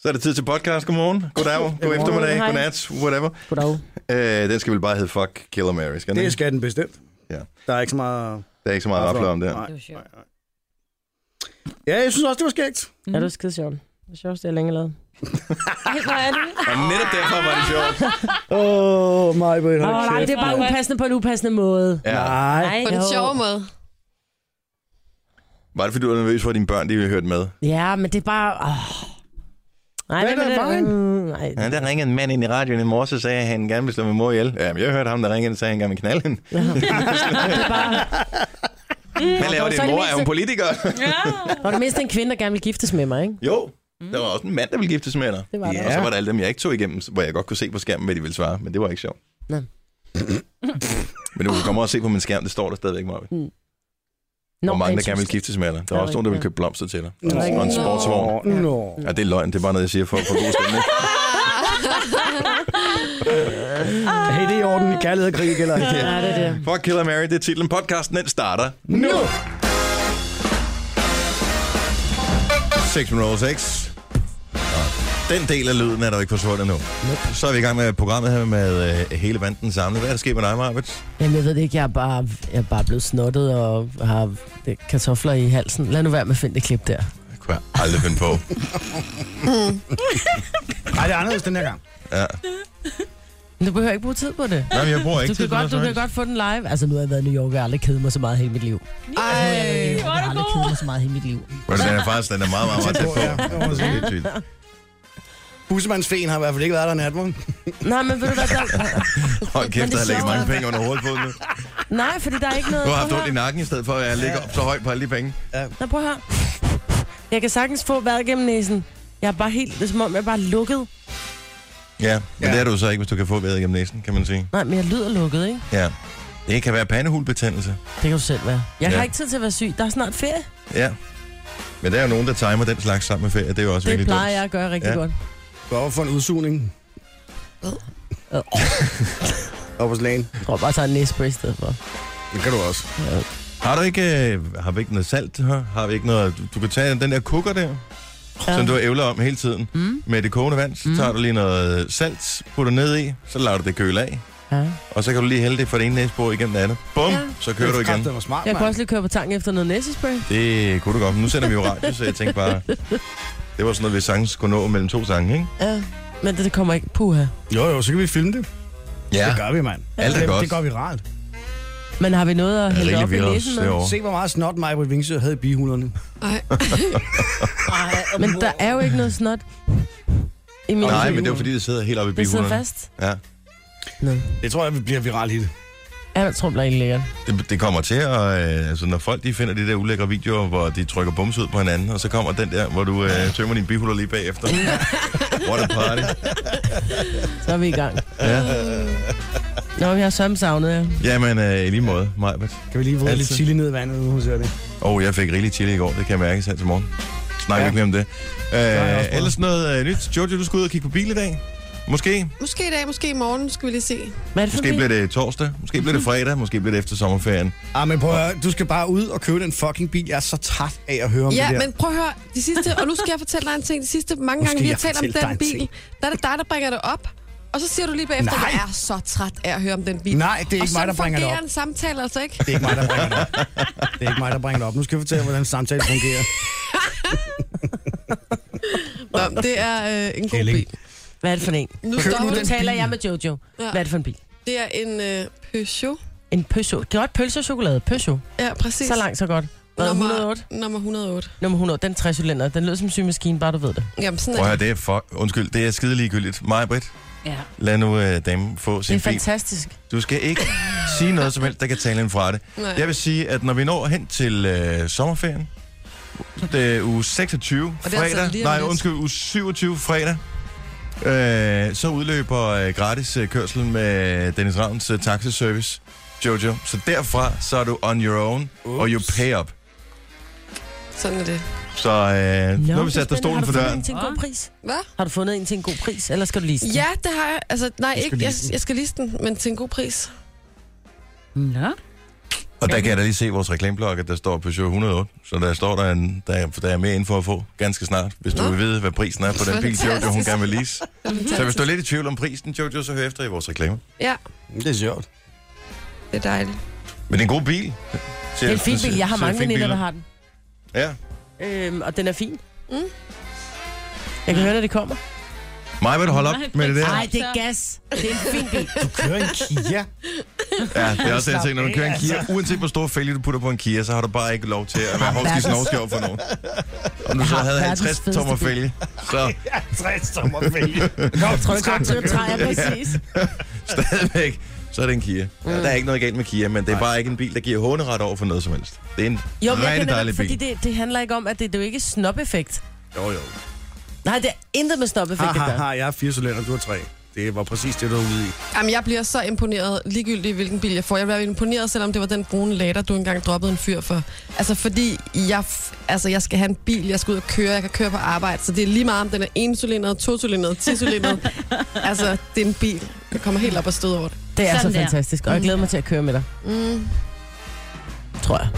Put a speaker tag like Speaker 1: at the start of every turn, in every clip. Speaker 1: Så er det tid til podcast. Godmorgen, goddag, god eftermiddag,
Speaker 2: Hej.
Speaker 1: godnat, whatever.
Speaker 2: Goddag.
Speaker 1: Øh, den skal vel bare hedde Fuck Kill or Mary, skal den?
Speaker 3: Det
Speaker 1: ikke?
Speaker 3: skal den bestemt.
Speaker 1: Ja.
Speaker 3: Der er ikke så meget...
Speaker 1: Der er ikke så meget at afsløre om det her.
Speaker 3: Nej,
Speaker 2: Det var sjovt.
Speaker 3: nej, nej. Ja, jeg synes også, det var skægt.
Speaker 2: Mm. Ja, det var skide sjovt. Det var sjovt, det har længe lavet.
Speaker 4: Ej, hvor er det?
Speaker 1: Og netop derfor var det sjovt.
Speaker 3: Åh, oh, mig, Britt.
Speaker 2: Åh, nej, det er bare upassende på en upassende måde.
Speaker 1: Ja.
Speaker 3: Nej.
Speaker 2: Nej,
Speaker 4: På den
Speaker 2: jo.
Speaker 4: sjove måde.
Speaker 1: Var det, fordi du var nervøs for, at dine børn de ville høre det med?
Speaker 2: Ja, men det er bare... Oh. Nej,
Speaker 3: Hvad er
Speaker 2: men
Speaker 3: der
Speaker 2: det-
Speaker 3: vejen?
Speaker 2: Mm, nej.
Speaker 1: Ja, der ringede en mand ind i radioen i morges og sagde, at han gerne ville slå min mor ihjel. Ja, men jeg hørte ham, der ringede ind og sagde, at han gerne ville knalde hende.
Speaker 2: Ja. det er bare...
Speaker 1: Hvad laver
Speaker 2: og så
Speaker 1: din
Speaker 2: er det
Speaker 1: mor?
Speaker 2: meste-
Speaker 1: Er hun politiker?
Speaker 2: Og det mindste en kvinde, der gerne vil giftes med mig, ikke?
Speaker 1: jo, der var også en mand, der ville giftes med dig.
Speaker 2: Det var der
Speaker 1: Og så var der alle dem, jeg ikke tog igennem, hvor jeg godt kunne se på skærmen, hvad de ville svare. Men det var ikke sjovt.
Speaker 2: Nej.
Speaker 1: men du kan komme og se på min skærm, det står der stadigvæk, Marvind. Hvor mange, der gerne vil giftes med dig. Der var også nogen, der ville købe blomster til dig. Og en- Og en sportsvogn.
Speaker 3: Nå. Nå.
Speaker 1: Ja, det er løgn. Det er bare noget, jeg siger for, for god stemning.
Speaker 3: Hey, det er i orden. Kærlighed og krig gælder.
Speaker 2: Ja, det er det.
Speaker 1: Fuck Killer Mary, det er titlen. Podcasten, den starter nu. 6 minutter 6. Den del af lyden er der jo ikke forsvundet nu. Så er vi i gang med programmet her med øh, hele banden samlet. Hvad er der sket med dig, Marbet?
Speaker 2: Jamen, jeg ved det ikke. Jeg er bare, jeg er bare blevet snottet og har øh, kartofler i halsen. Lad nu være med at finde det klip der.
Speaker 1: Det kunne jeg aldrig finde på.
Speaker 3: Nej, det er anderledes den her gang.
Speaker 1: Ja.
Speaker 2: Men du behøver ikke bruge tid på det.
Speaker 1: Nej, men jeg bruger ikke
Speaker 2: Du kan,
Speaker 1: til
Speaker 2: godt, du kan godt få den live. Altså, nu har jeg været i New York, og jeg har aldrig kedet mig så meget i hele mit liv. Ej, jeg har aldrig kedet mig så meget i hele mit liv.
Speaker 1: Men den er faktisk den er meget, meget, meget tæt på. Det er helt sygt.
Speaker 3: Husmandsfen har i hvert fald ikke været der nat, morgen.
Speaker 2: Nej, men ved du hvad, der...
Speaker 1: Hold kæft, der
Speaker 2: Men det
Speaker 1: har lægget
Speaker 2: sjove
Speaker 1: mange
Speaker 2: er-
Speaker 1: penge under hovedet på nu.
Speaker 2: Nej, fordi der er ikke noget...
Speaker 1: Du har haft
Speaker 2: Prøv at
Speaker 1: ondt i nakken i stedet for, at jeg ligger op så højt på alle de penge.
Speaker 2: høre. Nå, prøv at høre. Jeg kan sagtens få vejret gennem næsen. Jeg er bare helt... Det er som om, jeg er bare lukket.
Speaker 1: Ja, men
Speaker 3: Ja.
Speaker 1: det er du så ikke, hvis du kan få vejret gennem næsen, kan man sige.
Speaker 2: Nej, men jeg lyder lukket, ikke?
Speaker 1: Ja. Det kan være pandehulbetændelse.
Speaker 2: Det kan du selv være. Jeg
Speaker 1: Ja.
Speaker 2: ja. har ikke tid til at være syg. Der er snart ferie.
Speaker 1: Ja. Men der er jo nogen, der timer den slags sammen med ferie. Det er jo også
Speaker 2: Det
Speaker 1: virkelig
Speaker 2: plejer
Speaker 1: dumt.
Speaker 2: jeg at gøre rigtig
Speaker 1: Ja.
Speaker 2: ja. godt.
Speaker 3: Du er oppe for en udsugning.
Speaker 2: Øh.
Speaker 3: Op hos lægen.
Speaker 2: Jeg tror bare, jeg tager en næsespray i stedet for.
Speaker 3: Det kan du også.
Speaker 1: Har du ikke, øh, har vi ikke noget salt her? Har vi ikke noget... Du, du kan tage den der kukker der, ja. som du ævler om hele tiden. Mm. Med det kogende vand, så tager du lige noget salt, putter ned i, så lader du det køle af.
Speaker 2: Ja.
Speaker 1: Og så kan du lige hælde det fra det ene næsebord igennem det andet. Bum, ja.
Speaker 2: Ja.
Speaker 1: så kører du igen.
Speaker 3: Det var smart,
Speaker 2: Jeg kunne
Speaker 3: mand.
Speaker 2: også lige køre på tanken efter noget næsespray.
Speaker 1: Det kunne du godt. Men nu sender vi jo radio, så jeg tænkte bare... Det var sådan noget, vi sagtens kunne nå mellem to sange, ikke?
Speaker 2: Ja. Men det, det kommer ikke. Puha.
Speaker 3: Jo, jo, så kan vi filme det. Det gør vi, mand.
Speaker 1: Alt er
Speaker 3: det,
Speaker 1: godt.
Speaker 3: Det gør vi rart.
Speaker 2: Men har vi noget at
Speaker 1: Jeg er
Speaker 2: hælde op
Speaker 1: rigtig
Speaker 2: i
Speaker 1: virus
Speaker 2: næsen med?
Speaker 1: derovre.
Speaker 3: Se, hvor meget snot mig på Vingsø havde i bihulerne.
Speaker 4: Ah. Ej.
Speaker 2: Men der er jo ikke noget snot i min
Speaker 1: Nej, men det er jo fordi, det sidder helt oppe i
Speaker 2: det sidder
Speaker 1: bihulerne.
Speaker 2: fast.
Speaker 1: Ja.
Speaker 2: Nå.
Speaker 3: Det tror jeg, vi bliver viral hit.
Speaker 2: Ja, jeg tror, det er ikke lækkert.
Speaker 1: Det, det kommer til at... Øh, altså, når folk de finder de der ulækre videoer, hvor de trykker bums ud på hinanden, og så kommer den der, hvor du øh, tømmer din bihuler lige bagefter. What a party.
Speaker 2: Så er vi i gang.
Speaker 1: Ja.
Speaker 2: Nå, jeg har sømme savnet jer.
Speaker 1: Jamen, øh, i lige måde, Majbert.
Speaker 3: Kan vi lige vride lidt
Speaker 1: Altid.
Speaker 3: chili ned i vandet, nu hun ser det.
Speaker 1: Åh, oh, jeg fik rigeligt chili i går, det kan jeg mærke selv til morgen. Snakker ja.
Speaker 3: Ja.
Speaker 1: ikke mere om det.
Speaker 3: jeg også
Speaker 1: Øh,
Speaker 3: prøvet.
Speaker 1: ellers noget øh, nyt. Jojo, du skal ud og kigge på bil i dag. Måske.
Speaker 4: Måske i dag, måske i morgen, skal vi lige se.
Speaker 2: Hvad er det for
Speaker 1: Måske
Speaker 2: en
Speaker 1: bliver
Speaker 2: bil?
Speaker 1: det torsdag. Måske bliver det fredag. Måske bliver det efter sommerferien.
Speaker 3: Ah, men prøv at høre, du skal bare ud og købe den fucking bil. Jeg er så træt af at høre om
Speaker 4: Ja,
Speaker 3: det der.
Speaker 4: men prøv at høre, de sidste, og nu skal jeg fortælle dig en ting, de sidste mange
Speaker 3: Nu
Speaker 4: gange,
Speaker 3: skal
Speaker 4: vi har
Speaker 3: jeg
Speaker 4: talt om
Speaker 3: fortælle dig en
Speaker 4: den bil,
Speaker 3: ting.
Speaker 4: der er det dig, der bringer det op, og så siger du lige bagefter,
Speaker 3: Nej.
Speaker 4: at jeg er så træt af at høre om den bil.
Speaker 3: Nej, det er
Speaker 4: og
Speaker 3: ikke mig,
Speaker 4: sådan
Speaker 3: der bringer det
Speaker 4: fungerer
Speaker 3: op.
Speaker 4: en samtale altså ikke.
Speaker 3: Det er ikke mig, der bringer det op. Det er ikke mig, der bringer det op. Nu skal jeg fortælle, hvordan samtalen fungerer.
Speaker 4: Nå, men det er øh, en god
Speaker 3: Kælling.
Speaker 4: bil.
Speaker 2: Hvad er det for en?
Speaker 4: Nu
Speaker 3: Køb
Speaker 4: stopper
Speaker 3: nu
Speaker 2: Nu
Speaker 4: den.
Speaker 2: taler jeg med Jojo.
Speaker 4: Ja.
Speaker 2: Hvad er det for en bil?
Speaker 4: Det er en øh, Peugeot.
Speaker 2: En Peugeot. Det var et pølse og chokolade. Peugeot.
Speaker 4: Ja, præcis.
Speaker 2: Så langt, så godt. Hvad er det,
Speaker 4: Nummer-
Speaker 2: 108?
Speaker 4: Nummer 108.
Speaker 2: Nummer 108. Den træcylinder. Den lød som en symaskine, bare du ved det.
Speaker 4: Jamen, sådan
Speaker 1: Prøv
Speaker 4: er
Speaker 1: at høre,
Speaker 4: det.
Speaker 1: det er for... Undskyld, det er skide ligegyldigt. Majbrit,
Speaker 2: Ja.
Speaker 1: lad nu øh, damen få
Speaker 2: Det
Speaker 1: sin
Speaker 2: er
Speaker 1: bil.
Speaker 2: fantastisk.
Speaker 1: Du skal ikke sige noget som helst, der kan tale hende fra det.
Speaker 4: Nej.
Speaker 1: Jeg vil sige, at når vi når hen til øh, sommerferien, det er uge 26,
Speaker 4: Og det er altså
Speaker 1: fredag,
Speaker 4: lige om
Speaker 1: nej
Speaker 4: lidt.
Speaker 1: undskyld, uge 27, fredag, øh, så udløber øh, gratis øh, kørsel med Dennis Ravns øh, taxiservice, Jojo. Så derfra, så er du on your own, Ups. og you pay up.
Speaker 4: Sådan er det.
Speaker 1: Så øh, nu har
Speaker 2: det
Speaker 1: vi
Speaker 2: er
Speaker 1: sat dig stolen
Speaker 2: spændende. Har
Speaker 1: for
Speaker 2: du fundet en
Speaker 1: døren.
Speaker 2: til en god pris?
Speaker 4: Hvad?
Speaker 2: Har du fundet en til en god pris, eller skal du lise den?
Speaker 4: Ja, det har jeg. Altså, nej,
Speaker 3: skal
Speaker 4: ikke. Jeg,
Speaker 3: lease den.
Speaker 4: jeg skal liste den, men til en god pris.
Speaker 5: Nå.
Speaker 1: Og der kan jeg da lige se i vores reklameblok, at der står Peugeot 108. Så der står der, en, der, er, der er mere info at få ganske snart, hvis du
Speaker 4: Nå.
Speaker 1: vil vide, hvad prisen er på den bil, Jojo, hun gerne vil lease. Så hvis du er lidt i tvivl om prisen, Jojo, så hør efter i vores reklame.
Speaker 4: Mhm. Ja,
Speaker 3: Mm, Det er sjovt.
Speaker 4: det er dejligt.
Speaker 1: Men det er en god bil.
Speaker 2: Det er en fin bil. Jeg har mange veninder, der
Speaker 1: har.
Speaker 2: har den.
Speaker 1: Ja.
Speaker 2: Øhm, og den er fin.
Speaker 4: Mm.
Speaker 2: Jeg kan høre, når det kommer.
Speaker 1: Mig vil du holde op
Speaker 5: Nej,
Speaker 1: med det der?
Speaker 5: nej.
Speaker 2: Nej, det er gas. Det er en fin bil.
Speaker 3: Du kører en Kia.
Speaker 1: Ja, det er også det, jeg tænker, når du
Speaker 3: Slap
Speaker 1: kører en
Speaker 3: af,
Speaker 1: Kia. Uanset hvor stor fælge du putter på en Kia, så har du bare ikke lov til at være hovskis
Speaker 2: verdens-
Speaker 1: snovske over for nogen. Om du
Speaker 2: Jeg
Speaker 1: så
Speaker 2: har
Speaker 1: havde
Speaker 2: verdens
Speaker 1: 50 tommer
Speaker 2: fedeste bil.
Speaker 1: fælge, så
Speaker 3: Ja, tre stommer vælge.
Speaker 2: Jeg tror, det er godt, det er træer, præcis.
Speaker 1: stadigvæk, så er det en Kia. Ja, der er ikke noget galt med Kia, men det er bare ikke en bil, der giver håneret over for noget som helst. Det er en
Speaker 2: Jo, men jeg
Speaker 1: rigtig
Speaker 2: kender
Speaker 1: dejlig
Speaker 2: det,
Speaker 1: bil.
Speaker 2: fordi det, det handler ikke om, at det, det er jo ikke snob-effekt.
Speaker 1: Jo, jo.
Speaker 2: Nej, det er intet med snob-effekt
Speaker 3: Ha,
Speaker 2: at
Speaker 3: ha,
Speaker 2: gøre.
Speaker 3: ha, jeg har fire cylinder, du har tre. Det var præcis det, du var ude i.
Speaker 4: Jamen, jeg bliver så imponeret, ligegyldigt hvilken bil jeg får. Jeg bliver imponeret, selvom det var den brune lader, du engang droppede en fyr for. Altså, fordi jeg, f- altså, jeg skal have en bil, jeg skal ud og køre, jeg kan køre på arbejde. Så det er lige meget, om den er encylindret, tocylindret, ticylindret. altså, det er en bil. Jeg kommer helt op og stød over det.
Speaker 2: Det er
Speaker 5: Sådan
Speaker 2: så
Speaker 5: der.
Speaker 2: fantastisk, og jeg glæder mig til at køre med dig,
Speaker 4: Mm.
Speaker 2: tror jeg.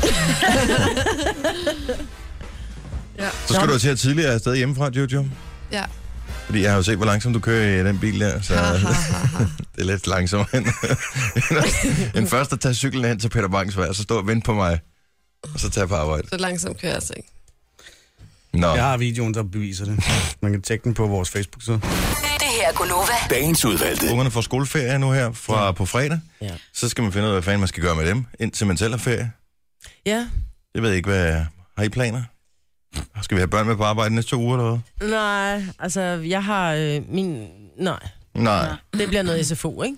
Speaker 1: Så skal du til at tidligere afsted hjemmefra, Jojo.
Speaker 4: Ja.
Speaker 1: Fordi jeg har jo set, hvor langsomt du kører i den bil der, så
Speaker 4: Ha, ha, ha, ha.
Speaker 1: det er lidt langsommere end, end først at tage cyklen hen til Peter Bangs vej, og så stå og vente på mig, og så tage på arbejde.
Speaker 4: Så langsomt kører jeg altså ikke.
Speaker 1: Nå.
Speaker 3: Jeg har videoen, der beviser det. Man kan tjekke den på vores Facebook-side.
Speaker 6: Det her er Gunova.
Speaker 7: Dagens udvalgte.
Speaker 1: Ungerne får skoleferie nu her fra på fredag.
Speaker 2: Ja.
Speaker 1: Så skal man finde ud af, hvad fanden man skal gøre med dem, indtil man selv har ferie.
Speaker 2: Ja.
Speaker 1: Jeg ved ikke, hvad har I planer? Skal vi have børn med på arbejde næste to uger eller hvad?
Speaker 2: Nej, altså, jeg har øh, min... Nej,
Speaker 1: Nej.
Speaker 2: det bliver noget SFO, ikke?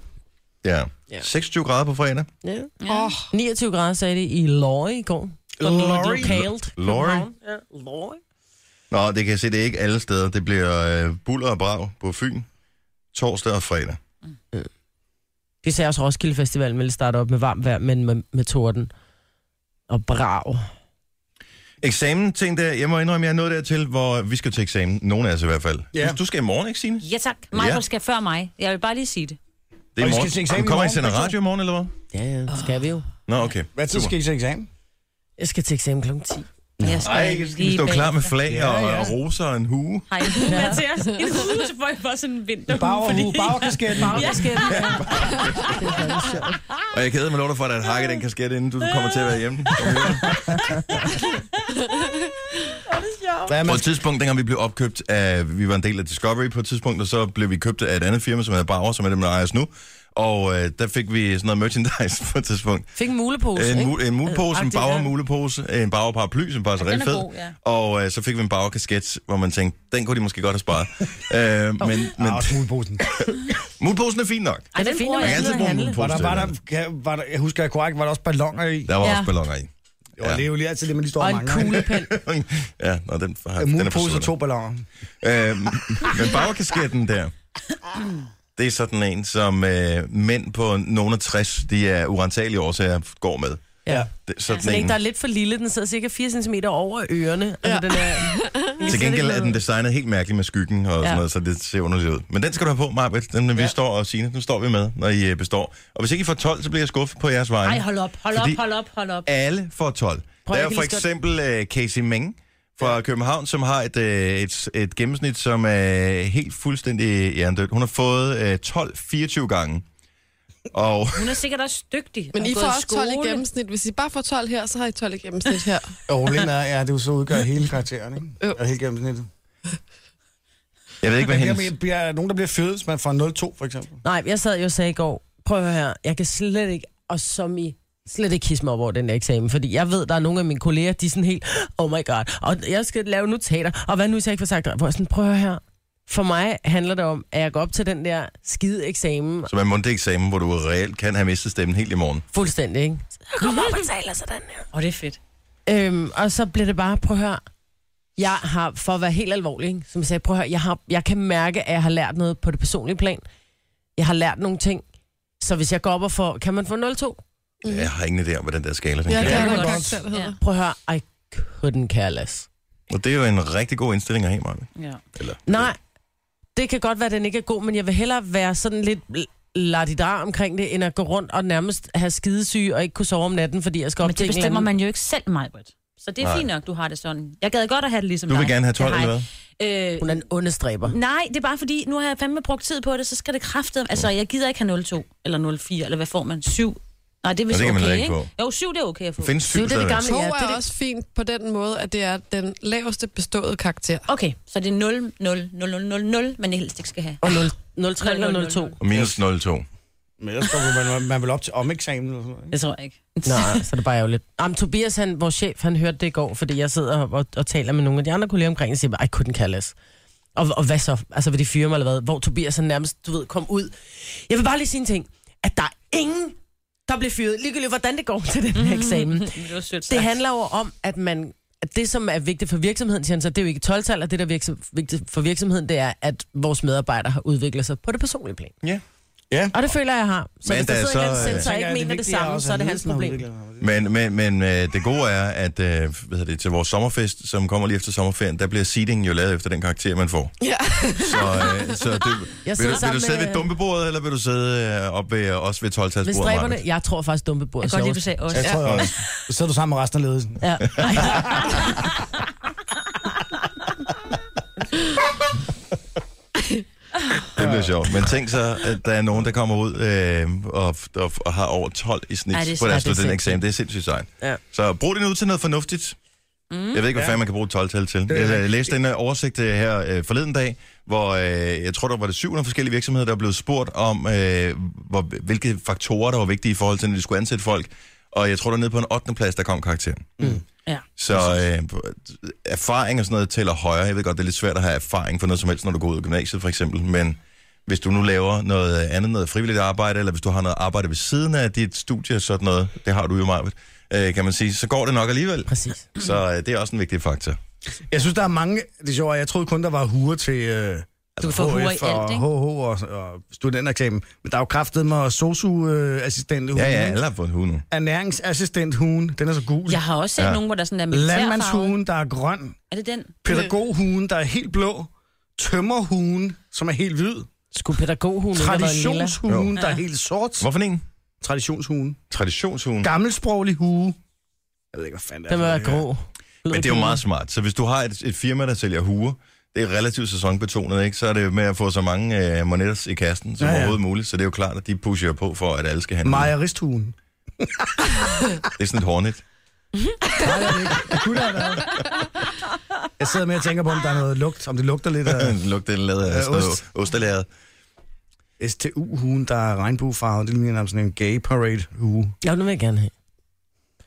Speaker 1: Ja.
Speaker 2: Ja.
Speaker 1: 26 grader på fredag.
Speaker 2: Ja.
Speaker 4: Åh,
Speaker 5: Ja.
Speaker 4: oh,
Speaker 2: 29 grader sagde det i Lorry i går.
Speaker 3: Lorry?
Speaker 2: Lokalt.
Speaker 1: Lorry?
Speaker 2: København. Ja, Lorry.
Speaker 1: Nå, det kan jeg se, det er ikke alle steder. Det bliver øh, buller og brag på Fyn torsdag og fredag.
Speaker 2: Vi sagde også, at Roskilde Festival ville starte op med varmt vejr, men med, med torden og brav.
Speaker 1: Eksamen, tænkte jeg, jeg må indrømme, jeg er nået dertil, hvor vi skal til eksamen. Nogle af os i hvert fald.
Speaker 3: Ja.
Speaker 1: Du skal i morgen, ikke Signe?
Speaker 5: Ja tak. Mig
Speaker 1: Ja.
Speaker 5: ja. skal før mig. Jeg vil bare lige sige det.
Speaker 1: Det er i
Speaker 3: Og vi skal
Speaker 1: morgen.
Speaker 3: til eksamen
Speaker 1: du kommer
Speaker 3: i
Speaker 1: ikke sender
Speaker 3: morgen, begge
Speaker 1: radio i morgen, eller hvad?
Speaker 2: Ja, ja, det skal vi jo.
Speaker 1: Nå, okay.
Speaker 3: Hvad tid
Speaker 1: Super.
Speaker 3: skal I til eksamen?
Speaker 2: Jeg skal til eksamen kl. 10.
Speaker 5: Jeg skal
Speaker 1: Ej, skal vi stå klar med flag
Speaker 3: Ja,
Speaker 1: og,
Speaker 3: ja.
Speaker 1: og roser og en hue?
Speaker 5: Hej, Mathias. En hue, så får jeg bare sådan en vinter.
Speaker 3: Bagerhue, bagerkasketten.
Speaker 2: Ja. Det skal vi. Det er faktisk sjovt.
Speaker 1: Og jeg keder mig lov for, at han hakker den kasket, inden du kommer til at være hjemme.
Speaker 3: Hvad er
Speaker 1: På
Speaker 3: man?
Speaker 1: et tidspunkt, dengang vi blev opkøbt af, vi var en del af Discovery på et tidspunkt, og så blev vi købt af et andet firma, som hedder Bauer, som er dem, der ejer os nu. Og øh, der fik vi sådan noget merchandise på et tidspunkt.
Speaker 2: Fik en mulepose,
Speaker 1: En,
Speaker 2: ikke?
Speaker 1: mu- en mulepose, en
Speaker 2: Agtigt, ja.
Speaker 1: Bauer mulepose, en Bauer paraply, som faktisk er
Speaker 5: Ja, den
Speaker 1: rigtig
Speaker 5: er
Speaker 1: fed.
Speaker 5: god, ja.
Speaker 1: Og øh, så fik vi en Bauer kasket, hvor man tænkte, den kunne de måske godt have sparet. øh, men men
Speaker 3: Ah, smugleposen.
Speaker 1: muleposen er fin nok.
Speaker 5: Ej, det er fint, når
Speaker 1: Man
Speaker 5: man
Speaker 1: kan altid
Speaker 5: sidder
Speaker 1: bruge
Speaker 5: og
Speaker 1: en
Speaker 5: handler.
Speaker 3: Var
Speaker 1: mulepose.
Speaker 3: der,
Speaker 1: til
Speaker 3: var der,
Speaker 1: noget.
Speaker 3: kan- var der, jeg husker jeg korrekt, var der også ballonger i?
Speaker 1: der var også
Speaker 5: Ja.
Speaker 1: ballonger i.
Speaker 3: Jo, det er jo lige altid det, man lige står
Speaker 2: Og
Speaker 3: og
Speaker 2: en
Speaker 3: mangler.
Speaker 2: kuglepen.
Speaker 1: ja, nå, den, har,
Speaker 3: En
Speaker 1: den er
Speaker 3: mulepose og
Speaker 1: forsvundet.
Speaker 3: to ballonger.
Speaker 1: Øh, men bagkasketten der, det er sådan en, som øh, mænd på nogen af 60, de er urentagelige årsager, går med.
Speaker 2: Ja.
Speaker 1: Det, er sådan
Speaker 2: Så
Speaker 1: ja,
Speaker 2: den,
Speaker 1: en.
Speaker 2: der er lidt for lille, den sidder cirka 4 cm over ørerne. Altså, den er,
Speaker 1: Til gengæld er den designet helt mærkeligt med skyggen og sådan
Speaker 2: Ja.
Speaker 1: noget, så det ser underligt ud. Men den skal du have på, Marbet. Den vi står og Signe, den står vi med, når I øh, består. Og hvis ikke I får 12, så bliver jeg skuffet på jeres vegne.
Speaker 5: Ej, hold op, hold op,
Speaker 1: Fordi-
Speaker 5: hold op, hold op.
Speaker 1: alle får 12.
Speaker 2: Prøv,
Speaker 1: der er
Speaker 2: jeg
Speaker 1: jo
Speaker 2: kan
Speaker 1: for
Speaker 2: lige så godt-
Speaker 1: eksempel uh, Casey Meng fra København, som har et, øh, et, et gennemsnit, som er helt fuldstændig jerndødt. Hun har fået øh, 12-24 gange. Og
Speaker 5: Hun er sikkert også dygtig.
Speaker 4: Men
Speaker 5: og
Speaker 4: I
Speaker 5: gået
Speaker 4: får
Speaker 5: i
Speaker 4: også 12 i
Speaker 5: skole.
Speaker 4: gennemsnit. Hvis I bare får 12 her, så har I 12 i gennemsnit her.
Speaker 3: Og problemet er, ja, det er jo så udgør hele karakteren, ikke?
Speaker 4: Jo.
Speaker 3: Og hele gennemsnittet.
Speaker 1: jeg ved ikke, hvad
Speaker 3: Der
Speaker 1: hendes...
Speaker 3: bliver, bliver nogen, der bliver født, hvis man får 0,2 for eksempel.
Speaker 2: Nej, jeg sad jo og sagde i går, prøv at høre her, jeg kan slet ikke, og som I, slet ikke kisse mig op over den der eksamen, fordi jeg ved, der er nogle af mine kolleger, de er sådan helt, oh my god, og jeg skal lave notater, og hvad nu, hvis jeg ikke får sagt, det?" hvor jeg sådan, prøv at høre her. For mig handler det om, at jeg går op til den der skide eksamen
Speaker 1: Som er en mundtlig eksamen, hvor du reelt kan have mistet stemmen helt i morgen.
Speaker 2: fuldstændig, ikke?
Speaker 5: Åh, det er fedt.
Speaker 2: Øhm, og så bliver det bare, prøv at høre, jeg har, for at være helt alvorlig, ikke? som jeg sagde, prøv at høre, jeg, har, jeg kan mærke, at jeg har lært noget på det personlige plan. Jeg har lært nogle ting, så hvis jeg går op og får, kan man få 0-2?
Speaker 1: Jeg har ingen idé om, hvad den der skala den
Speaker 4: Ja, det
Speaker 1: kan.
Speaker 4: er
Speaker 5: det
Speaker 4: der
Speaker 5: godt.
Speaker 4: karakter, der hedder.
Speaker 2: Prøv at høre, I couldn't care less.
Speaker 1: Og det er jo en rigtig god indstilling at have, Maja.
Speaker 5: Ja.
Speaker 1: Eller...
Speaker 2: Nej, det kan godt være, at den ikke er god, men jeg vil hellere være sådan lidt ladidar omkring det, end at gå rundt og nærmest have skidesyge og ikke kunne sove om natten, fordi jeg skal op
Speaker 6: Men
Speaker 2: til
Speaker 6: det
Speaker 2: en eller
Speaker 6: bestemmer
Speaker 2: anden-
Speaker 6: man jo ikke selv, Majbert. Så det er
Speaker 1: Nej.
Speaker 6: fint nok, du har det sådan. Jeg gad godt at have det ligesom
Speaker 1: Du vil
Speaker 6: dig.
Speaker 1: gerne have
Speaker 6: Det
Speaker 1: 12
Speaker 6: har
Speaker 1: eller
Speaker 6: jeg. Øh,
Speaker 2: Hun er en understræber.
Speaker 6: nej, det er bare fordi, nu har jeg fandme brugt tid på det, så skal det kræfte. Altså, jeg gider ikke have 02 eller 04, eller hvad får man? 7? Nej, det er
Speaker 1: Nå,
Speaker 6: vist
Speaker 1: det kan man
Speaker 6: okay,
Speaker 1: heller
Speaker 6: ikke?
Speaker 1: ikke
Speaker 6: Jo, 7 det er okay at få.
Speaker 1: Findes
Speaker 2: Det er
Speaker 1: syv
Speaker 2: jo det, det
Speaker 1: stadigvæk?
Speaker 2: gamle
Speaker 4: To
Speaker 2: ja, det
Speaker 4: er
Speaker 2: er det-
Speaker 4: også fint på den måde, at det er den laveste beståede karakter.
Speaker 6: Okay, så det er 0, 0, 0, 0, 0, 0, man helst ikke skal have.
Speaker 2: Og 0, 03 og 02.
Speaker 1: Og minus 0,2.
Speaker 3: Men ellers kommer man, man vel op til om eksamen. Eller sådan noget.
Speaker 6: Det tror jeg ikke.
Speaker 2: Nej, så er det bare ærgerligt. Jamen, Tobias, han, vores chef, han hørte det i går, fordi jeg sidder og, og taler med nogle af de andre kolleger omkring, og siger, bare, I couldn't care less. Og, og hvad så? Altså, vil de fyre mig eller hvad? Hvor Tobias han nærmest, du ved, kom ud. Jeg vil bare lige sige en ting, at der er ingen, der bliver fyret, ligegyldigt hvordan det går til den
Speaker 3: Mhm.
Speaker 2: her eksamen.
Speaker 6: Det var sødt
Speaker 2: Det
Speaker 6: sagt.
Speaker 2: handler jo om, at man at det, som er vigtigt for virksomheden, siger han så, det er jo ikke 12 og det, der er virksom- vigtigt for virksomheden, det er, at vores medarbejdere har udviklet sig på det personlige plan.
Speaker 1: Ja.
Speaker 3: Ja.
Speaker 2: Og det føler jeg, jeg har. Så
Speaker 1: Men
Speaker 2: Men hvis der
Speaker 1: der er
Speaker 2: sidder
Speaker 1: så,
Speaker 2: så, en eller anden
Speaker 1: øh,
Speaker 2: sensor,
Speaker 3: Tænker
Speaker 2: ikke
Speaker 3: jeg, det
Speaker 2: mener det
Speaker 3: vigtige er
Speaker 2: samme,
Speaker 3: også,
Speaker 2: så er
Speaker 3: at
Speaker 2: det hans
Speaker 3: ledelsen har
Speaker 2: problem.
Speaker 3: udviklet sig.
Speaker 1: Men, men, men øh, det gode er, at øh, hvad hedder det, til vores sommerfest, som kommer lige efter sommerferien, der bliver seedingen jo lavet efter den karakter, man får.
Speaker 4: Ja.
Speaker 1: Så, øh, så det,
Speaker 2: Jeg
Speaker 1: vil, du,
Speaker 2: sidder
Speaker 1: vil
Speaker 2: sammen
Speaker 1: du sidde
Speaker 2: med-
Speaker 1: ved dumpebordet, eller vil du sidde øh, op ved, også ved 12
Speaker 2: Med stræberne, jeg tror faktisk dumme på.
Speaker 6: Jeg kan godt lide, du sagde også.
Speaker 3: Jeg tror jeg også. Så sidder du sammen med resten af ledelsen.
Speaker 2: Ja.
Speaker 1: Det bliver sjovt. Men tænk så, at der er nogen, der kommer ud øh, og, og, og har over 12 i snit
Speaker 6: Ej, det er
Speaker 1: på deres
Speaker 2: sejt, det er
Speaker 1: studentereksamen. Det er sindssygt sejt.
Speaker 2: Ja.
Speaker 1: Så brug det nu til noget fornuftigt. Mm. Jeg ved ikke, hvad fanden man kan bruge 12-tal til.
Speaker 3: er
Speaker 1: Jeg
Speaker 3: rigtigt.
Speaker 1: læste en øh, oversigt øh, her øh, forleden dag, hvor øh, jeg tror, der var det 700 forskellige virksomheder, der blev spurgt om, øh, hvor, hvilke faktorer, der var vigtige i forhold til, når de skulle ansætte folk. Og jeg tror, der nede på en 8. plads, der kom karakteren.
Speaker 3: Mm.
Speaker 6: Ja.
Speaker 1: Så øh, erfaring og sådan noget tæller højere. Jeg ved godt, det er lidt svært at have erfaring for noget som helst, når du går ud af gymnasiet for eksempel, men hvis du nu laver noget andet, noget frivilligt arbejde, eller hvis du har noget arbejde ved siden af dit studie og sådan noget, det har du jo meget, øh, kan man sige, så går det nok alligevel.
Speaker 2: Præcis.
Speaker 1: Så øh, det er også en vigtig faktor.
Speaker 3: Jeg synes, der er mange... Det er sjovt, jeg troede kun, der var huer til... Øh,
Speaker 6: Du kan få huer i alt,
Speaker 3: HF og
Speaker 6: ikke?
Speaker 3: HH og, og studentereksamen. Men der er jo kraftet mig sosu-assistent
Speaker 1: Ja, ja, alle har fået en hue nu.
Speaker 3: Ernæringsassistent huen, den er så gul.
Speaker 6: Jeg har også set
Speaker 1: Ja.
Speaker 6: ja. nogen, hvor der sådan er militærfarve.
Speaker 3: Landmandshugen, der er grøn.
Speaker 6: Er det den?
Speaker 3: Pædagoghugen, der er helt blå. Tømmerhugen, som er helt hvid.
Speaker 2: Skulle pædagoghunden have været en lilla?
Speaker 3: Traditionshugen,
Speaker 6: Jo.
Speaker 3: der er helt sort.
Speaker 1: Hvorfor en?
Speaker 3: Traditionshugen.
Speaker 1: Traditionshugen.
Speaker 3: Gammelsproglig hue. Jeg ved ikke, hvad fanden det er.
Speaker 2: Den må
Speaker 3: for
Speaker 2: være
Speaker 3: noget, det her.
Speaker 2: grå.
Speaker 1: Men det er jo meget smart. Så hvis du har et, et firma, der sælger huer, det er relativt sæsonbetonet, ikke? så er det med at få så mange øh, monetter i kassen som ja,
Speaker 3: Ja,
Speaker 1: ja.
Speaker 3: ja.
Speaker 1: overhovedet muligt. Så det er jo klart, at de pusher på for, at alle skal have en hue.
Speaker 3: Majeristhugen.
Speaker 1: Det er sådan et hornet.
Speaker 3: Nej, det er det ikke. Det kunne det have været. Jeg sidder med og tænker på, om der er noget lugt, om det lugter lidt af
Speaker 1: Lugte den lavet af
Speaker 3: Ja,
Speaker 1: sådan noget
Speaker 3: ost.
Speaker 1: ostelæret.
Speaker 3: STU-huen, der er regnbuefarvet. Det ligner nærmest sådan en gay parade-hue.
Speaker 2: Ja, nu vil jeg gerne have.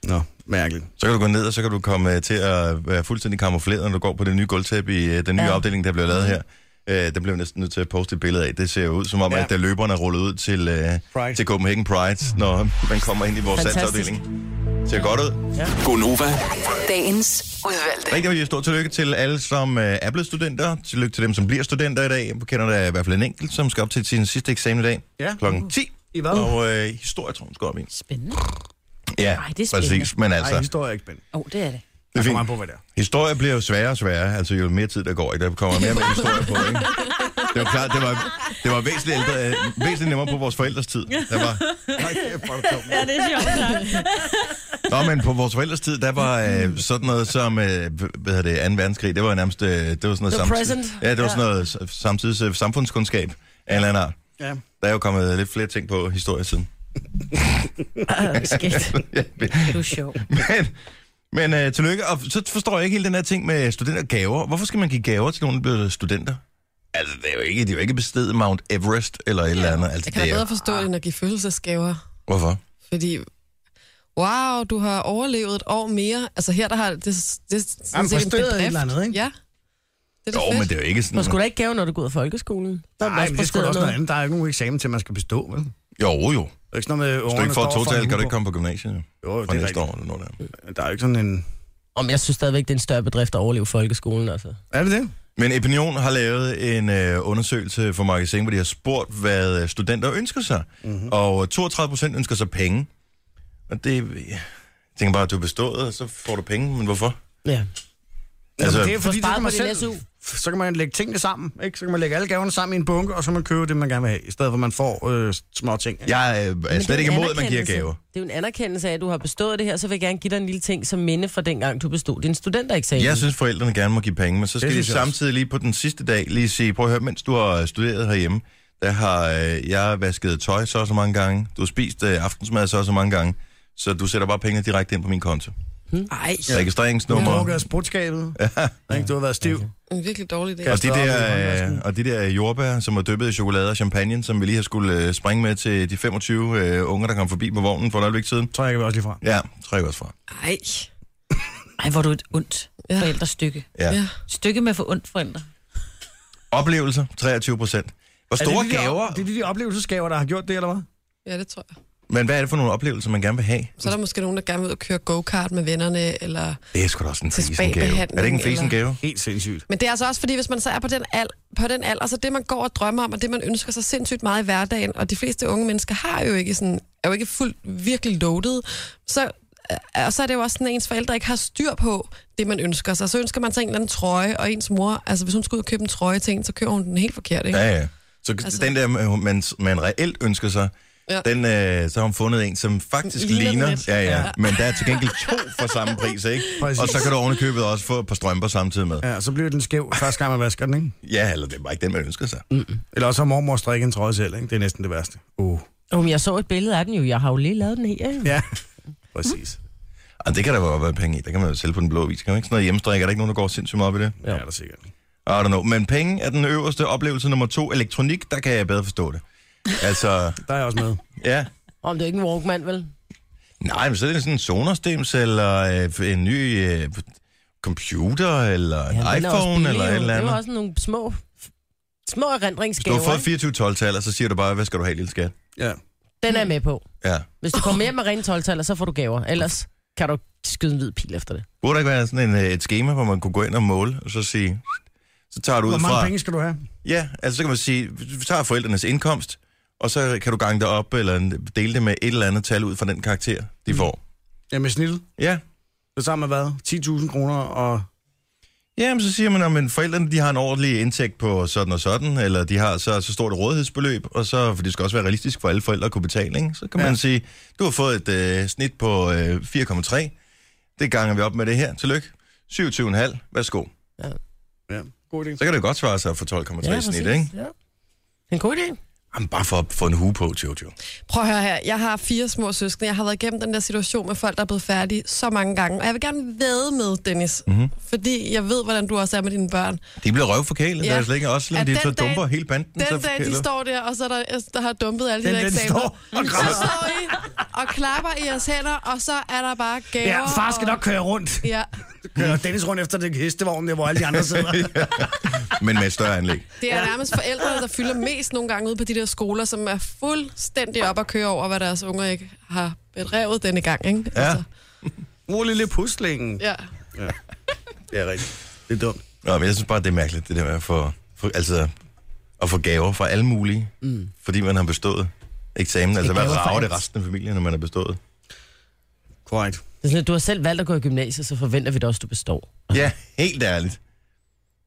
Speaker 1: Mm.
Speaker 3: Nå, mærkeligt.
Speaker 1: Så kan du gå ned, og så kan du komme øh, til at være fuldstændig kamufleret, når du går på det nye gulvtæppe i øh, den nye ja.
Speaker 2: Ja.
Speaker 1: afdeling, der bliver lavet her. Øh, Der bliver vi næsten nødt til at poste et billede af. Det ser jo ud som om, ja.
Speaker 3: Ja.
Speaker 1: at der løberne er rullet ud til, øh,
Speaker 3: Pride.
Speaker 1: til Copenhagen Pride, når man kommer ind i vores
Speaker 2: Fantastisk.
Speaker 1: salgsafdeling. Ser godt ud.
Speaker 7: Gonova,
Speaker 8: Dagens udvalgte.
Speaker 1: Rigtig rigtig stort tillykke til alle, som øh, er blevet studenter. Tillykke til dem, som bliver studenter i dag. Jeg kender der i hvert fald en enkelt, som skal op til sin sidste eksamen i dag.
Speaker 3: Ja. Mm.
Speaker 1: Klokken 10.
Speaker 3: I hvad?
Speaker 1: Og øh, historie, tror jeg, hun skal op i.
Speaker 6: Spændende.
Speaker 1: Ja,
Speaker 6: Ej, det er spændende.
Speaker 1: præcis. Men altså,
Speaker 3: Nej, historie er ikke spændende.
Speaker 6: Åh, oh, det er det.
Speaker 1: det er
Speaker 3: Det
Speaker 1: fint.
Speaker 3: kommer an på, hvad det er.
Speaker 1: Historie bliver jo sværere og sværere, altså jo mere tid der går, ikke? Der kommer mere og mere historie på, ikke? Det var klart, det var, det var væsentligt, ældre, øh, væsentligt nemmere på vores forældres tid. Der var,
Speaker 3: Nej, kæft, hvor er du dum.
Speaker 6: Ja, det er sjovt.
Speaker 1: nå, men på vores forældres tid, der var øh, sådan noget som, øh, hvad hedder det, 2. verdenskrig, det var nærmest, øh, det var sådan noget,
Speaker 2: The
Speaker 1: samtid-
Speaker 2: present.
Speaker 1: ja, det var sådan noget s- samtids øh, samfundskundskab af en eller anden art.
Speaker 3: Ja.
Speaker 1: Der er jo kommet lidt flere ting på historiesiden.
Speaker 6: Skægt. Du er sjov.
Speaker 1: Men, men øh, tillykke, og så forstår jeg ikke hele den her ting med studentergaver. Hvorfor skal man give gaver til nogen, der bliver studenter? Altså, det er jo ikke, de er jo ikke bestedet Mount Everest eller et eller andet. Altså,
Speaker 4: Jeg kan
Speaker 1: det er,
Speaker 4: da bedre forstå det, end at give fødselsdagsgaver.
Speaker 1: Hvorfor?
Speaker 4: Fordi, wow, du har overlevet et år mere. Altså her, der har det, det, det er sådan
Speaker 3: Jamen,
Speaker 4: set en
Speaker 3: forstået et
Speaker 4: bedrift.
Speaker 3: eller andet, ikke?
Speaker 4: Ja. Det er
Speaker 1: Jo,
Speaker 4: da fedt.
Speaker 1: men det er jo ikke
Speaker 2: Man
Speaker 1: sådan...
Speaker 2: skulle da ikke gave, når du går ud af folkeskolen. Der er man
Speaker 3: Nej, men det er sgu da
Speaker 2: præsteret
Speaker 3: også noget andet. Der er ikke nogen eksamen til, at man skal bestå, vel? Det
Speaker 1: Jo, jo.
Speaker 3: er ikke sådan noget med,
Speaker 1: Hvis du ikke får et total, kan du ikke komme på gymnasiet jo,
Speaker 3: Jo,
Speaker 1: fra
Speaker 3: det er
Speaker 1: næste
Speaker 3: rigtigt.
Speaker 1: år. Eller noget der.
Speaker 3: Der er jo ikke sådan en...
Speaker 2: Om jeg synes stadigvæk, det er en større bedrift at overleve folkeskolen, altså.
Speaker 3: Er det det?
Speaker 1: Men Opinion har lavet en øh, undersøgelse for Magasin, hvor de har spurgt, hvad øh, studenter ønsker sig.
Speaker 3: Mhm.
Speaker 1: Mm-hmm. Og 32 procent ønsker sig penge. Og det... Jeg tænker bare, at du er bestået, og så får du penge, men hvorfor?
Speaker 2: Ja.
Speaker 1: Altså,
Speaker 3: Altså, det er fordi, det
Speaker 2: sparet
Speaker 3: kan
Speaker 2: på
Speaker 3: man
Speaker 2: din
Speaker 3: selv,
Speaker 2: SU.
Speaker 3: så kan man lægge tingene sammen, ikke? Så kan man lægge alle gaverne sammen i en bunke, og så kan man købe det, man gerne vil have, i stedet for at man får øh, små ting. ikke?
Speaker 1: Jeg øh, er
Speaker 2: Men det
Speaker 1: slet
Speaker 2: jo
Speaker 1: ikke
Speaker 2: en
Speaker 1: imod, at man giver
Speaker 2: anerkendelse.
Speaker 1: gaver.
Speaker 2: Det er jo en anerkendelse af, at du har bestået det her, så vil jeg gerne give dig en lille ting som minde fra dengang, du bestod din studentereksamen.
Speaker 1: Jeg synes, forældrene gerne må give penge, men så skal vi
Speaker 3: synes jeg også.
Speaker 1: samtidig lige på den sidste dag lige sige, prøv at høre, mens du har øh, studeret herhjemme, der har øh, jeg vasket tøj så og så mange gange, du har spist øh, aftensmad så og så mange gange, så du sætter bare pengene direkte ind på min konto.
Speaker 4: Ej,
Speaker 1: Ja. Registreringsnummer.
Speaker 3: Drukket af sprutskabet. Ja. Du har været stiv.
Speaker 4: en virkelig dårlig idé.
Speaker 1: Og de,
Speaker 3: Kastet op i
Speaker 1: der,
Speaker 3: håndvasken.
Speaker 1: øh, og de der jordbær, som er dyppet i chokolade og champagne, som vi lige har skulle øh, springe med til de 25 øh, unger, der kom forbi på vognen for et øjeblik siden.
Speaker 3: Trækker vi også lige fra.
Speaker 1: Ja, træk også fra.
Speaker 4: Ej.
Speaker 6: Ej, hvor er du et ondt
Speaker 4: Ja.
Speaker 6: ja. forældrestykke.
Speaker 1: Ja.
Speaker 4: Ja.
Speaker 1: ja.
Speaker 6: Stykke med for ondt forældre.
Speaker 1: Oplevelser, 23 procent. Hvor store
Speaker 3: er det de, der-
Speaker 1: gaver,
Speaker 3: Det er de, de oplevelsesgaver, der har gjort det, eller hvad?
Speaker 4: Ja, det tror jeg.
Speaker 1: men hvad er det for nogle oplevelser, man gerne vil have?
Speaker 4: Så er der måske nogen, der gerne vil ud og køre go-kart med vennerne, eller...
Speaker 1: Det er sgu da også en
Speaker 4: Til
Speaker 1: fesengave. Er
Speaker 4: spa-behandling,
Speaker 1: det ikke en
Speaker 4: eller-
Speaker 1: fesengave?
Speaker 3: Helt sindssygt.
Speaker 4: Men det er altså også fordi, hvis man så er på den, al- på den alder, så det man går og drømmer om, og det man ønsker sig sindssygt meget i hverdagen, og de fleste unge mennesker har jo ikke sådan, er jo ikke fuldt virkelig loaded, så, øh, og så er det jo også sådan, at ens forældre ikke har styr på det, man ønsker sig. Så ønsker man sig en eller anden trøje, og ens mor, altså hvis hun skulle ud og købe en trøje til en, så køber hun den helt forkert, ikke?
Speaker 1: Ja, ja. Så altså,
Speaker 4: Altså-
Speaker 1: den der, man, man reelt ønsker sig, ja.
Speaker 4: Ja.
Speaker 1: den, øh, så har hun fundet en, som faktisk
Speaker 4: Ligner
Speaker 1: ligner.
Speaker 4: den
Speaker 1: ligner.
Speaker 4: lidt.
Speaker 1: Ja, ja,
Speaker 4: Ja.
Speaker 1: Men der er til gengæld to for samme pris, ikke?
Speaker 3: Præcis.
Speaker 1: Og så kan du ovenikøbet også få et par strømper samtidig med.
Speaker 3: Ja, så bliver den skæv første gang, man vasker den, ikke?
Speaker 1: Ja, eller det var ikke den, man ønskede sig.
Speaker 3: Eller også har mormor strikket en trøje selv, ikke? Det er næsten det værste. Uh.
Speaker 2: Jo, men jeg så et billede af den jo. Jeg har jo lige lavet den her. jo.
Speaker 3: Ja, præcis.
Speaker 1: Og det kan der jo være penge i. Der kan man jo sælge på den blå vis. Kan man ikke sådan noget hjemmestrik? Er der ikke nogen, der går sindssygt meget op i det?
Speaker 3: Ja, det er der sikkert.
Speaker 1: I don't know. Men penge er den øverste oplevelse nummer to. Elektronik, der kan jeg bedre forstå det. Altså,
Speaker 3: Der er jeg også med.
Speaker 1: ja.
Speaker 2: Om det er ikke en Walkman, vel?
Speaker 1: Nej, men så er det sådan en Sonos-dims, eller øh, en ny øh, computer, eller en
Speaker 2: den er
Speaker 1: ja,
Speaker 2: også
Speaker 1: iPhone,
Speaker 2: billig,
Speaker 1: eller
Speaker 2: jo.
Speaker 1: et eller
Speaker 2: Det
Speaker 1: andet.
Speaker 2: var også nogle små, små
Speaker 1: Hvis du
Speaker 2: erindringsgaver.
Speaker 1: har fået
Speaker 2: ikke?
Speaker 1: 24 12 taler så siger du bare, hvad skal du have, lille skat?
Speaker 3: Ja.
Speaker 2: Den er jeg med på.
Speaker 1: Ja.
Speaker 2: Hvis du kommer hjem med rene 12 så får du gaver. Ellers kan du skyde en hvid pil efter det.
Speaker 1: Burde der ikke være sådan en, øh, et schema, hvor man kunne gå ind og måle, og så sige, så tager du
Speaker 3: Hvor
Speaker 1: ud
Speaker 3: mange
Speaker 1: fra...
Speaker 3: penge skal du have?
Speaker 1: Ja, altså så kan man sige, vi tager forældrenes indkomst, og så kan du gange det op, eller en- dele det med et eller andet tal ud fra den karakter, de
Speaker 3: Mm.
Speaker 1: får.
Speaker 3: Jamen snittet.
Speaker 1: Ja.
Speaker 3: Det samme med hvad? 10.000 kroner og...
Speaker 1: Ja, men så siger man, at forældrene de har en ordentlig indtægt på sådan og sådan, eller de har så, så stort et rådighedsbeløb, og så, for det skal også være realistisk for alle forældre at kunne betale, ikke? så kan ja.
Speaker 3: Ja.
Speaker 1: man sige, du har fået et øh, snit på øh, 4,3, det ganger vi op med det her, tillykke, 27,5, værsgo.
Speaker 3: Ja, god idé.
Speaker 1: Så kan det jo godt svare sig for 12,3 ja, snit, ikke?
Speaker 2: Ja. En god idé.
Speaker 1: Jamen, bare for at få en hue på, Jojo.
Speaker 4: Prøv at høre her, jeg har fire små søskende. Jeg har været igennem den der situation med folk, der er blevet færdige så mange gange. Og jeg vil gerne væde med, Dennis, mm-hmm. fordi jeg ved, hvordan du også er med dine børn.
Speaker 1: De bliver røvforkælet, ja.
Speaker 4: Ja.
Speaker 1: der er slet ikke også, selvom
Speaker 4: At
Speaker 1: de
Speaker 4: den
Speaker 1: så
Speaker 4: dag-
Speaker 1: dumper hele banden.
Speaker 4: Den
Speaker 1: så
Speaker 4: dag, de
Speaker 1: forkæler.
Speaker 4: står der, og så er der, altså, der har dumpet alle
Speaker 3: Den,
Speaker 4: de der
Speaker 3: den
Speaker 4: eksamener.
Speaker 3: står og
Speaker 4: Så står I og klapper i jeres hænder, og så er der bare gaver.
Speaker 3: Ja, far skal
Speaker 4: og-
Speaker 3: nok køre rundt.
Speaker 4: Ja,
Speaker 3: Kører Dennis rundt efter det hestevogn, der hvor alle de andre sidder.
Speaker 1: Men med et større anlæg.
Speaker 4: det er nærmest forældrene, der fylder mest nogle gange ude på de der skoler, som er fuldstændig op at køre over, hvad deres unger ikke har bedrevet denne gang, ikke? Altså,
Speaker 1: Ja.
Speaker 3: Rolig lille puslingen.
Speaker 4: ja.
Speaker 3: Det er rigtigt. Det er dumt.
Speaker 1: Nå, men jeg synes bare, det er mærkeligt, det der med at få, for, altså, at få gaver fra alle mulige, mm. fordi man har bestået eksamen. Altså, hvad
Speaker 2: gaver fra
Speaker 1: rager det
Speaker 2: alt.
Speaker 1: resten af familien, når man har bestået?
Speaker 3: Korrekt.
Speaker 2: Det er sådan, at du har selv valgt at gå i gymnasiet, så forventer vi da også, at du består.
Speaker 1: Ja, helt ærligt.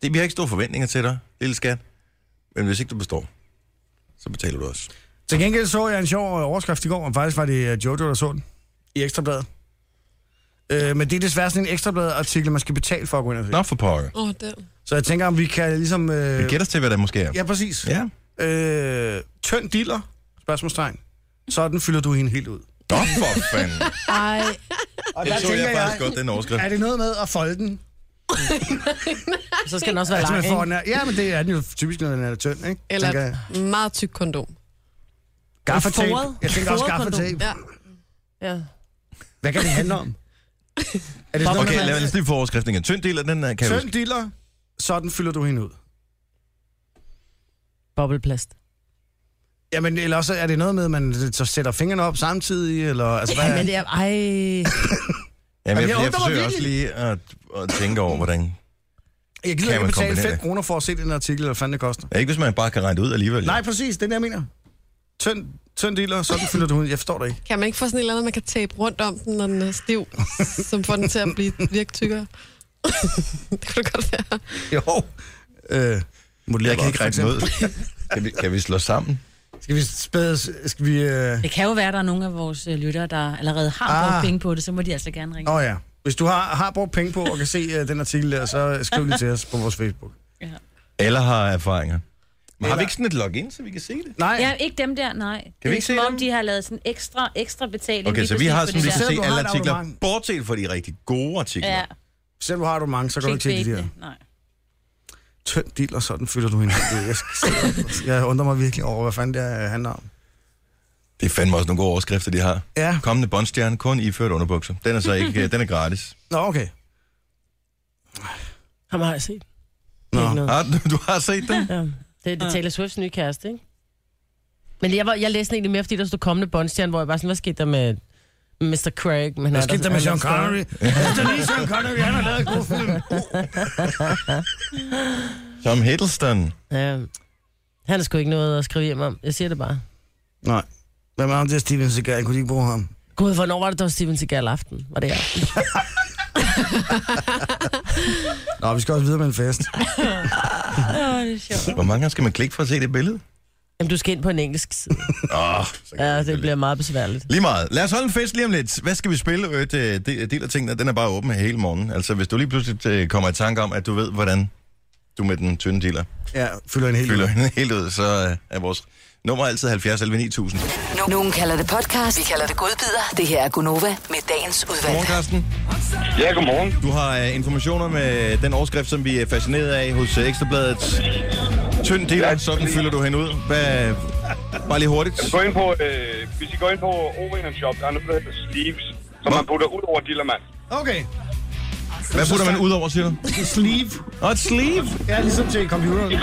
Speaker 1: Det, vi har ikke store forventninger til dig, lille skat. Men hvis ikke du består, så betaler du også.
Speaker 3: Til gengæld så jeg en sjov øh, overskrift i går, og faktisk var det øh, Jojo, der så den i Ekstrabladet. Øh, men det er desværre sådan en Ekstrabladet-artikel, man skal betale for at gå ind og se.
Speaker 1: Nå for pokker.
Speaker 4: Åh, oh, den.
Speaker 3: Så jeg tænker, om vi kan ligesom... Øh,
Speaker 1: Vi gætter os til, hvad der måske er.
Speaker 3: ja, præcis.
Speaker 1: Ja.
Speaker 3: Øh, tynd diller, spørgsmålstegn. Sådan fylder du hende helt ud.
Speaker 1: Nå for fanden.
Speaker 3: Ej. Og der
Speaker 1: Det så
Speaker 3: tænker
Speaker 1: jeg faktisk
Speaker 3: jeg,
Speaker 1: godt, den overskrift.
Speaker 3: er det noget med at folde den?
Speaker 2: Så skal den også være
Speaker 3: Altså,
Speaker 2: lang,
Speaker 3: man får
Speaker 2: ikke?
Speaker 3: den her, ja, men det er den jo typisk, når den er tynd, ikke?
Speaker 4: Eller
Speaker 3: Tænker jeg.
Speaker 4: et meget tyk kondom.
Speaker 3: Gaffatape.
Speaker 2: foret-
Speaker 3: Jeg tænker også
Speaker 2: foret
Speaker 3: gaffatape.
Speaker 4: Ja.
Speaker 2: Ja.
Speaker 3: Hvad kan det handle om? er det sådan noget,
Speaker 1: Okay,
Speaker 3: med-
Speaker 1: lad os lige få overskriften igen. Tynd del af den her, kan jeg huske.
Speaker 3: Tynd diller, sådan fylder du hende ud.
Speaker 2: Bobleplast.
Speaker 3: Jamen, eller også er det noget med, at man så sætter fingrene op samtidig, eller... Altså, hvad,
Speaker 2: Ja, men det er... Ej...
Speaker 1: Jamen, jeg,
Speaker 3: Jamen,
Speaker 1: jeg,
Speaker 3: jeg
Speaker 1: jeg
Speaker 3: undrer mig
Speaker 1: forsøger også lige at, at tænke over, hvordan...
Speaker 3: jeg
Speaker 1: kan
Speaker 3: gider ikke
Speaker 1: man
Speaker 3: betale
Speaker 1: kombinere
Speaker 3: 5
Speaker 1: det?
Speaker 3: kroner for at se den artikel, eller hvad fanden det koster.
Speaker 1: Ja, ikke hvis man bare kan regne det ud alligevel.
Speaker 3: Nej, præcis, det er det, jeg mener. Tynd, tynd dealer, sådan fylder du ud. Jeg forstår det ikke.
Speaker 4: Kan man ikke få sådan et eller andet, man kan tabe rundt om den, når den er stiv, som får den til at blive virke tykkere? Det kunne det godt være.
Speaker 3: Jo. Øh,
Speaker 1: Jeg
Speaker 3: modellerbar,
Speaker 1: kan ikke
Speaker 3: for
Speaker 1: række
Speaker 3: eksempel.
Speaker 1: noget. Kan vi, kan vi slå sammen?
Speaker 3: Skal vi spædes... Skal vi... øh,
Speaker 6: Det kan jo være, at der er nogle af vores øh, lyttere, der allerede har
Speaker 3: Ah.
Speaker 6: brugt penge på det, så må de altså gerne ringe.
Speaker 3: Åh oh, ja. Hvis du har, har brugt penge på og kan se uh, den artikel der, så skriv lige til os på vores Facebook.
Speaker 1: Eller har erfaringer. Men har
Speaker 3: Eller-
Speaker 1: vi ikke sådan et login, så vi kan se det?
Speaker 3: Nej,
Speaker 6: Ja, ikke dem der, nej. Kan det
Speaker 1: vi
Speaker 6: er
Speaker 1: ikke
Speaker 6: som
Speaker 1: se
Speaker 6: om,
Speaker 1: dem?
Speaker 6: de har lavet sådan ekstra, ekstra betaling.
Speaker 1: Okay,
Speaker 6: lige
Speaker 1: så vi
Speaker 6: præcis
Speaker 1: har
Speaker 6: på
Speaker 1: sådan,
Speaker 6: det
Speaker 1: vi
Speaker 6: der.
Speaker 1: kan
Speaker 3: Selvom
Speaker 1: se
Speaker 3: du har
Speaker 1: alle
Speaker 3: et
Speaker 1: artikler,
Speaker 3: abonnement.
Speaker 1: bortset fra de rigtig gode artikler.
Speaker 6: Ja,
Speaker 3: selv du har du mange, så går du ikke til de der.
Speaker 6: clickbait. Nej.
Speaker 3: Tynd dild, og sådan fylder du hende. Jeg, skal- jeg undrer mig virkelig over, hvad fanden det her handler om.
Speaker 1: Det er fandme også nogle gode overskrifter, de har.
Speaker 3: Ja,
Speaker 1: Kommende bondstjerne, kun iført underbukser. Den er så ikke, øh, den er gratis.
Speaker 3: nå okay.
Speaker 2: Ham har jeg set.
Speaker 3: Nå.
Speaker 2: Nå. Ikke noget.
Speaker 1: Har du, du har set den?
Speaker 2: Ja. Det, det er Taylor Swifts nye kæreste, ikke? Men jeg, var, jeg læste den egentlig mere, fordi der stod kommende båndstjerne, hvor jeg bare sådan, hvad skete der med Mr. Craig? Men han er
Speaker 3: Hvad skete der med
Speaker 2: han er
Speaker 3: Sean Connery? Efter lige Sean Connery, han har lavet en god film.
Speaker 1: Tom Hiddleston.
Speaker 2: Ja. Han er sgu ikke noget at skrive hjem om. Jeg siger det bare.
Speaker 3: Nej. Hvad med ham der Steven Seagal? Kunne de ikke bruge ham?
Speaker 2: Gud, hvornår var det, der var Steven Seagal aften? Var det i aften?
Speaker 3: Nå, vi skal også videre med en fest.
Speaker 1: Hvor mange gange skal man klikke for at se det billede?
Speaker 2: Jamen, du skal ind på en engelsk side.
Speaker 1: Åh, så kan
Speaker 2: Ja,
Speaker 1: jeg
Speaker 2: det bliver meget besværligt.
Speaker 1: Lige meget. Lad os holde en fest lige om lidt. Hvad skal vi spille? Øh, det- det- Del af tingene, den er bare åben hele morgen. Altså, hvis du lige pludselig øh, kommer i tanke om, at du ved, hvordan du med den tynde dealer
Speaker 3: Ja, fylder en hel
Speaker 1: fylder hende helt ud, så øh, er vores nummer altid 70 11 9000.
Speaker 8: No- Nogen kalder det podcast, vi kalder det godbider. Det her er Gunova med dagens
Speaker 1: Godmorgen,
Speaker 8: udvalgte.
Speaker 1: Carsten.
Speaker 7: Ja, godmorgen.
Speaker 1: Du har øh, informationer med den overskrift, som vi er fascineret af hos øh, Ekstrabladet. Tynd dealer, sådan fylder du hende ud. Hvad, bare lige hurtigt.
Speaker 7: Gå ind på, øh, hvis I går ind på Ovener Shop, der er noget, der hedder Sleeves, som man putter ud over dillermand.
Speaker 3: Okay.
Speaker 1: Hvad putter man ud over, siger du?
Speaker 3: Sleeve.
Speaker 1: Og et sleeve.
Speaker 3: Ja, ligesom til computeren.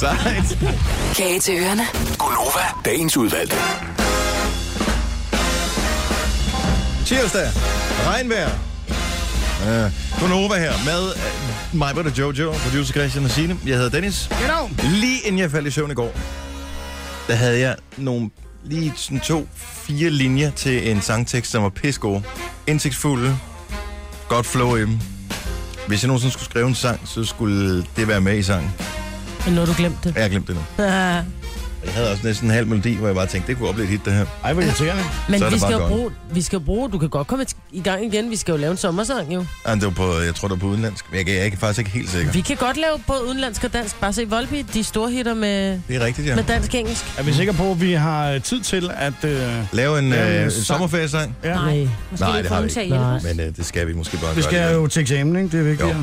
Speaker 1: Sejt.
Speaker 8: Kage til ørerne.
Speaker 9: Gunova, dagens udvalgte.
Speaker 1: Tirsdag. Regnvejr. Uh, Gunova her med uh, mig, Britta Jojo, producer Christian og Signe. Jeg hedder Dennis.
Speaker 3: Genau.
Speaker 1: Lige inden jeg faldt i søvn i går, der havde jeg nogle lige sådan to, fire linjer til en sangtekst, som var pissegod. Indsigtsfulde. Godt flow i dem. Hvis jeg nogensinde skulle skrive en sang, så skulle det være med i sangen.
Speaker 2: Men nu har du glemt det.
Speaker 1: Jeg har glemt det nu.
Speaker 2: Ja.
Speaker 1: Jeg havde også næsten en halv melodi, hvor jeg bare tænkte, det kunne opleve et hit, det her.
Speaker 3: Ej, hvor irriterende.
Speaker 2: Men
Speaker 1: Så er det
Speaker 2: vi
Speaker 1: bare
Speaker 2: skal, jo
Speaker 1: godt.
Speaker 2: bruge, vi skal jo bruge, du kan godt komme i gang igen, vi skal jo lave en sommersang jo.
Speaker 1: Ej, det var på, jeg tror, det var på udenlandsk, men jeg, kan- jeg er ikke- faktisk ikke helt sikker.
Speaker 2: Vi kan godt lave både udenlandsk og dansk, bare se Volbeat, de er store hitter med,
Speaker 1: Det er rigtigt, ja.
Speaker 2: med dansk-engelsk.
Speaker 10: Er vi sikre på, at vi har tid til at... Øh,
Speaker 1: Lave en,
Speaker 10: Lave en
Speaker 1: øh, en
Speaker 10: sang.
Speaker 1: sommerferiesang?
Speaker 10: ja.
Speaker 2: Nej.
Speaker 6: Måske
Speaker 1: Nej,
Speaker 6: Nej,
Speaker 1: det
Speaker 6: det
Speaker 1: har vi
Speaker 6: til at
Speaker 2: ikke.
Speaker 6: hjælpe
Speaker 2: Nej.
Speaker 6: os.
Speaker 1: Men øh, det skal vi måske bare
Speaker 3: Vi
Speaker 1: gøre.
Speaker 3: skal
Speaker 1: alligevel.
Speaker 3: jo til eksamen, ikke? Det er vigtigt.
Speaker 1: Jo.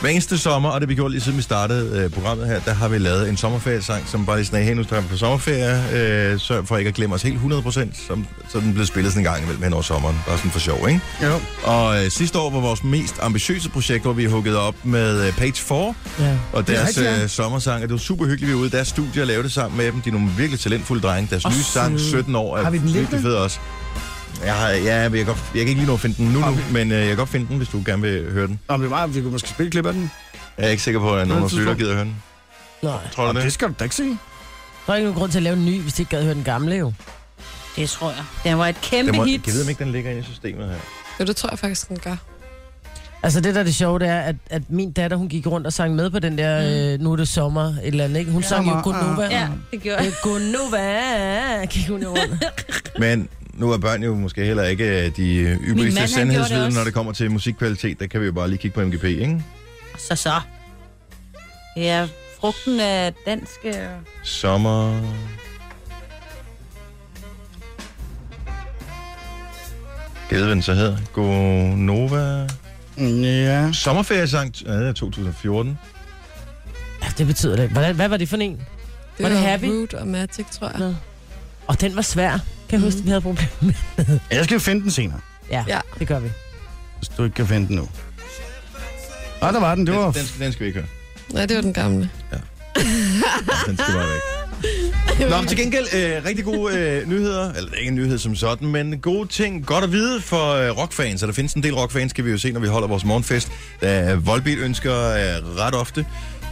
Speaker 1: Hver eneste sommer, og det vi gjorde lige siden vi startede øh, programmet her, der har vi lavet en sommerferiesang, som bare lige sådan, er, hey, nu tager vi på sommerferie, øh, sørg for ikke at glemme os helt 100%, som, så den blev spillet sådan en gang imellem hen over sommeren. Bare sådan for sjov, ikke?
Speaker 3: Jo.
Speaker 1: Og øh, sidste år var vores mest ambitiøse projekt, hvor vi huggede op med øh, Page 4
Speaker 2: Ja.
Speaker 1: og deres
Speaker 3: rigtigt, ja.
Speaker 1: øh, sommersang. Og det var super hyggeligt, vi var ude i deres studie og lavede det sammen med dem. De er nogle virkelig talentfulde drenge. Deres nye sang, 17 år, er
Speaker 3: Har vi den liggende?
Speaker 1: virkelig fed også. Jeg, har, ja, jeg, kan godt, jeg kan ikke lige nå at finde den nu, nu men øh, jeg kan godt finde den, hvis du gerne vil høre den.
Speaker 3: Nå, men det er meget, vi kunne måske spille et klip af den.
Speaker 1: Jeg er ikke sikker på, at nogen af
Speaker 3: Noget
Speaker 1: os lytter
Speaker 3: tidspunkt.
Speaker 1: gider høre den.
Speaker 2: Nej.
Speaker 1: Tror du
Speaker 3: Det
Speaker 1: det?
Speaker 3: skal du da ikke se.
Speaker 2: Der er ikke nogen grund til at lave en ny, hvis de ikke gad høre den gamle jo.
Speaker 6: Det tror jeg. Den var et kæmpe
Speaker 1: Den må,
Speaker 6: hit.
Speaker 1: jeg ved om ikke, den ligger inde i systemet her.
Speaker 4: Jo, det tror jeg faktisk, den gør.
Speaker 2: Altså det der er det sjove, det er, at, at min datter, hun gik rundt og sang med på den der, øh, nu er det sommer, et eller andet, ikke? Hun sang jo
Speaker 3: Sommer,
Speaker 2: Gunova.
Speaker 6: Ja, det gjorde jeg.
Speaker 2: Øh, Gunova, gik hun jo rundt.
Speaker 1: Men nu er børn jo måske heller ikke øh, de øh,
Speaker 6: Min mand,
Speaker 1: ypperligste
Speaker 6: han gjorde det
Speaker 1: sandhedsviden,
Speaker 6: også.
Speaker 1: når det kommer til musikkvalitet. Der kan vi jo bare lige kigge på MGP, ikke?
Speaker 6: Så så. Ja, frugten af dansk... øh,
Speaker 1: Sommer... Jeg ved, hvad den så hedder. Gonova...
Speaker 3: Ja.
Speaker 1: Sommerferiesang ja, det er 2014.
Speaker 2: Ja, det betyder det ikke. Hvordan, hvad var det for en?
Speaker 4: Det
Speaker 2: Var det
Speaker 4: var
Speaker 2: Happy?
Speaker 4: Root og Magic, tror jeg.
Speaker 2: Nå. Og den var svær. Kan jeg huske, vi havde problemer med?
Speaker 3: Jeg skal jo finde den senere,
Speaker 2: Ja, Mm. ja,
Speaker 4: Ja.
Speaker 2: det gør vi.
Speaker 3: hvis du ikke kan finde den nu. Ah, der var den. Det var...
Speaker 1: Den, den, skal, den skal vi ikke høre.
Speaker 4: Nej, det var den gamle.
Speaker 1: Den skal bare væk. Nå, men til gengæld, øh, rigtig gode øh, nyheder. Eller det er ikke en nyhed som sådan, men gode ting. Godt at vide for øh, rockfans. Og der findes en del rockfans, kan vi jo se, når vi holder vores morgenfest. Der er Volbeat ønsker øh, ret ofte.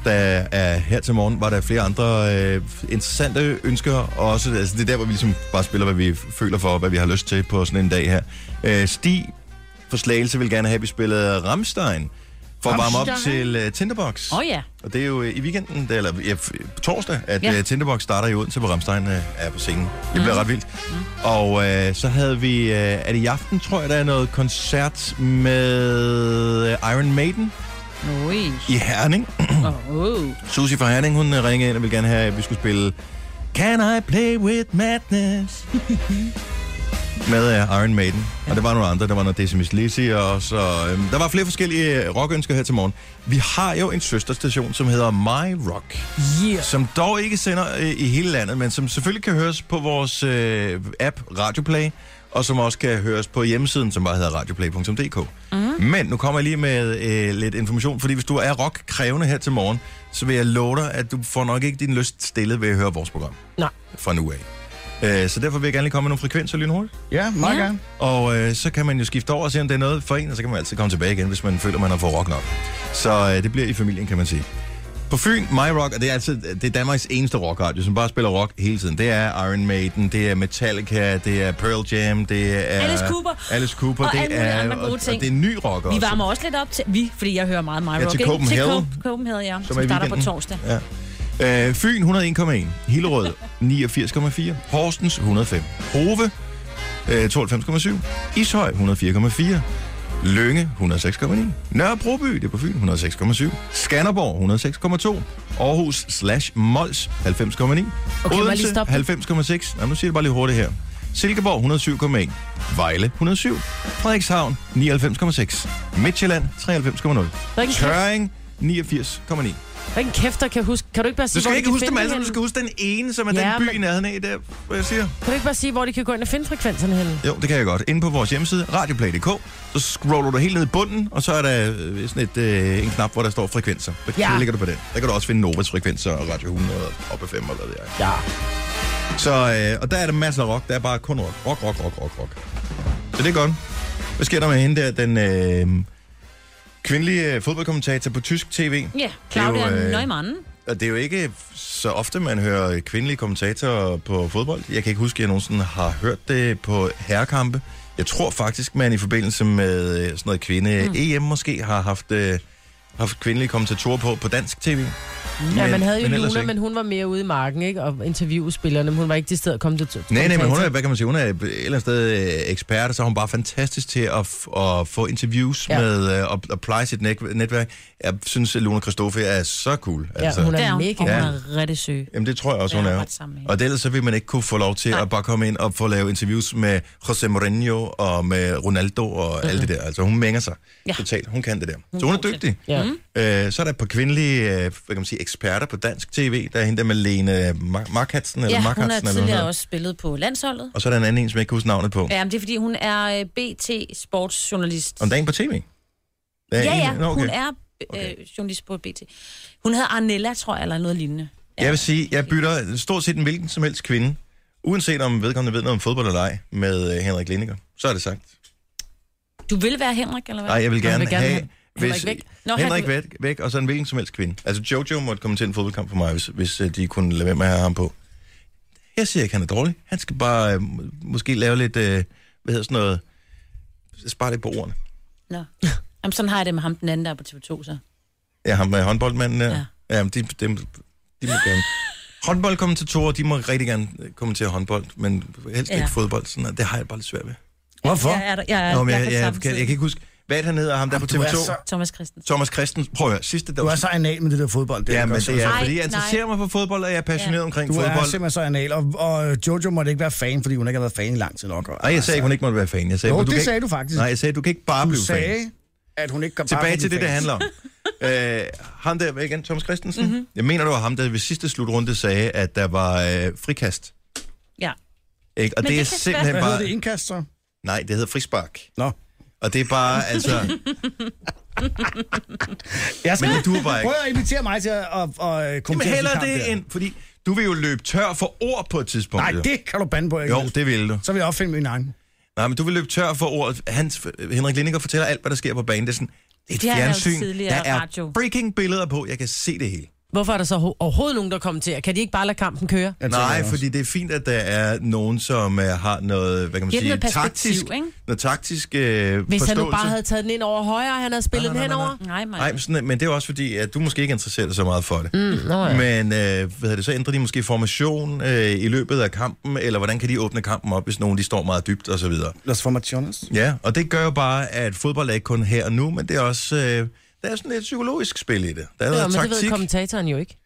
Speaker 1: Der er her til morgen, var der flere andre øh, interessante ønsker. Og også, altså, det er der, hvor vi ligesom bare spiller, hvad vi føler for, og hvad vi har lyst til på sådan en dag her. Øh, Stig for Slagelse ville gerne have, at vi spillede Ramstein for at varme op
Speaker 6: Rammstein?
Speaker 1: til øh, Tinderbox.
Speaker 6: Åh oh, ja.
Speaker 1: Og det er jo øh, i weekenden, det- eller ja, f- på torsdag, at
Speaker 6: Ja.
Speaker 1: ja. Tinderbox starter i Odense, hvor Ramstein øh, er på scenen. Det bliver ret vildt. Og øh, så havde vi, øh, er det i aften, tror jeg, der er noget koncert med øh, Iron Maiden
Speaker 6: Ui.
Speaker 1: i Herning.
Speaker 6: Åh, oh.
Speaker 1: Susie fra Herning, hun øh, ringede ind og ville gerne have, at vi skulle spille Can I Play With Madness? med uh, Iron Maiden. Ja. Og der var nogle andre, der var noget Decimus Lizzy, og så... Øhm, der var flere forskellige øh, rockønsker her til morgen. Vi har jo en søsterstation, som hedder My Rock.
Speaker 2: Yeah.
Speaker 1: Som dog ikke sender øh, i hele landet, men som selvfølgelig kan høres på vores øh, app Radioplay, og som også kan høres på hjemmesiden, som bare hedder radioplay.dk. Mm. Men nu kommer jeg lige med øh, lidt information, fordi hvis du er rockkrævende her til morgen, så vil jeg love dig, at du får nok ikke din lyst stillet ved at høre vores program
Speaker 2: Nej.
Speaker 1: fra nu af. Øh, så derfor vil jeg gerne lige komme med nogle frekvenser lynhurtigt.
Speaker 10: Ja, meget
Speaker 6: Ja.
Speaker 10: ja. gerne.
Speaker 1: Og øh, så kan man jo skifte over og se, om det er noget for en, og så kan man altid komme tilbage igen, hvis man føler, man har fået rock nok. Så øh, det bliver i familien, kan man sige. På Fyn, My Rock, og det er, altså, det er Danmarks eneste rockradio, som bare spiller rock hele tiden. Det er Iron Maiden, det er Metallica, det er Pearl Jam, det er...
Speaker 6: Alice Cooper.
Speaker 1: Alice Cooper,
Speaker 6: Og alle
Speaker 1: det
Speaker 6: mulige
Speaker 1: er...
Speaker 6: andre gode
Speaker 1: Og, og
Speaker 6: ting.
Speaker 1: det er ny rock også.
Speaker 6: Vi varmer også lidt op til, vi, fordi jeg hører meget My Rock.
Speaker 1: til
Speaker 6: ikke?
Speaker 1: Copenhagen.
Speaker 6: Til Cope- Copenhagen, ja, som,
Speaker 1: er i
Speaker 6: som starter på
Speaker 1: weekenden.
Speaker 6: torsdag.
Speaker 1: Ja. Øh, Fyn 101,1. Hillerød 89,4. Horsens 105. Hove øh, 92,7. Ishøj 104,4. Lønge 106,9. Nørrebroby, det er på Fyn, 106,7. Skanderborg 106,2. Aarhus slash Mols 90,9. Okay,
Speaker 2: må jeg lige
Speaker 1: Odense
Speaker 2: stoppe
Speaker 1: 90,6. Nå, nu siger jeg det bare lige hurtigt her. Silkeborg 107,1. Vejle 107. Frederikshavn 99,6. Midtjylland 93,0.
Speaker 2: Hvilken kæft.
Speaker 1: Tøring 89,9.
Speaker 2: Hvilken kæft, der kan huske? Kan du ikke bare sige,
Speaker 1: Du skal
Speaker 2: hvor de
Speaker 1: ikke
Speaker 2: kan
Speaker 1: huske dem
Speaker 2: finde
Speaker 1: alle sammen, du
Speaker 2: henne?
Speaker 1: skal huske den ene, som er
Speaker 2: Ja,
Speaker 1: den by
Speaker 2: men-
Speaker 1: i nærheden af, der, hvor jeg siger.
Speaker 2: Kan du ikke bare sige, hvor de kan gå ind og finde frekvenserne henne?
Speaker 1: Jo, det kan jeg godt. Inde på vores hjemmeside, radioplay.dk, så scroller du helt ned i bunden, og så er der øh, sådan et, øh, en knap, hvor der står frekvenser. Der
Speaker 2: Ja.
Speaker 1: ja. ligger du på den. Der kan du også finde Novas frekvenser og Radio 100 og op 5 og hvad ved jeg.
Speaker 2: Ja.
Speaker 1: Så, øh, og der er der masser af rock. Der er bare kun rock. Rock, rock, rock, rock, rock. Så det er godt. Hvad sker der med hende der, den øh, kvindelige øh, fodboldkommentator på tysk tv?
Speaker 6: Ja, Claudia
Speaker 1: Det er jo, øh,
Speaker 6: Neumann.
Speaker 1: Og det er jo ikke så ofte, man hører kvindelige kommentatorer på fodbold. Jeg kan ikke huske, at jeg nogensinde har hørt det på herrekampe. Jeg tror faktisk, man i forbindelse med øh, sådan noget kvinde-EM mm. måske har haft, øh, haft kvindelige kommentatorer på på dansk tv. Men,
Speaker 2: Ja, man havde jo
Speaker 1: ellers
Speaker 2: Luna,
Speaker 1: ikke.
Speaker 2: men hun var mere ude i marken, ikke? Og interviewe spillerne, men hun var ikke til sted at komme til til-
Speaker 1: Nej, nej, men hun er,
Speaker 2: kommentator.
Speaker 1: hvad kan man sige, hun er et eller andet sted øh, ekspert, og så er hun bare fantastisk til at, f- at få interviews ja.
Speaker 2: Ja.
Speaker 1: med øh, og at pleje sit net- netværk. Jeg synes, at Luna Kristoffer er så cool. altså.
Speaker 2: Ja, hun
Speaker 6: Det
Speaker 2: er
Speaker 6: er hun.
Speaker 2: mega.
Speaker 6: Og
Speaker 1: Ja.
Speaker 6: hun er rigtig søg.
Speaker 1: Jamen, det tror jeg også,
Speaker 6: Ja,
Speaker 1: hun
Speaker 6: jeg
Speaker 1: er.
Speaker 6: er ret sammen med hende.
Speaker 1: Og ellers så vil man ikke kunne få lov til Nej. at bare komme ind og få lavet interviews med José Mourinho og med Ronaldo og mm-hmm. alt det der. Altså, hun mænger sig
Speaker 6: Ja.
Speaker 1: ja. totalt. Hun kan det der. så hun er
Speaker 6: god til
Speaker 1: dygtig.
Speaker 2: Ja.
Speaker 1: Øh, så er der et par kvindelige øh, hvad kan man sige, eksperter på dansk tv. Der er hende der med Lene Mar- Markatsen, eller
Speaker 6: Ja, hun har
Speaker 1: Markatsen, eller hvad
Speaker 6: tidligere
Speaker 1: hedder.
Speaker 6: også spillet på landsholdet.
Speaker 1: Og så er der en anden en, som jeg ikke kan huske navnet på.
Speaker 6: Ja, men det er, fordi hun er øh, BT Sportsjournalist.
Speaker 1: Om dagen på tv? Der er
Speaker 6: Ja,
Speaker 1: en-
Speaker 6: ja,
Speaker 1: Nå, okay.
Speaker 6: hun er øh, journalist på BT. Hun hedder Arnella, tror jeg, eller noget lignende.
Speaker 1: Ja. Jeg vil sige, jeg bytter stort set en hvilken som helst kvinde, uanset om vedkommende ved noget om fodbold eller ej, med øh, Henrik Lindinger. Så er det sagt.
Speaker 6: Du vil være Henrik, eller hvad?
Speaker 1: Nej, jeg vil gerne,
Speaker 2: vil gerne
Speaker 1: have...
Speaker 2: have Henrik væk.
Speaker 6: Nå,
Speaker 1: Nå,
Speaker 6: han-
Speaker 1: Henrik væk, væk, og så en hvilken som helst kvinde. Altså, Jojo måtte komme til en fodboldkamp for mig, hvis, hvis øh, de kunne lade være med at have ham på. Jeg siger ikke, han er dårlig. Han skal bare øh, må- måske lave lidt, øh, hvad hedder sådan noget, spare lidt på ordene.
Speaker 6: Nå. Jamen, sådan har jeg det med ham, den anden, der er på TV2, så.
Speaker 1: Ja, ham med håndboldmanden der.
Speaker 6: Ja.
Speaker 1: Ja. ja men de, de, de må gerne... Håndboldkommentatorer, de må rigtig gerne øh, kommentere håndbold, men helst
Speaker 6: Ja.
Speaker 1: ja. ikke fodbold. Sådan, noget. det har jeg bare lidt svært ved.
Speaker 3: Hvorfor?
Speaker 6: Jeg er der, jeg er,
Speaker 1: Nå, men
Speaker 6: jeg,
Speaker 1: jeg, jeg, jeg, kan, jeg kan ikke huske, hvad er det, han hedder, ham der på
Speaker 3: Du er
Speaker 1: TV2.
Speaker 3: så,
Speaker 6: Thomas Christensen.
Speaker 1: Thomas Christensen, prøv at høre, sidste dag.
Speaker 3: du er så anal med det der fodbold. Det
Speaker 1: Ja,
Speaker 3: jeg
Speaker 1: men
Speaker 3: godt se.
Speaker 1: det er,
Speaker 6: Nej,
Speaker 1: fordi jeg
Speaker 6: nej.
Speaker 1: interesserer mig for fodbold, og jeg er passioneret
Speaker 6: Ja.
Speaker 1: omkring
Speaker 3: Du er
Speaker 1: fodbold.
Speaker 3: simpelthen så anal, og, og Jojo måtte ikke være fan, fordi hun ikke har været fan i lang tid nok. Og,
Speaker 1: Nej, jeg sagde ikke, hun ikke måtte være fan. Jeg sagde,
Speaker 3: Jo,
Speaker 1: men
Speaker 3: det
Speaker 1: kan
Speaker 3: sagde
Speaker 1: ikke...
Speaker 3: du faktisk.
Speaker 1: Nej, jeg sagde, du kan ikke bare
Speaker 3: du
Speaker 1: blive fan.
Speaker 3: sagde, at hun ikke kom
Speaker 1: Tilbage til det, det handler om. Øh, ham der, hvad igen, Thomas Christensen. Mm-hmm. Jeg mener, det var ham, der ved sidste slutrunde sagde, at der var øh, frikast.
Speaker 6: Ja.
Speaker 1: Ikke? Og det,
Speaker 6: Men det
Speaker 1: er
Speaker 6: kan
Speaker 1: simpelthen
Speaker 3: Hvad hedder
Speaker 1: bare...
Speaker 3: det indkast så?
Speaker 1: Nej, det hedder frispark.
Speaker 3: Nå.
Speaker 1: Og det er bare, altså...
Speaker 3: Jeg skal
Speaker 1: Men det duer bare ikke.
Speaker 3: prøv at invitere mig til at, at, at
Speaker 1: Jamen,
Speaker 3: kommentere
Speaker 1: hellere
Speaker 3: sådan en kamp
Speaker 1: det
Speaker 3: der.
Speaker 1: end... Fordi du vil jo løbe tør for ord på et tidspunkt.
Speaker 3: Nej,
Speaker 1: jo.
Speaker 3: det kan du bande på, ikke?
Speaker 1: Jo, det vil du.
Speaker 3: Så vil jeg opfinde min egen.
Speaker 1: Nej, men du vil løbe tør for ordet. Hans, Henrik Lindinger fortæller alt, hvad der sker på banen. Det er sådan, det er et
Speaker 6: Det har jeg lavet
Speaker 1: fjernsyn.
Speaker 6: tidligere
Speaker 1: Der er
Speaker 6: radio.
Speaker 1: freaking billeder på. Jeg kan se det hele.
Speaker 2: Hvorfor er der så ho- overhovedet nogen, der kommer til? Kan de ikke bare lade kampen køre?
Speaker 1: Nej, fordi det er fint, at der er nogen, som uh, har noget, hvad kan man
Speaker 2: Giver
Speaker 1: sige,
Speaker 2: noget perspektiv,
Speaker 1: taktisk,
Speaker 2: ikke?
Speaker 1: noget taktisk uh, Hvis
Speaker 2: Hvis
Speaker 1: forståelse.
Speaker 2: han nu bare havde taget den ind over højre, og han havde spillet den henover.
Speaker 6: Nej,
Speaker 1: Nej, men, sådan, men det er også fordi, at du måske ikke interesserer dig så meget for det.
Speaker 2: Mm, nå ja.
Speaker 1: Men øh, hvad hedder det, så ændrer de måske formation øh, i løbet af kampen, eller hvordan kan de åbne kampen op, hvis nogen de står meget dybt osv.
Speaker 3: Las formaciones.
Speaker 1: Ja, og det gør jo bare, at fodbold er ikke kun her og nu, men det er også... Øh, der er sådan lidt psykologisk spil i det. Der er
Speaker 2: Ja,
Speaker 1: noget
Speaker 2: men det ved
Speaker 1: taktik.
Speaker 2: kommentatoren jo ikke.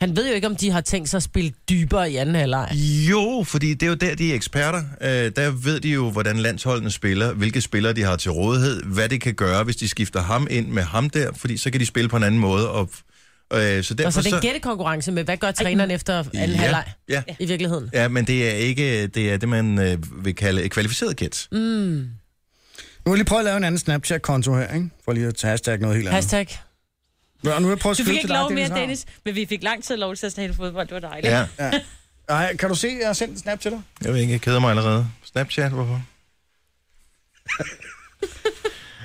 Speaker 2: Han ved jo ikke, om de har tænkt sig at spille dybere i anden halvleg.
Speaker 1: Jo, fordi det er jo der, de er eksperter. Øh, der ved de jo, hvordan landsholdene spiller, hvilke spillere de har til rådighed, hvad det kan gøre, hvis de skifter ham ind med ham der, fordi så kan de spille på en anden måde. Og, øh, så derfor
Speaker 2: Og så det er en gættekonkurrence med, hvad gør træneren efter anden
Speaker 1: Ja,
Speaker 2: halvleg?
Speaker 1: ja.
Speaker 2: I virkeligheden.
Speaker 1: Ja, men det er ikke det, er det man øh, vil kalde et kvalificeret gæt.
Speaker 2: Mm.
Speaker 3: Nu vil jeg lige prøve at lave en anden Snapchat-konto her, ikke? For lige at tage hashtag noget helt andet.
Speaker 2: Hashtag.
Speaker 3: Nå, nu vil jeg prøve at
Speaker 6: Du
Speaker 3: skrive
Speaker 6: fik ikke
Speaker 3: til dig,
Speaker 6: lov mere,
Speaker 3: Dennis.
Speaker 6: Dennis, men vi fik lang tid lov til at snakke fodbold. Det var dejligt.
Speaker 1: Ja.
Speaker 3: Ja. Ej, kan du se, at jeg har sendt en snap til dig?
Speaker 1: Jeg ved ikke, jeg keder mig allerede. Snapchat, hvorfor?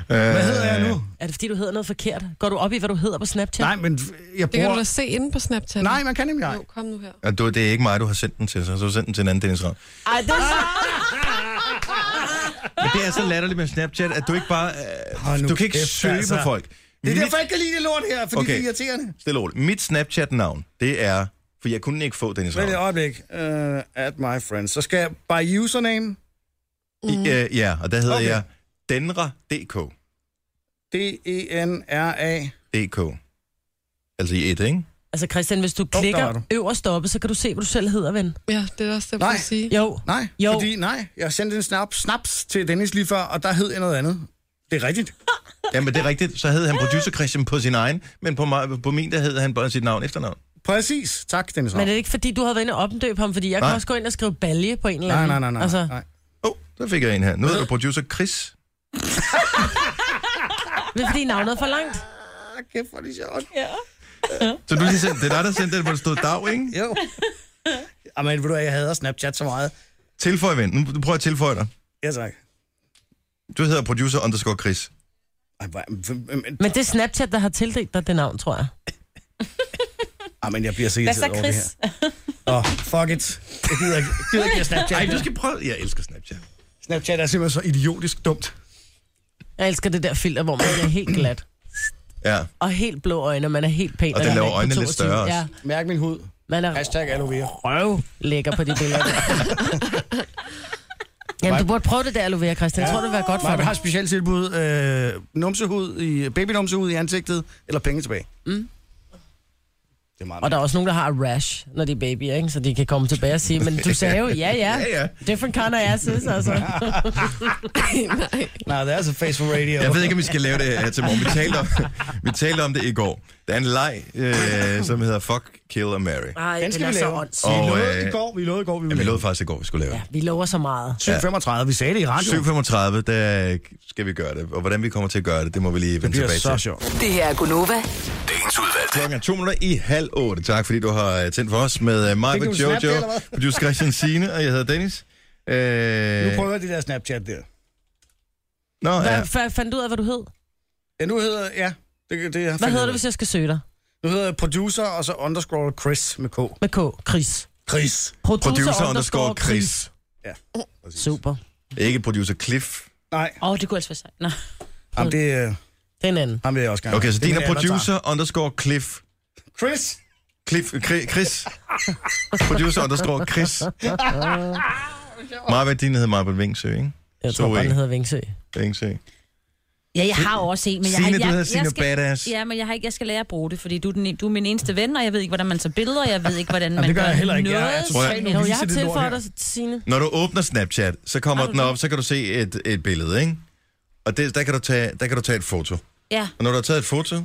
Speaker 1: Hvad hedder jeg nu?
Speaker 2: Er det fordi, du hedder noget forkert? Går du op i, hvad du hedder på Snapchat?
Speaker 3: Øh, Nej, men jeg
Speaker 4: Det kan du da se inde på Snapchat.
Speaker 3: Nej, man kan nemlig ej.
Speaker 4: Jo, kom nu her.
Speaker 1: Og du, det er ikke mig, du har sendt den til, så du har sendt den til en anden Dennis Ravn.
Speaker 2: Ej, det er så...
Speaker 1: Men det er så latterligt med Snapchat, at du ikke bare... Øh, du kan ikke
Speaker 3: kæft,
Speaker 1: søge
Speaker 3: altså.
Speaker 1: på folk.
Speaker 3: Det er
Speaker 1: Mit-
Speaker 3: derfor, jeg ikke kan lide det lort her, fordi
Speaker 1: Okay.
Speaker 3: okay. det er irriterende.
Speaker 1: Stille og roligt. Mit Snapchat-navn, det er... For jeg kunne ikke få Dennis
Speaker 3: Vent et
Speaker 1: Ravn.
Speaker 3: øjeblik. Uh, at my friends. Så skal jeg by username
Speaker 1: I, øh, ja, og der hedder
Speaker 3: Okay.
Speaker 1: okay. jeg Denra.dk.
Speaker 3: E D-E-N-R-A.
Speaker 1: DK. Altså i et, ikke?
Speaker 2: Altså Christian, hvis du
Speaker 3: der
Speaker 2: klikker
Speaker 3: var du.
Speaker 2: øverst oppe, så kan du se, hvad du selv hedder, ven.
Speaker 4: Ja, det er også det, jeg
Speaker 3: Nej.
Speaker 4: vil sige.
Speaker 2: Jo,
Speaker 3: Nej,
Speaker 2: Jo.
Speaker 3: fordi nej, jeg sendte en snap, snaps til Dennis lige før, og der hed jeg noget andet. Det er rigtigt.
Speaker 1: Jamen, det er rigtigt. Så hed han producer Christian på sin egen, men på, mig, på min, der hed han bare sit navn efternavn.
Speaker 3: Præcis. Tak, Dennis.
Speaker 2: men er
Speaker 3: Ravn.
Speaker 2: det ikke fordi, du havde været inde og omdøbe ham? Fordi jeg kan
Speaker 1: Nej.
Speaker 2: også gå ind og skrive balje på en eller
Speaker 3: Nej,
Speaker 2: anden.
Speaker 3: nej, nej, nej.
Speaker 2: Altså,
Speaker 3: nej.
Speaker 1: Åh, oh, der fik jeg en her. Nu hedder du producer Chris.
Speaker 2: det er fordi navnet er for langt.
Speaker 3: Ah, kæft, hvor er det sjovt.
Speaker 1: Så du lige sendte, det er dig, der sendte den, hvor der stod dag, ikke?
Speaker 3: Jo. Jamen, ved du hvad, jeg hader Snapchat så meget.
Speaker 1: Tilføj, ven. Nu prøver jeg at tilføje dig.
Speaker 3: Ja, tak.
Speaker 1: Du hedder producer underscore Chris.
Speaker 3: Ej, hvor- hvem- hvem-
Speaker 2: Men det er Snapchat, der har tildelt dig det navn, tror jeg.
Speaker 3: Ej, men jeg bliver så
Speaker 6: Hvad
Speaker 3: irriteret
Speaker 6: så,
Speaker 3: over det
Speaker 6: Chris?
Speaker 3: her. Åh, oh, fuck it. Jeg gider ikke, jeg gider ikke have Snapchat.
Speaker 1: Ej, du skal prøve. Jeg elsker Snapchat.
Speaker 3: Snapchat er simpelthen så idiotisk dumt.
Speaker 2: Jeg elsker det der filter, hvor man er helt glat.
Speaker 1: Ja,
Speaker 2: Og helt blå øjne, og man er helt pæn.
Speaker 1: Og den
Speaker 2: når man
Speaker 1: laver
Speaker 2: er på
Speaker 1: øjnene lidt
Speaker 2: 22.
Speaker 1: større også.
Speaker 2: Ja,
Speaker 3: Mærk min hud.
Speaker 2: man er
Speaker 3: Hashtag aloe vera.
Speaker 2: røv lækker på de billeder. der. Jamen, du burde prøve det der, aloe vera, Christian. Jeg tror, det vil være godt for
Speaker 3: Nej, vi
Speaker 2: dig.
Speaker 3: har et specielt tilbud. Øh, numsehud i, babynumsehud i ansigtet, eller penge tilbage. Mm. Det er meget
Speaker 2: Og der er også nogen, der har rash, når de er babyer, ikke? så de kan komme tilbage og sige, men du sagde jo, ja, ja,
Speaker 1: Ja, ja.
Speaker 2: different kind of asses, altså.
Speaker 4: Nej.
Speaker 3: Nej, det er altså face for radio.
Speaker 1: Jeg ved ikke, om vi skal lave det her til morgen. Vi talte om, vi talte om det i går. Der er en leg, øh, som hedder Fuck, Kill og Marry.
Speaker 2: Ej,
Speaker 3: Den skal
Speaker 2: er
Speaker 3: vi
Speaker 2: så
Speaker 3: lave.
Speaker 2: åndssvagt.
Speaker 1: Og,
Speaker 3: vi lovede
Speaker 1: øh,
Speaker 3: i går, vi lovede i går, vi
Speaker 1: Ja, vi
Speaker 3: ville
Speaker 1: lovede faktisk i går, vi skulle lave
Speaker 2: Ja,
Speaker 1: det.
Speaker 2: vi lover så meget.
Speaker 3: 7.35, vi sagde det i radioen.
Speaker 1: 7.35, der skal vi gøre det. Og hvordan vi kommer til at gøre det, det må vi lige
Speaker 3: Det
Speaker 1: vende
Speaker 3: bliver
Speaker 1: tilbage
Speaker 3: så
Speaker 1: til.
Speaker 3: sjovt.
Speaker 8: Det her er Gunova.
Speaker 9: Dagens udvalgte.
Speaker 1: Klokken er to minutter i halv otte. Tak fordi du har øh, tændt for os med uh, mig,
Speaker 3: Fik du en snap,
Speaker 1: Jojo,
Speaker 3: eller hvad?
Speaker 1: producer Christian Sine, og jeg hedder Dennis. Øh,
Speaker 3: Nu prøver jeg det der Snapchat der.
Speaker 1: Nå, ja.
Speaker 2: Hvad hvad fandt du ud af, hvad du hed?
Speaker 3: Ja, nu hedder ja. Det, det
Speaker 2: Hvad hedder du, hvis jeg skal søge dig?
Speaker 3: Nu hedder jeg producer, og så underscore Chris med K.
Speaker 2: Med K. Chris.
Speaker 3: Chris.
Speaker 1: Producer underscore Chris.
Speaker 3: Ja.
Speaker 2: Super.
Speaker 1: Ikke producer Cliff.
Speaker 3: Nej,
Speaker 6: Åh, oh, det kunne altså være sejt. Nå.
Speaker 3: jamen, det øh,
Speaker 2: Den anden.
Speaker 3: ham vil jeg også gerne.
Speaker 1: Okay, så
Speaker 3: Det
Speaker 1: din
Speaker 3: vil
Speaker 1: er
Speaker 3: jeg hellere
Speaker 1: producer underscore Cliff.
Speaker 3: tage. Chris.
Speaker 1: Cliff, Chri- Chris. Producer underscore Chris. Marvind, din hedder Marvind Vingsø, ikke?
Speaker 2: Jeg tror
Speaker 1: Så
Speaker 2: bare,
Speaker 1: en.
Speaker 2: den hedder Vingsø.
Speaker 1: Vingsø.
Speaker 6: Ja, jeg har også en, men jeg,
Speaker 1: Signe,
Speaker 6: har-
Speaker 1: du hedder
Speaker 6: jeg,
Speaker 1: Signe
Speaker 6: jeg skal,
Speaker 1: Badass.
Speaker 6: Ja, men jeg, har ikke, jeg skal lære at bruge det, fordi du er, den, en- du er min eneste ven, og jeg ved ikke, hvordan man tager billeder, og jeg ved ikke, hvordan man
Speaker 3: det gør jeg heller ikke. Jeg er
Speaker 6: noget.
Speaker 3: totalt
Speaker 6: som helst.
Speaker 2: Jo,
Speaker 3: viser
Speaker 2: jeg har
Speaker 3: det lort
Speaker 2: tilføjet
Speaker 3: her.
Speaker 2: dig, Signe.
Speaker 1: Når du åbner Snapchat, så kommer den op, så kan du se et, et billede, ikke? Og det, der, kan du tage, der kan du tage et foto.
Speaker 6: Ja,
Speaker 1: Og når du har taget et foto, så,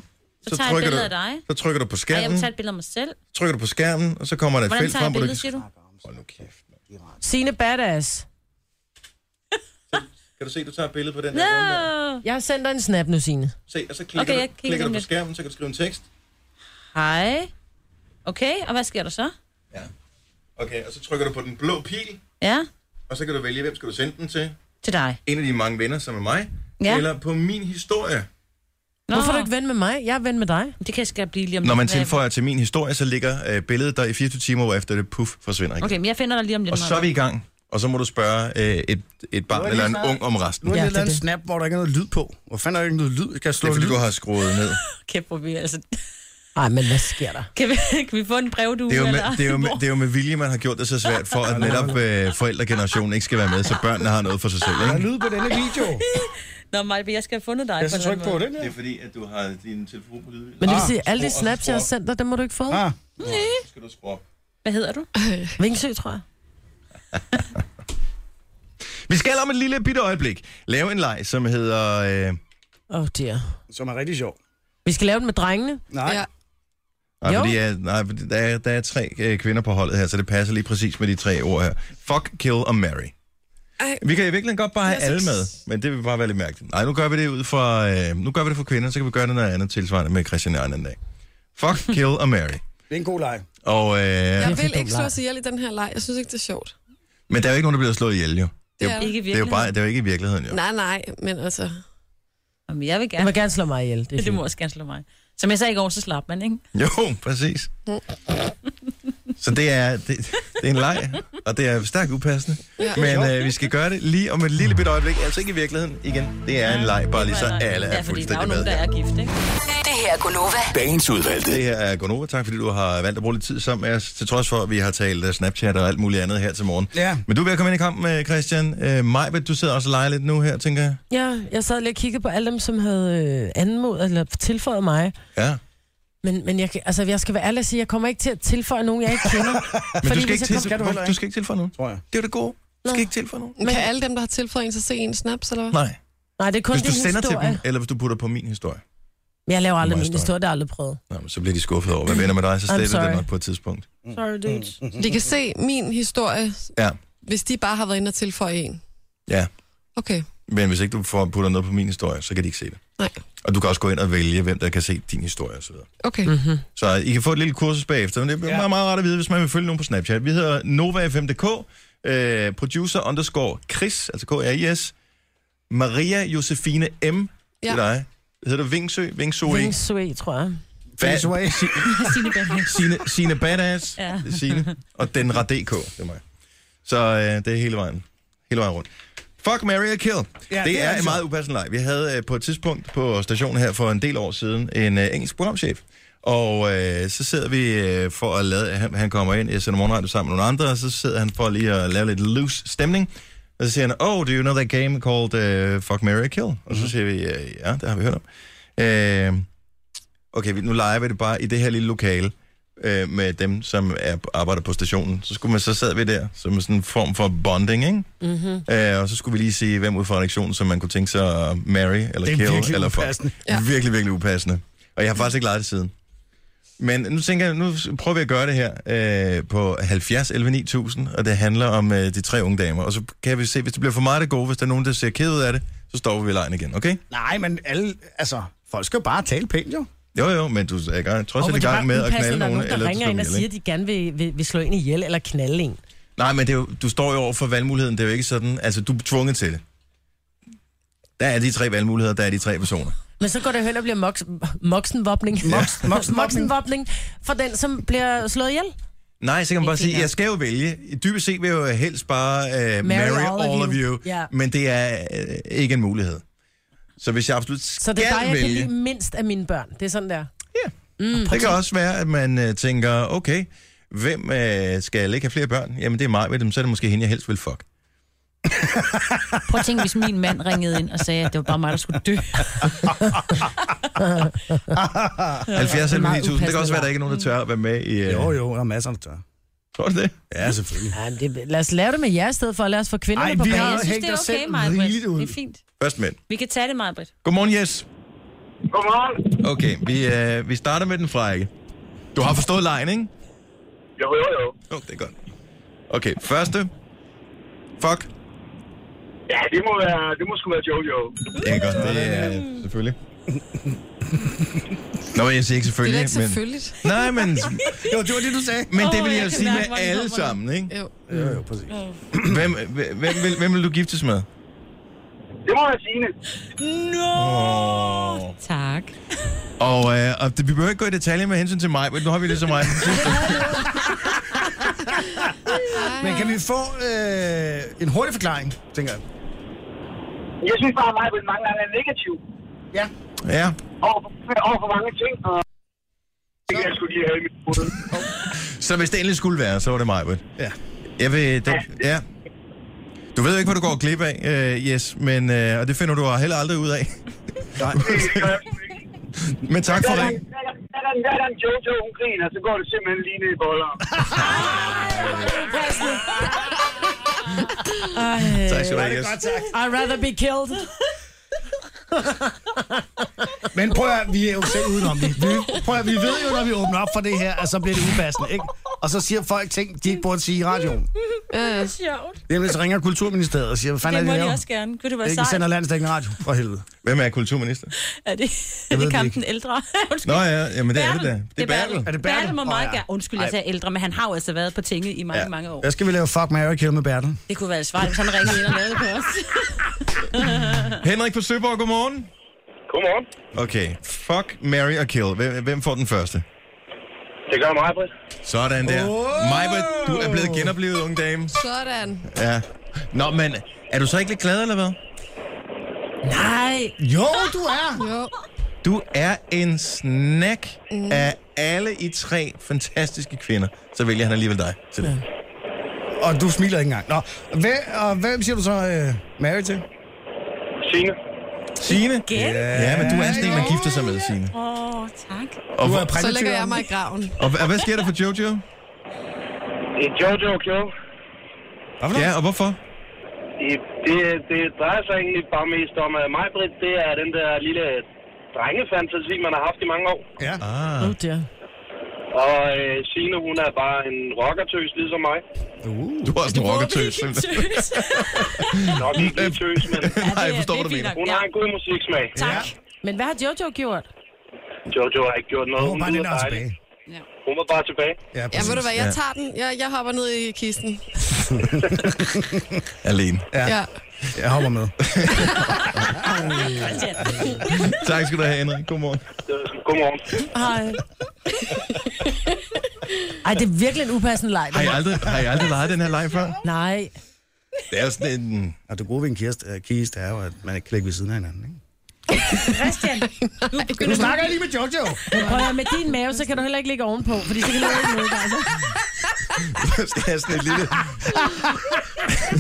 Speaker 6: så, tager jeg et
Speaker 1: trykker
Speaker 6: billede af
Speaker 1: du,
Speaker 6: dig.
Speaker 1: så trykker du på
Speaker 6: Ej, jeg vil
Speaker 1: skærmen,
Speaker 6: tage et billede af mig selv.
Speaker 1: trykker du på skærmen, og så kommer der et
Speaker 6: Hvordan
Speaker 1: felt
Speaker 6: tager
Speaker 1: frem,
Speaker 6: jeg et
Speaker 1: hvor du
Speaker 6: billede,
Speaker 1: kan...
Speaker 6: siger du?
Speaker 1: Hold nu kæft. mand.
Speaker 2: Signe Badass.
Speaker 1: Kan du se, du tager et billede på den
Speaker 6: No.
Speaker 1: runde
Speaker 2: Jeg har sendt dig en snap nu, Signe.
Speaker 1: Se, og så klikker,
Speaker 6: Okay, jeg
Speaker 1: du,
Speaker 6: kigger
Speaker 1: klikker du
Speaker 6: lige
Speaker 1: på
Speaker 6: lidt.
Speaker 1: skærmen, så kan du skrive en tekst.
Speaker 6: Hej. Okay, og hvad sker der så?
Speaker 1: Okay, og så trykker du på den blå pil,
Speaker 6: Ja,
Speaker 1: og så kan du vælge, hvem skal du sende den til.
Speaker 6: til dig.
Speaker 1: En af de mange venner, som er mig,
Speaker 6: Ja.
Speaker 1: eller på min historie.
Speaker 2: Nå. Hvorfor er du ikke ven med mig? Jeg er ven med dig.
Speaker 6: Det kan jeg skal blive lige om
Speaker 1: Når
Speaker 6: lidt.
Speaker 1: man
Speaker 6: Hvad-
Speaker 1: tilføjer til min historie, så ligger øh, billedet der i 24 timer, hvor efter det puff forsvinder igen.
Speaker 6: Okay, men jeg finder dig lige om lidt.
Speaker 1: Og så er vi i gang, og så må du spørge øh, et, et barn eller en ung om resten.
Speaker 3: Nu er det
Speaker 1: det
Speaker 3: et eller andet snap, hvor der ikke er noget lyd på. Hvor fanden er der ikke noget lyd? Kan jeg slå
Speaker 1: er fordi,
Speaker 3: lyd?
Speaker 1: du har skruet ned.
Speaker 6: Kæft, hvor vi altså...
Speaker 2: Nej, men hvad sker der?
Speaker 6: Kan vi, kan vi få en brevdue?
Speaker 1: Det er, jo med,
Speaker 6: eller?
Speaker 1: det, er jo med, det er jo med vilje, man har gjort det så svært for, at netop øh, forældregenerationen ikke skal være med, så børnene har noget for sig selv. Ikke?
Speaker 3: lyd på denne video.
Speaker 6: Nå, Maja, jeg skal have fundet dig. på en eller anden måde.
Speaker 1: Det er fordi, at du har din telefon på lyd.
Speaker 2: Men det vil sige, alle de snaps, jeg har sendt dig, dem må du ikke få.
Speaker 3: Ah,
Speaker 1: skal du skrue.
Speaker 6: Hvad hedder du?
Speaker 2: Vingsø, tror jeg.
Speaker 1: Vi skal om et lille bitte øjeblik lave en leg, som hedder... Øh,
Speaker 2: Åh, oh dear.
Speaker 3: som er rigtig sjov.
Speaker 2: Vi skal lave den med drengene.
Speaker 3: Nej.
Speaker 4: Ja.
Speaker 1: nej,
Speaker 2: Jo.
Speaker 1: fordi, jeg, nej, fordi der, er, der er tre øh, kvinder på holdet her, så det passer lige præcis med de tre ord her. Fuck, kill og marry.
Speaker 4: Ej.
Speaker 1: Vi kan i virkeligheden godt bare have alle med, men det vil bare være lidt mærkeligt. Nej, nu gør vi det ud fra... Øh, nu gør vi det for kvinder, så kan vi gøre det noget andet tilsvarende med Christian en anden dag. Fuck, kill og marry.
Speaker 3: Det er en god leg.
Speaker 1: Og, øh,
Speaker 4: Jeg
Speaker 2: for
Speaker 4: vil
Speaker 2: dum
Speaker 4: ikke slå
Speaker 2: leg.
Speaker 4: os ihjel i den her leg. Jeg synes ikke, det er sjovt.
Speaker 1: Men der er jo ikke nogen, der bliver slået ihjel, jo.
Speaker 4: Det er, det
Speaker 6: Ikke i
Speaker 1: Det er jo bare, det er jo ikke i virkeligheden, jo.
Speaker 4: Nej, nej, men altså...
Speaker 6: Jamen, jeg vil
Speaker 2: Du
Speaker 6: gerne.
Speaker 2: må gerne slå mig ihjel. Det er
Speaker 6: Det må
Speaker 2: fint.
Speaker 6: også gerne slå mig. Som jeg sagde i går, så slap man, ikke?
Speaker 1: Jo, præcis. Så det er, det, det er en leg, og det er stærkt upassende.
Speaker 4: Ja.
Speaker 1: Men øh, vi skal gøre det lige om et lille bitte øjeblik. Altså ikke i virkeligheden igen. Det er en leg, bare lige så alle
Speaker 6: ja,
Speaker 1: er
Speaker 6: fordi der er
Speaker 1: fuldstændig
Speaker 6: jo nogen,
Speaker 1: med.
Speaker 6: der er gift, ikke?
Speaker 8: Det her er Gunova.
Speaker 9: Dagens udvalgte.
Speaker 1: Det her er Gonova. Tak fordi du har valgt at bruge lidt tid sammen med os, til trods for, at vi har talt øh, Snapchat og alt muligt andet her til morgen.
Speaker 3: Ja.
Speaker 1: Men du er ved at komme ind i kampen, øh, Christian. Øh, Majbet, du sidder også og leger lidt nu her, tænker jeg.
Speaker 2: Ja, jeg sad lige og kiggede på alle dem, som havde øh, anmodet eller tilføjet mig.
Speaker 1: Ja.
Speaker 2: Men, men jeg, kan- altså, jeg skal være ærlig og sige, jeg kommer ikke til at tilføje nogen, jeg ikke kender.
Speaker 1: Men
Speaker 2: Fordi
Speaker 1: du skal,
Speaker 2: hvis
Speaker 1: ikke
Speaker 2: jeg kom-
Speaker 1: til,
Speaker 3: Skal du heller
Speaker 1: du,
Speaker 3: ikke?
Speaker 1: du skal ikke tilføje nogen.
Speaker 3: Tror jeg.
Speaker 1: Det er jo det gode. Du skal ikke tilføje nogen.
Speaker 4: Men... Kan alle dem, der har tilføjet en, så se en snaps, eller hvad?
Speaker 1: Nej.
Speaker 2: Nej, det er kun
Speaker 1: Hvis du
Speaker 2: din
Speaker 1: sender
Speaker 2: historie.
Speaker 1: til dem, eller hvis du putter på min historie.
Speaker 2: Men Jeg laver
Speaker 1: Meget
Speaker 2: aldrig min
Speaker 1: støj.
Speaker 2: historie, det har jeg aldrig prøvet.
Speaker 1: Nå, men så bliver de skuffet over, hvad vender med dig, så
Speaker 2: I'm
Speaker 1: sletter det
Speaker 2: sorry.
Speaker 1: nok på et tidspunkt.
Speaker 2: Mm. Sorry, dudes.
Speaker 1: Mm,
Speaker 4: De kan se min historie,
Speaker 1: Ja.
Speaker 4: hvis de bare har været inde og tilføje en.
Speaker 1: Ja,
Speaker 4: Okay,
Speaker 1: men hvis ikke du får putter noget på min historie, så kan de ikke se det.
Speaker 4: nej.
Speaker 1: Og du kan også gå ind og vælge, hvem der kan se din historie osv.
Speaker 4: Okay.
Speaker 1: mm.
Speaker 2: Mm. Mhm.
Speaker 1: Så I kan få et lille kursus bagefter, men det er
Speaker 3: Ja.
Speaker 1: meget, meget rart at vide, hvis man vil følge nogen på Snapchat. Vi hedder NovaFM.dk, øh, producer underscore Chris, altså K-R-I-S, Maria Josefine M, ja.
Speaker 4: Ja.
Speaker 1: det er dig. Hedder du Vingsø? Vingsø? E.
Speaker 2: Vingsue, tror jeg.
Speaker 3: Face away.
Speaker 6: Signe Bang.
Speaker 1: Sine, Sine Badass,
Speaker 6: Ja.
Speaker 1: ja. Sine, og den DK, det er mig. Så øh, det er hele vejen, hele vejen rundt. Fuck, Mary og Kill. Ja, det, det er, en
Speaker 3: sjov.
Speaker 1: meget upassende leg. Vi havde øh, på et tidspunkt på stationen her for en del år siden en øh, engelsk programchef. Og øh, så sidder vi øh, for at lade... Han, han kommer ind, jeg sender morgenradio sammen med nogle andre, og så sidder han for lige at lave lidt loose stemning. Og så siger han, oh, do you know that game called øh, Fuck, Mary Kill? Og så siger vi, øh, ja, det har vi hørt om. Øh, okay, vi- nu leger vi det bare i det her lille lokale øh, med dem, som er, arbejder på stationen. Så skulle man så sad vi der, som sådan en form for bonding, ikke? Mm-hmm. Øh, og så skulle vi lige se, hvem ud fra redaktionen, som man kunne tænke sig at marry, eller
Speaker 3: Det er
Speaker 1: kill,
Speaker 3: virkelig
Speaker 1: eller
Speaker 3: upassende.
Speaker 1: Ja. Virkelig, virkelig upassende. Og jeg har faktisk ikke leget det siden. Men nu tænker jeg, nu prøver vi at gøre det her øh, på 70 11 9000, og det handler om øh, de tre unge damer. Og så kan vi se, hvis det bliver for meget det gode, hvis der er nogen, der ser ked ud af det, så stopper vi lejen igen, okay?
Speaker 3: Nej, men alle, altså, folk skal jo bare tale pænt, jo.
Speaker 1: Jo, jo, men du er i gang, trods
Speaker 2: Og
Speaker 1: alt i
Speaker 2: det er
Speaker 1: gang
Speaker 2: bare
Speaker 1: med at
Speaker 2: upassende,
Speaker 1: knalde
Speaker 2: der er
Speaker 1: nogen.
Speaker 2: nogen,
Speaker 1: eller
Speaker 2: der ringer
Speaker 1: slå
Speaker 2: ind og
Speaker 1: dem ihjel,
Speaker 2: siger,
Speaker 1: ikke?
Speaker 2: at de gerne vil, vil, vil slå en ihjel eller knalde en.
Speaker 1: Nej, men det er jo, du står jo over for valgmuligheden. Det er jo ikke sådan, altså du er tvunget til det. Der er de tre valgmuligheder, der er de tre personer.
Speaker 2: Men så går det hen og bliver moks, moksenvopning. Moks,
Speaker 3: moksenvopning.
Speaker 2: moksenvopning for den, som bliver slået ihjel.
Speaker 1: Nej, så kan man bare sige,
Speaker 6: fint, ja.
Speaker 1: jeg skal jo vælge. Dybest set vil jeg jo helst bare uh, marry all, all of you,
Speaker 2: Ja.
Speaker 1: men det er uh, ikke en mulighed. Så hvis jeg absolut skal
Speaker 2: Så det er dig, jeg kan
Speaker 1: vælge,
Speaker 2: lide Mm, mindst af mine børn. Det er sådan der.
Speaker 1: det kan også være, at man uh, tænker, okay, hvem uh, skal ikke have flere børn? Jamen det er mig ved dem, så er det måske hende, jeg helst vil fuck.
Speaker 6: Prøv at tænke, hvis min mand ringede ind og sagde, at det var bare mig, der skulle dø.
Speaker 1: 70 eller 9000, det kan også
Speaker 2: upassende
Speaker 1: være, at der ikke er nogen, der tør at være med i... Uh,
Speaker 3: Jo, jo, der er masser, der tør.
Speaker 1: Tror du det?
Speaker 3: Ja, selvfølgelig.
Speaker 2: Ej, men det, lad os lave det med jer i stedet for, og lad os få kvinderne
Speaker 3: Ej,
Speaker 2: på
Speaker 3: vi
Speaker 2: banen.
Speaker 3: har-
Speaker 6: Jeg synes,
Speaker 3: Hæng
Speaker 6: det er
Speaker 3: dig
Speaker 6: okay,
Speaker 3: selv
Speaker 6: Maja.
Speaker 3: rigeligt ud.
Speaker 6: Det er fint.
Speaker 1: Først mænd.
Speaker 6: Vi kan tage det, Maja.
Speaker 1: Godmorgen, Jes.
Speaker 7: Godmorgen.
Speaker 1: Okay, vi, øh, vi starter med den frække. Du har forstået lejen, ikke?
Speaker 7: Jo, jo, jo.
Speaker 1: Jo, oh, det er godt. Okay, første. Fuck.
Speaker 7: Ja, det må, være, det må sgu være Jojo.
Speaker 1: Det er godt, det er selvfølgelig. Nå, men jeg siger ikke
Speaker 4: Det
Speaker 1: selvfølgelig,
Speaker 4: er da ikke selvfølgeligt.
Speaker 1: men... Nej, men,
Speaker 3: Jo, det var det, du sagde.
Speaker 1: men det vil
Speaker 6: Åh,
Speaker 1: jeg,
Speaker 6: jeg kan
Speaker 1: sige
Speaker 6: mærke,
Speaker 1: med
Speaker 6: hvor den
Speaker 1: alle
Speaker 6: kommer nu.
Speaker 1: sammen, ikke?
Speaker 4: Jo.
Speaker 3: Jo, jo, præcis.
Speaker 1: Hvem, hvem, hvem, vil, hvem vil du giftes med?
Speaker 11: Det må være Signe.
Speaker 6: Nå!
Speaker 1: Oh.
Speaker 6: Tak.
Speaker 1: Og, øh, og det, vi behøver ikke gå i detaljer med hensyn til mig, men nu har vi det som mig.
Speaker 3: Men kan vi få øh, en hurtig forklaring, tænker jeg?
Speaker 11: Jeg synes bare, at mig mange gange er negativ. Ja.
Speaker 1: Ja.
Speaker 11: Over for, over for mange ting. Og... Det kan jeg skulle lige have i mit hoved.
Speaker 1: Så hvis det endelig skulle være, så var det mig, Ja. Jeg ved, det, ja. Du ved jo ikke, hvad du går glip af, øh, Jes, men, øh, og det finder du heller aldrig ud af. Nej. men tak for ringen.
Speaker 11: Hver gang- hver gang- Hver gang Jojo, hun griner, så går det simpelthen lige ned i boller.
Speaker 2: Ej.
Speaker 1: Tak skal du have, Jes.
Speaker 2: I'd rather be killed.
Speaker 3: Men prøv at vi er jo selv udenom det. Vi, prøv at vi ved jo, når vi åbner op for det her, at så bliver det upassende, ikke? Og så siger folk ting, de ikke burde sige i radioen.
Speaker 6: Det er sjovt.
Speaker 3: Jamen, så ringer Kulturministeriet og siger, hvad fanden er
Speaker 6: Det må
Speaker 3: det,
Speaker 6: de
Speaker 3: laver?
Speaker 6: også gerne. Kunne det være
Speaker 3: Ikke
Speaker 6: sejt?
Speaker 3: sender landstækkende radio, for helvede.
Speaker 1: Hvem er kulturminister?
Speaker 6: Er det,
Speaker 1: ved
Speaker 6: er
Speaker 1: det
Speaker 6: det kampen ældre? Undskyld.
Speaker 1: Nå ja, jamen det er det da.
Speaker 6: Bertel.
Speaker 1: Det er Bertel.
Speaker 3: Er det Bertel?
Speaker 6: Bertel må
Speaker 3: Åh,
Speaker 6: meget
Speaker 3: ja.
Speaker 6: gerne. Undskyld, jeg
Speaker 3: Ej.
Speaker 6: sagde ældre, men han har jo altså været på tinge i mange, ja. mange år.
Speaker 3: Hvad skal vi lave fuck, Mary kill med Bertel?
Speaker 6: Det kunne være et svar, hvis han ringede ind og lavede det på os.
Speaker 1: Henrik fra Søborg, godmorgen.
Speaker 7: Godmorgen.
Speaker 1: Okay, fuck, marry og kill. Hvem, hvem får den første?
Speaker 7: Det gør mig, Britt.
Speaker 1: Sådan der. Oh! du er blevet genoplevet, unge dame.
Speaker 4: Sådan.
Speaker 1: Ja. Nå, men er du så ikke lidt glad, eller hvad?
Speaker 6: Nej.
Speaker 1: Jo,
Speaker 3: du er.
Speaker 4: Jo.
Speaker 1: Du er en snack
Speaker 4: Mm.
Speaker 1: mm. af alle i tre fantastiske kvinder. Så vælger han alligevel dig til det.
Speaker 3: Og du smiler ikke engang. Nå, hvem, og hvem siger du så øh, Mary til?
Speaker 7: Signe.
Speaker 1: Signe?
Speaker 6: Ja.
Speaker 1: Ja, men du er sådan en, man gifter sig med, Signe.
Speaker 6: Åh, oh, tak.
Speaker 1: Og, hvor-
Speaker 4: Så lægger jeg mig i graven.
Speaker 1: og, og hvad sker der for Jojo?
Speaker 7: Det er Jojo Kill.
Speaker 1: Ja, og hvorfor?
Speaker 7: Det, det, det drejer sig egentlig bare mest om, at mig, Britt, det er den der lille drengefantasi, man har haft i mange år.
Speaker 3: Ja.
Speaker 1: Ah.
Speaker 2: Oh dear.
Speaker 7: Og øh, Signe, hun er bare en rockertøs, ligesom mig.
Speaker 1: Uh. Du er også en rockertøs. simpelthen.
Speaker 7: Nok ikke lige tøs, men...
Speaker 1: Nej, jeg forstår, hvad du mener.
Speaker 7: Hun har en god musiksmag.
Speaker 2: Tak. Men hvad har Jojo gjort?
Speaker 7: Jojo har ikke gjort noget.
Speaker 3: Hun var bare
Speaker 7: lyder
Speaker 3: den der er
Speaker 7: dejlig.
Speaker 3: tilbage.
Speaker 7: Hun var bare tilbage.
Speaker 4: Ja, ved du hvad, jeg tager den. Jeg, jeg hopper ned i kisten.
Speaker 1: Alene.
Speaker 3: Ja.
Speaker 4: Ja.
Speaker 3: Jeg hopper med.
Speaker 1: Tak skal du have, Henrik. Godmorgen.
Speaker 7: Godmorgen.
Speaker 2: Hej. Ej, det er virkelig en upassende leg. det
Speaker 1: Har I
Speaker 2: her.
Speaker 1: aldrig, har I aldrig lejet den her leg før?
Speaker 2: Nej.
Speaker 1: Det er jo sådan en...
Speaker 3: Og det gode ved en kiste, øh, kiste er jo, at man ikke kan ligge ved siden af hinanden, ikke?
Speaker 2: Christian, nu begynder
Speaker 3: Nu snakker jeg lige med Jojo.
Speaker 2: Men prøv at høre, med din mave, så kan du heller ikke ligge ovenpå, fordi så kan du ikke noget, altså.
Speaker 1: Så skal jeg have sådan et lille...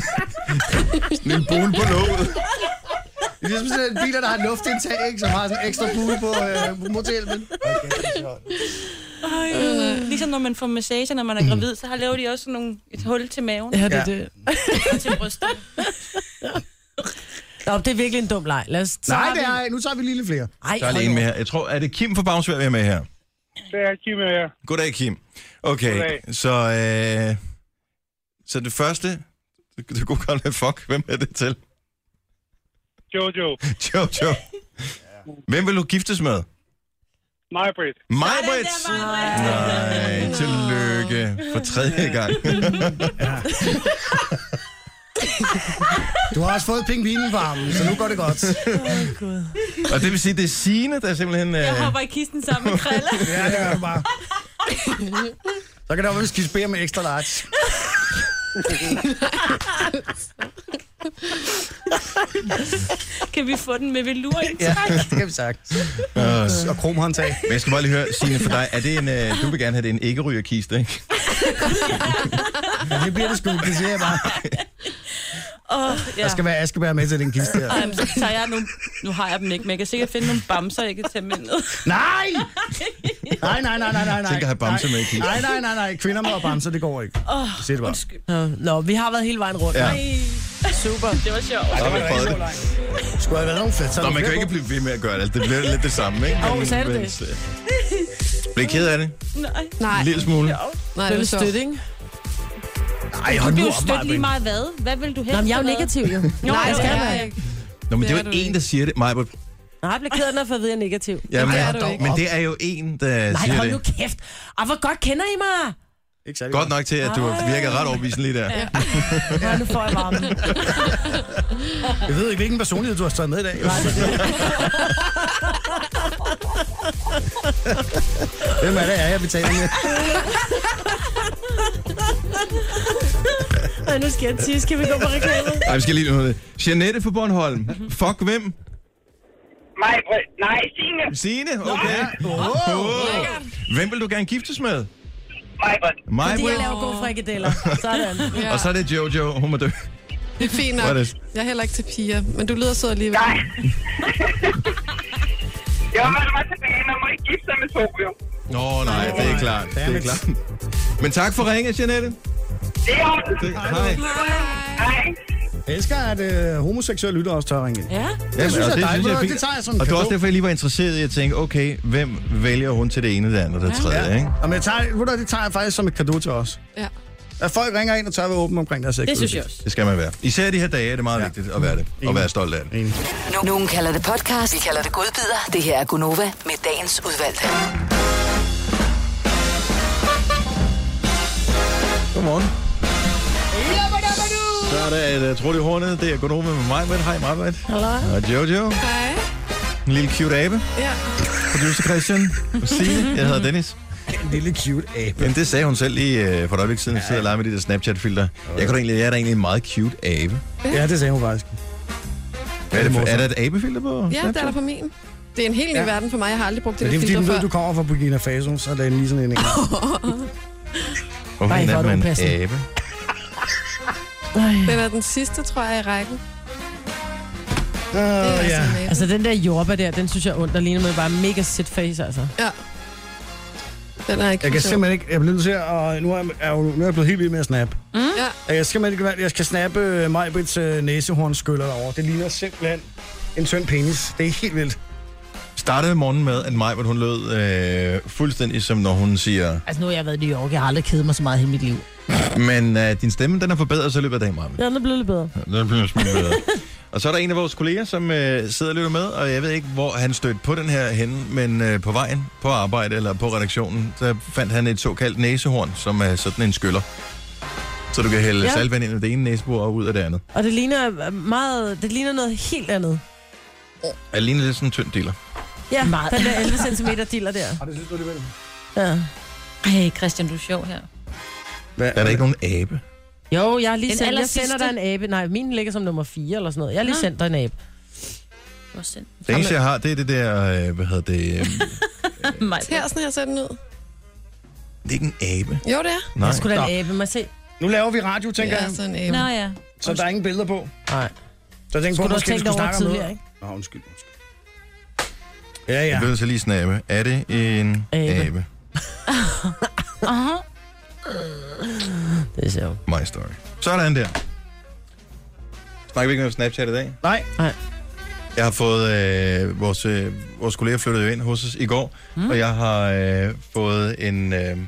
Speaker 1: sådan en bule på låget.
Speaker 3: Det er ligesom sådan en bil, der har luftindtag, ikke? Som har sådan en ekstra bue på, øh, på motorhjelmen. Okay, det er sjovt.
Speaker 6: Øj, ligesom når man får massage, når man
Speaker 1: Mm.
Speaker 6: er gravid, så har laver de også sådan nogle, et hul til maven.
Speaker 2: Ja, det er
Speaker 3: Ja.
Speaker 2: det.
Speaker 6: Og til brystet.
Speaker 2: Nå, det er virkelig en dum leg. Lad os så
Speaker 3: Nej,
Speaker 2: har
Speaker 3: det
Speaker 2: vi-
Speaker 3: er ej. Nu tager vi lige lidt flere.
Speaker 2: Ej,
Speaker 1: Der er lige en med her. Jeg tror, er det Kim fra Bagsvær, vi er med her?
Speaker 11: Det er Kim og jeg.
Speaker 1: Goddag, Kim. Okay,
Speaker 11: Goddag.
Speaker 1: så... Øh, så det første... Det kunne godt være fuck. Hvem er det til?
Speaker 11: Jojo.
Speaker 1: Jojo. Hvem vil du giftes med?
Speaker 11: Mig, Britt.
Speaker 1: Mig, Britt! Nej, tillykke for tredje gang.
Speaker 3: Du har også fået pingvinen på armen, så nu går det godt.
Speaker 1: Og det vil sige, det er Signe, der simpelthen... Øh,
Speaker 6: Jeg hopper i kisten sammen med kriller.
Speaker 3: Ja, det gør du bare. Så kan der også skifte spære med ekstra large.
Speaker 6: Kan vi få den med velur?
Speaker 3: Ja, det kan vi sagt.
Speaker 1: øh,
Speaker 3: Og kromhåndtag.
Speaker 1: men jeg skal bare lige høre, Signe, for dig, er det en, øh, du vil gerne have det en ikke-rygerkiste, ikke?
Speaker 3: Ja, det bliver det sgu, det siger jeg bare.
Speaker 6: Åh, ja.
Speaker 3: Der skal være Askeberg med til den kiste her.
Speaker 6: Ej, men så tager jeg nogle... Nu har jeg dem ikke, men jeg kan sikkert finde nogle bamser, jeg kan tage med ned.
Speaker 3: Nej! Nej, nej, nej, nej, nej. nej.
Speaker 1: Tænk at have bamse med i kisten.
Speaker 3: Nej, nej, nej, nej. Kvinder med og bamser, det går ikke.
Speaker 6: Åh,
Speaker 3: Sig det bare.
Speaker 6: undskyld.
Speaker 2: Nå, vi har været hele vejen rundt.
Speaker 1: Ja.
Speaker 2: Ja. Super.
Speaker 6: Det var sjovt.
Speaker 1: Så har vi prøvet det.
Speaker 3: Skulle have været nogen fedt. så er
Speaker 1: Nå,
Speaker 3: der
Speaker 1: man kan jo
Speaker 3: flere
Speaker 1: ikke blive ved med at gøre det. Det bliver lidt det samme, ikke?
Speaker 2: Åh, sagde du det?
Speaker 1: øh, Bliver I ked af det?
Speaker 6: Nej.
Speaker 4: Nej,
Speaker 1: En lille smule.
Speaker 4: nej,
Speaker 2: Det
Speaker 4: det
Speaker 2: er
Speaker 4: er
Speaker 2: lidt
Speaker 4: sjovt.
Speaker 2: stødt, ikke?
Speaker 3: på. Ej,
Speaker 6: Du
Speaker 3: hold nu
Speaker 6: bliver jo
Speaker 3: op,
Speaker 6: stødt
Speaker 3: Maja.
Speaker 6: lige meget hvad? Hvad vil du helst?
Speaker 2: Nå, men jeg er jo
Speaker 6: have været?
Speaker 2: negativ, jo.
Speaker 6: Nå,
Speaker 4: Nej,
Speaker 6: jeg
Speaker 4: det
Speaker 6: skal
Speaker 4: skal
Speaker 6: være.
Speaker 4: jeg ikke.
Speaker 1: Nå, men det er
Speaker 4: Det
Speaker 1: jo
Speaker 4: er du
Speaker 1: en, der siger det. Mig, men
Speaker 2: Nej, jeg bliver ked af, når jeg får at vide, at jeg er negativ.
Speaker 1: Jamen,
Speaker 4: det er
Speaker 1: ja,
Speaker 4: du
Speaker 1: dog.
Speaker 4: ikke.
Speaker 1: men det er jo en, der
Speaker 2: Nej,
Speaker 1: siger
Speaker 2: hold nu
Speaker 1: det.
Speaker 2: kæft. Ej, hvor godt kender I mig?
Speaker 3: Ikke særlig
Speaker 1: Godt nok til, at du virker ret overbevisende lige der.
Speaker 3: Ja.
Speaker 2: Ja, nu får jeg varmen.
Speaker 3: Jeg ved ikke, hvilken personlighed du har stået med i dag. Hvem er det, jeg er, jeg betaler med?
Speaker 2: Ej, nu skal jeg tisse. Skal vi gå på reklamet?
Speaker 12: Ej, vi skal lige noget. Janette fra Bornholm. Fuck hvem?
Speaker 11: Nej, prøv- nej, Signe.
Speaker 1: Signe, okay.
Speaker 11: Åh,
Speaker 1: Hvem vil du gerne giftes med?
Speaker 11: Majbert.
Speaker 2: Fordi jeg
Speaker 1: Majbrit.
Speaker 2: laver gode frikadeller. Sådan.
Speaker 1: Ja. Og så er det Jojo, hun må dø.
Speaker 4: Det er fint
Speaker 1: Hvor er
Speaker 4: nok.
Speaker 1: det?
Speaker 4: Jeg er heller ikke til piger, men du lyder sød alligevel. Nej.
Speaker 11: Jeg holder mig tilbage. Man må ikke gifte sig med Tokyo.
Speaker 1: Nå nej, det er klart. Det er klart. Men tak for ringet, Janette.
Speaker 11: Det er orden.
Speaker 1: Hej.
Speaker 11: Hej.
Speaker 3: Jeg elsker, at øh, homoseksuelle lytter også tør ringe ind.
Speaker 6: Ja.
Speaker 3: Det synes jeg er
Speaker 1: og
Speaker 3: dejligt.
Speaker 1: er
Speaker 3: Det,
Speaker 1: fint.
Speaker 3: det tager jeg som en
Speaker 1: Og det var også
Speaker 3: cadeau.
Speaker 1: derfor, jeg lige var interesseret i at tænke, okay, hvem vælger hun til det ene, det andet og det tredje, ikke?
Speaker 3: Og men jeg tager, ved du, hvad, det tager jeg faktisk som et kado til os.
Speaker 4: Ja.
Speaker 3: At folk ringer ind og tør være åben omkring deres seksualitet.
Speaker 1: Det skal man være. Især de her dage er det meget vigtigt at være det. Og være stolt af det.
Speaker 8: Nu- Nogen kalder det podcast, vi kalder det godbider. Det her er Gunova med dagens udvalgte.
Speaker 1: Godmorgen. Så er der et uh, troligt hornet. Det er Gonova med mig, med Hej, Marbet.
Speaker 4: Hallo.
Speaker 1: Og Jojo.
Speaker 4: Hej.
Speaker 1: En lille cute abe.
Speaker 4: Ja.
Speaker 1: Producer Christian. Og Signe. Jeg hedder Dennis.
Speaker 3: En lille cute abe.
Speaker 1: Jamen, det sagde hun selv lige øh, for et øjeblik siden. Jeg sidder og leger med de der Snapchat-filter. Jeg, kunne da egentlig, jeg er da egentlig en meget cute abe.
Speaker 3: Ja, det sagde hun faktisk.
Speaker 1: Er, det, for- er der et abefilter på
Speaker 4: Ja,
Speaker 1: Snapchat?
Speaker 4: det er der for min. Det er en helt ny
Speaker 3: Ja.
Speaker 4: verden for mig. Jeg har aldrig brugt
Speaker 3: Men
Speaker 4: det,
Speaker 3: det er
Speaker 4: der
Speaker 3: fordi, den
Speaker 4: filter
Speaker 3: ved,
Speaker 4: før.
Speaker 3: du kommer fra Burkina Faso, så er der lige sådan en en.
Speaker 1: Hvorfor
Speaker 3: Nej, hvor er
Speaker 1: er
Speaker 3: du
Speaker 1: man
Speaker 3: upassende.
Speaker 1: abe?
Speaker 4: Den er den sidste, tror jeg, i rækken.
Speaker 3: Uh,
Speaker 4: ja.
Speaker 2: Altså, den der jordbær der, den synes jeg er ondt. Der ligner med bare mega sit face, altså.
Speaker 4: Ja. Den er ikke
Speaker 3: Jeg kan
Speaker 4: så-
Speaker 3: simpelthen ikke, jeg bliver nødt til at, og nu er, jeg- er, jo- nu er jeg blevet helt vild med at snappe.
Speaker 4: Mm. Ja.
Speaker 3: Jeg kan simpelthen ikke, være- jeg skal snappe øh, Majbrits øh, næsehornskyller derovre. Det ligner simpelthen en tynd penis. Det er helt vildt.
Speaker 1: Startede morgenen med, at Maj, hvor hun lød øh, fuldstændig som når hun siger,
Speaker 5: Altså, nu har jeg været i New York. Jeg har aldrig kedet mig så meget i hele mit liv.
Speaker 1: men øh, din stemme, den er forbedret sig i løbet af dagen, Maj.
Speaker 2: Ja, den er blevet lidt bedre.
Speaker 1: Den bliver en smule bedre. og så er der en af vores kolleger, som øh, sidder og lytter med, og jeg ved ikke, hvor han stødte på den her henne, men øh, på vejen, på arbejde eller på redaktionen, så fandt han et såkaldt næsehorn, som er sådan en skyller. Så du kan hælde
Speaker 2: Ja.
Speaker 1: ja. saltvand ind af det ene næsebord og ud af det andet.
Speaker 2: Og det ligner øh, meget... Det ligner noget helt andet.
Speaker 1: Er ligner lidt sådan en tynd dealer.
Speaker 2: Ja, meget. den der 11 cm diller der.
Speaker 3: Og det synes du alligevel?
Speaker 2: Ja.
Speaker 6: Ej, Christian, du er sjov her.
Speaker 1: Hvad, er der ikke nogen abe?
Speaker 2: Jo, jeg har lige
Speaker 6: Den
Speaker 2: sendt, jeg
Speaker 6: allersidste.
Speaker 2: sender dig en abe. Nej, min ligger som nummer 4 eller sådan noget. Jeg har lige
Speaker 6: Nå.
Speaker 2: sendt dig en abe.
Speaker 1: Det eneste, jeg har, det er det der, øh, hvad hedder det, øh, det
Speaker 4: Her sådan her ser den ud.
Speaker 1: er ikke en abe.
Speaker 4: Jo, det er.
Speaker 1: Nej.
Speaker 2: Jeg skulle da en abe, må jeg se.
Speaker 3: Nu laver vi radio, tænker
Speaker 4: Ja, altså,
Speaker 3: jeg.
Speaker 4: sådan en abe.
Speaker 6: Nå ja.
Speaker 3: Så der er ingen billeder på.
Speaker 2: Nej.
Speaker 3: Så jeg tænkte
Speaker 2: Skulle
Speaker 3: på,
Speaker 2: du også
Speaker 3: at måske vi
Speaker 2: tænke
Speaker 3: skulle
Speaker 2: over
Speaker 3: snakke om
Speaker 2: tidligere,
Speaker 3: noget.
Speaker 2: ikke?
Speaker 3: Nå, undskyld, undskyld. Ja,
Speaker 1: Jeg
Speaker 3: ja.
Speaker 1: bliver nødt til lige at snappe. Er det en
Speaker 2: Abe.
Speaker 1: abe? abe?
Speaker 6: Aha.
Speaker 2: Det er sjovt.
Speaker 1: My story. Sådan der. Snakker vi ikke om Snapchat i dag?
Speaker 3: Nej.
Speaker 1: Jeg har fået... Øh, vores, øh, vores kolleger flyttede jo ind hos os i går, mm. og jeg har øh, fået en, øh,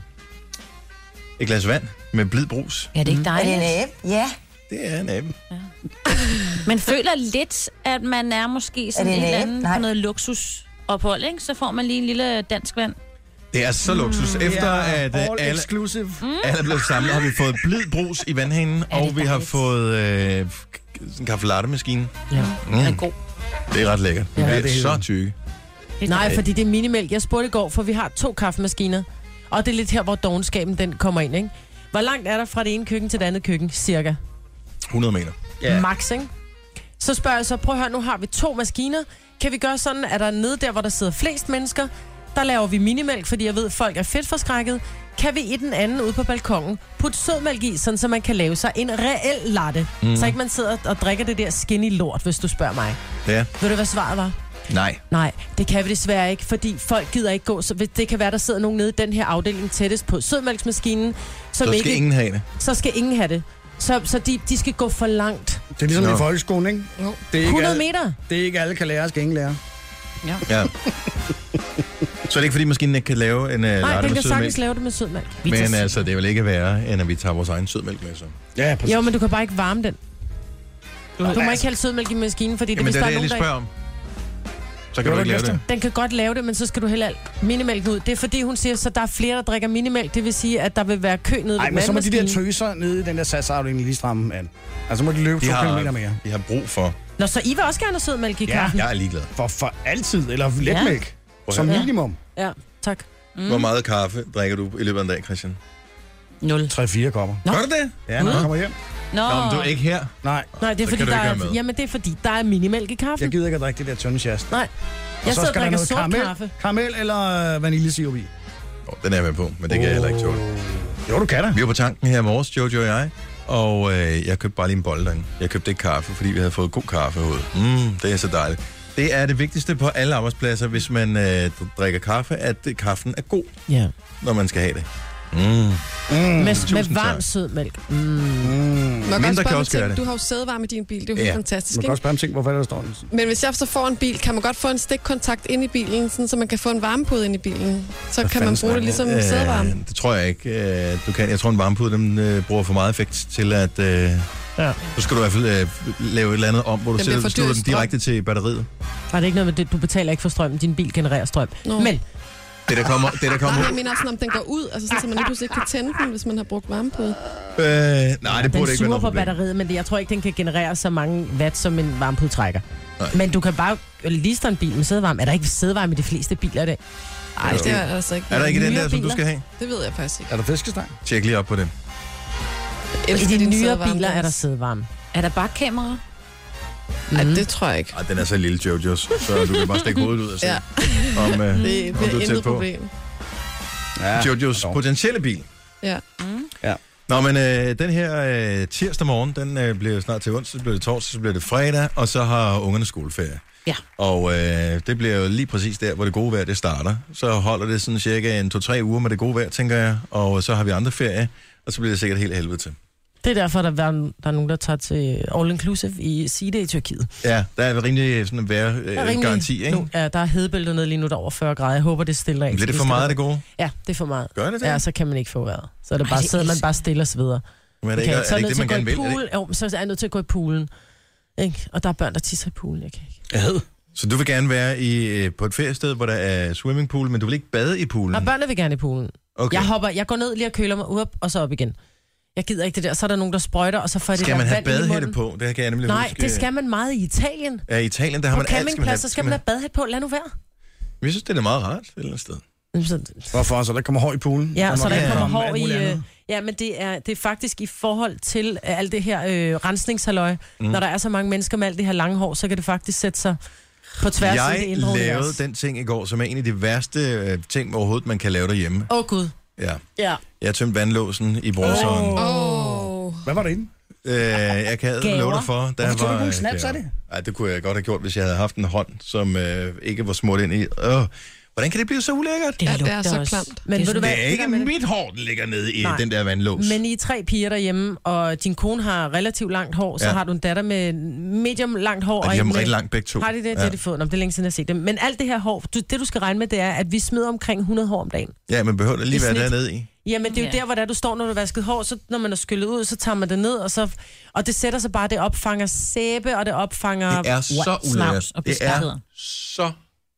Speaker 1: et glas vand med blid brus.
Speaker 6: Ja, det er
Speaker 8: Mm.
Speaker 6: ikke dejligt.
Speaker 8: Ja.
Speaker 1: Det er en abe.
Speaker 6: Man føler lidt, at man er måske sådan
Speaker 8: Er
Speaker 6: er et
Speaker 8: det en
Speaker 6: eller
Speaker 8: abe?
Speaker 6: andet
Speaker 8: Nej.
Speaker 6: på noget luksusophold, ikke? Så får man lige en lille dansk vand.
Speaker 1: Det er så luksus. Efter
Speaker 3: Ja,
Speaker 1: at øh,
Speaker 3: all
Speaker 1: alle,
Speaker 3: exclusive.
Speaker 2: Mm.
Speaker 1: alle er blevet samlet, har vi fået blid brus i vandhanen,
Speaker 6: er
Speaker 1: og vi har
Speaker 6: dejligt.
Speaker 1: fået øh, en kaffe latte maskine.
Speaker 2: Ja.
Speaker 6: Den er
Speaker 1: Mm,
Speaker 6: god.
Speaker 1: det er ret lækkert. Ja, det er,
Speaker 3: det er
Speaker 1: så
Speaker 3: det.
Speaker 1: tykke.
Speaker 2: Nej, fordi det er minimælk. Jeg spurgte i går, for vi har to kaffemaskiner. Og det er lidt her, hvor dogenskaben den kommer ind, ikke? Hvor langt er der fra det ene køkken til det andet køkken, cirka?
Speaker 1: 100 meter.
Speaker 2: ja.
Speaker 3: Ja.
Speaker 2: max, ikke? Så spørger jeg så, prøv at høre, nu har vi to maskiner. Kan vi gøre sådan, at der nede der, hvor der sidder flest mennesker, der laver vi minimælk, fordi jeg ved, at folk er fedt forskrækket. Kan vi i den anden ude på balkongen putte sødmælk i, sådan så man kan lave sig en reel latte? Mm. Så ikke man sidder og drikker det der skinny lort, hvis du spørger mig.
Speaker 1: Ja.
Speaker 2: Ved du, hvad svaret var?
Speaker 1: Nej.
Speaker 2: Nej, det kan vi desværre ikke, fordi folk gider ikke gå. Så hvis- det kan være, der sidder nogen nede i den her afdeling tættest på sødmælksmaskinen, som
Speaker 1: Så skal
Speaker 2: ikke,
Speaker 1: ingen have det.
Speaker 2: så skal ingen have det. Så, så de, de skal gå for langt.
Speaker 3: Det er ligesom
Speaker 1: Nå.
Speaker 3: i folkeskolen, ikke?
Speaker 4: Jo.
Speaker 3: Det er ikke,
Speaker 2: 100
Speaker 3: alle,
Speaker 2: meter?
Speaker 3: det er ikke alle kan lære, skal ingen lære.
Speaker 1: Ja. Så er det ikke, fordi maskinen ikke kan lave en uh,
Speaker 2: Nej,
Speaker 1: latte med
Speaker 2: den kan sagtens
Speaker 1: sødmælk.
Speaker 2: lave det med sødmælk.
Speaker 1: Men altså, det vil ikke være, end at vi tager vores egen sødmælk med, så.
Speaker 3: Ja, præcis.
Speaker 2: Jo, men du kan bare ikke varme den. Du må ikke hælde sødmælk i maskinen, fordi det,
Speaker 1: Altså- Jamen,
Speaker 2: hvis
Speaker 1: det er
Speaker 2: der
Speaker 1: det, jeg lige
Speaker 2: er nogen, der...
Speaker 1: spørger om. Så kan du ikke lave det.
Speaker 2: Den kan godt lave det, men så skal du hælde alt minimælken ud. Det er fordi, hun siger, så der er flere, der drikker minimælk. Det vil sige, at der vil være kø nede
Speaker 3: Nej,
Speaker 2: ved
Speaker 3: men så må de der
Speaker 2: vandmaskinen.
Speaker 3: tøser nede i den der satsafdeling lige stramme an. Altså må de løbe
Speaker 1: De
Speaker 3: to
Speaker 1: har-
Speaker 3: kilometer mere.
Speaker 1: De har brug for.
Speaker 2: Nå, så I vil også gerne have sødmælk i kaffen?
Speaker 1: Jeg er ligeglad.
Speaker 3: For, for altid, eller letmælk.
Speaker 1: Prøv at
Speaker 3: Som
Speaker 1: høre.
Speaker 3: minimum.
Speaker 2: Ja, tak. Mm.
Speaker 1: Hvor meget kaffe drikker du i løbet af en dag, Christian?
Speaker 2: 0.
Speaker 3: 3-4 kommer.
Speaker 1: Nå. Gør du det?
Speaker 3: Ja, når
Speaker 1: Nå.
Speaker 3: jeg kommer hjem.
Speaker 2: Nå.
Speaker 1: Nå, men du er ikke her.
Speaker 3: Nej.
Speaker 2: Nej, det er,
Speaker 1: Så kan
Speaker 2: fordi,
Speaker 1: du
Speaker 2: der
Speaker 1: ikke være
Speaker 2: er,
Speaker 1: med.
Speaker 2: jamen, det er fordi, der er minimælk i kaffen.
Speaker 3: Jeg gider ikke at drikke det der tynde sjast.
Speaker 2: Nej. Jeg sidder og drikker sort kaffe.
Speaker 3: karamel eller øh, vanillesirup i.
Speaker 1: Den er jeg med på, men det kan jeg heller ikke tåle.
Speaker 3: Jo, du kan da.
Speaker 1: Vi var på tanken her i morges, Jojo og jeg, og øh, jeg købte bare lige en bolle derinde. Jeg købte ikke kaffe, fordi vi havde fået god kaffe ud. Mm, det er så dejligt. Det er det vigtigste på alle arbejdspladser, hvis man øh, drikker kaffe, at øh, kaffen er god,
Speaker 2: Ja.
Speaker 1: når man skal have det. Mm. Mm,
Speaker 2: Med, med
Speaker 1: tusind tak.
Speaker 2: varm sødmælk. Mm.
Speaker 1: Mm.
Speaker 4: Må jeg godt
Speaker 1: Mindre
Speaker 4: spørge
Speaker 1: kan
Speaker 4: om
Speaker 1: også gøre
Speaker 4: ting?
Speaker 1: det.
Speaker 4: Du har jo sædevarme i din bil, det er jo helt fantastisk,
Speaker 3: Man kan
Speaker 4: ikke?
Speaker 3: også spørge om ting, hvorfor der står den.
Speaker 4: Men hvis jeg så får en bil, kan man godt få en stikkontakt ind i bilen, sådan, så man kan få en varmepude ind i bilen. Så kan man bruge det ligesom øh, sædevarme.
Speaker 1: Det tror jeg ikke, øh, du kan. Jeg tror, en varmepude, den øh, bruger for meget effekt til at... Øh, ja. Så skal du i hvert fald øh, lave et eller andet om, hvor du
Speaker 2: Den bliver
Speaker 1: selv
Speaker 2: for dyr i
Speaker 1: slutter den
Speaker 2: strøm.
Speaker 1: direkte til batteriet.
Speaker 2: Var det ikke noget med det, du betaler ikke for strøm, din bil genererer strøm. No. Men
Speaker 1: Det, der kommer, det, der
Speaker 4: Nej,
Speaker 1: kommer
Speaker 4: jeg mener sådan, om den går ud, altså sådan, så man lige pludselig ikke kan tænde den, hvis man har brugt varmepude.
Speaker 1: Øh, nej, det
Speaker 2: den
Speaker 1: burde ikke være
Speaker 2: suger
Speaker 1: noget
Speaker 2: på
Speaker 1: problem.
Speaker 2: batteriet, men det- jeg tror ikke, den kan generere så mange watt, som en varmepude trækker. Men du kan bare liste en bil med sædevarme. Er der ikke sædevarme i de fleste biler i dag?
Speaker 4: Nej, det er altså ikke.
Speaker 1: Er der ikke den der,
Speaker 2: Nyere
Speaker 1: som du
Speaker 2: biler?
Speaker 1: skal have?
Speaker 4: Det ved jeg faktisk ikke.
Speaker 3: Er der fiskestang?
Speaker 1: Tjek lige op på det.
Speaker 4: elsker
Speaker 2: I de
Speaker 4: din
Speaker 2: nyere
Speaker 4: sædevarme,
Speaker 2: biler er der
Speaker 4: Dennis.
Speaker 2: sædevarme.
Speaker 6: Er der bakkamera?
Speaker 4: Nej, det tror jeg ikke.
Speaker 1: Ej, den er så lille, Jojos, så du kan bare stikke hovedet ud og se,
Speaker 4: Ja.
Speaker 1: om, øh,
Speaker 4: Det
Speaker 1: om du
Speaker 4: er
Speaker 1: er
Speaker 4: intet
Speaker 1: tæt på.
Speaker 4: problem.
Speaker 1: Ja, Jojos potentielle bil.
Speaker 4: Ja.
Speaker 3: Ja.
Speaker 1: Nå, men øh, den her øh, tirsdag morgen, den øh, bliver snart til onsdag, så bliver det torsdag, så bliver det fredag, og så har ungerne skoleferie.
Speaker 6: Ja.
Speaker 1: Og øh, det bliver jo lige præcis der, hvor det gode vejr det starter. Så holder det sådan cirka en to-tre uger med det gode vejr, tænker jeg, og så har vi andre ferie, og så bliver det sikkert helt af helvede til.
Speaker 2: Det er derfor, der er, der er nogen, der tager til all inclusive i Side i Tyrkiet.
Speaker 1: Ja, der er rimelig øh, sådan en
Speaker 2: Der er rimelig-
Speaker 1: vejrgaranti, ikke?
Speaker 2: Nu, ja, der er hedebæltet ned lige nu, der er over 40 grader. Jeg håber, det stiller af.
Speaker 1: Bliver det for meget af det gode?
Speaker 2: Ja, det er for meget.
Speaker 1: Gør det det?
Speaker 2: Ja, altså, så kan man ikke få vejret. Så er det
Speaker 1: Altså, Ej,
Speaker 2: bare,
Speaker 1: det er
Speaker 2: sidder man
Speaker 1: irriterende.
Speaker 2: bare stille og sveder.
Speaker 1: Men er det ikke- er
Speaker 2: så
Speaker 1: det ikke
Speaker 2: nødt
Speaker 1: det,
Speaker 2: til
Speaker 1: man
Speaker 2: at gå
Speaker 1: gerne
Speaker 2: i
Speaker 1: vil? Er
Speaker 2: Pool, jo, men så er jeg nødt til at gå i poolen. Ikke? Og der er børn, der tisser i poolen. Jeg kan ikke.
Speaker 1: Ad. Så du vil gerne være i, øh, på et feriested, hvor der er swimmingpool, men du vil ikke bade i poolen?
Speaker 2: Og børnene vil gerne i poolen.
Speaker 1: Mm. Okay.
Speaker 2: Jeg hopper, jeg går ned lige og køler mig op, og så op igen. Jeg gider ikke det der. Så er der nogen, der sprøjter, og så får jeg det
Speaker 1: Skal man
Speaker 2: der
Speaker 1: have
Speaker 2: vand ind i
Speaker 1: badehætte
Speaker 2: munden.
Speaker 1: på? Det kan jeg nemlig
Speaker 2: Nej,
Speaker 1: huske.
Speaker 2: det skal man meget i Italien.
Speaker 1: Ja, i Italien, der har
Speaker 2: på
Speaker 1: man alt, skal man have.
Speaker 2: campingpladser skal man have badhæt på. Lad nu være.
Speaker 1: Men Jeg synes, det er meget rart et eller andet sted.
Speaker 3: Hvorfor? Så der kommer hår i poolen?
Speaker 2: Ja, og så der ikke kommer hår
Speaker 3: alt muligt
Speaker 2: i... Øh,
Speaker 3: andet.
Speaker 2: ja, men det er, det er faktisk i forhold til øh, alt det her øh, rensningshalløj.
Speaker 1: Mm.
Speaker 2: Mm. Når der er så mange mennesker med alt det her lange hår, så kan det faktisk sætte sig på tværs af det
Speaker 1: Jeg
Speaker 2: indre
Speaker 1: lavede
Speaker 2: univers.
Speaker 1: den ting i går, som er en af de værste øh, ting overhovedet, man kan lave derhjemme.
Speaker 2: Åh, oh, Gud.
Speaker 1: Ja.
Speaker 2: Ja.
Speaker 1: Jeg tømte vandlåsen i
Speaker 2: øh,
Speaker 1: bruseren.
Speaker 3: Åh.
Speaker 4: Oh.
Speaker 3: Hvad var det inde?
Speaker 1: Øh, jeg kan
Speaker 3: Gaver.
Speaker 1: love dig for.
Speaker 3: Hvorfor tog du ikke en
Speaker 1: øh,
Speaker 3: snaps
Speaker 1: gaver.
Speaker 3: af det?
Speaker 1: Ej, det kunne jeg godt have gjort, hvis jeg havde haft en hånd, som øh, ikke var smurt ind i. Øh, hvordan kan det blive så ulækkert?
Speaker 6: Det
Speaker 4: Ja, det er så klamt.
Speaker 2: Men ved du hvad,
Speaker 1: det er
Speaker 2: det
Speaker 1: ikke
Speaker 2: der med det-
Speaker 1: mit hår, der ligger nede i
Speaker 2: Nej.
Speaker 1: den der vandlås.
Speaker 2: Men I er tre piger derhjemme, og din kone har relativt langt hår, så
Speaker 1: Ja.
Speaker 2: ja. har du en datter med medium langt hår.
Speaker 1: Og de har
Speaker 2: en
Speaker 1: dem
Speaker 2: med-
Speaker 1: rigtig langt begge to.
Speaker 2: Har de det? Det
Speaker 1: Ja.
Speaker 2: har de fået. Nå, det er længe siden, jeg har set dem. Men alt det her hår, du, det du skal regne med, det er, at vi smider omkring 100 hår om dagen.
Speaker 1: Ja, men behøver det lige
Speaker 2: I
Speaker 1: være
Speaker 2: snit.
Speaker 1: dernede i?
Speaker 2: Jamen, det er jo
Speaker 6: Ja.
Speaker 2: ja. der, hvor der, du står, når du har vasket hår, så når man er skyllet ud, så tager man det ned, og, så, og det sætter sig bare, det opfanger sæbe, og det opfanger...
Speaker 1: Det er så ulækkert. Det er så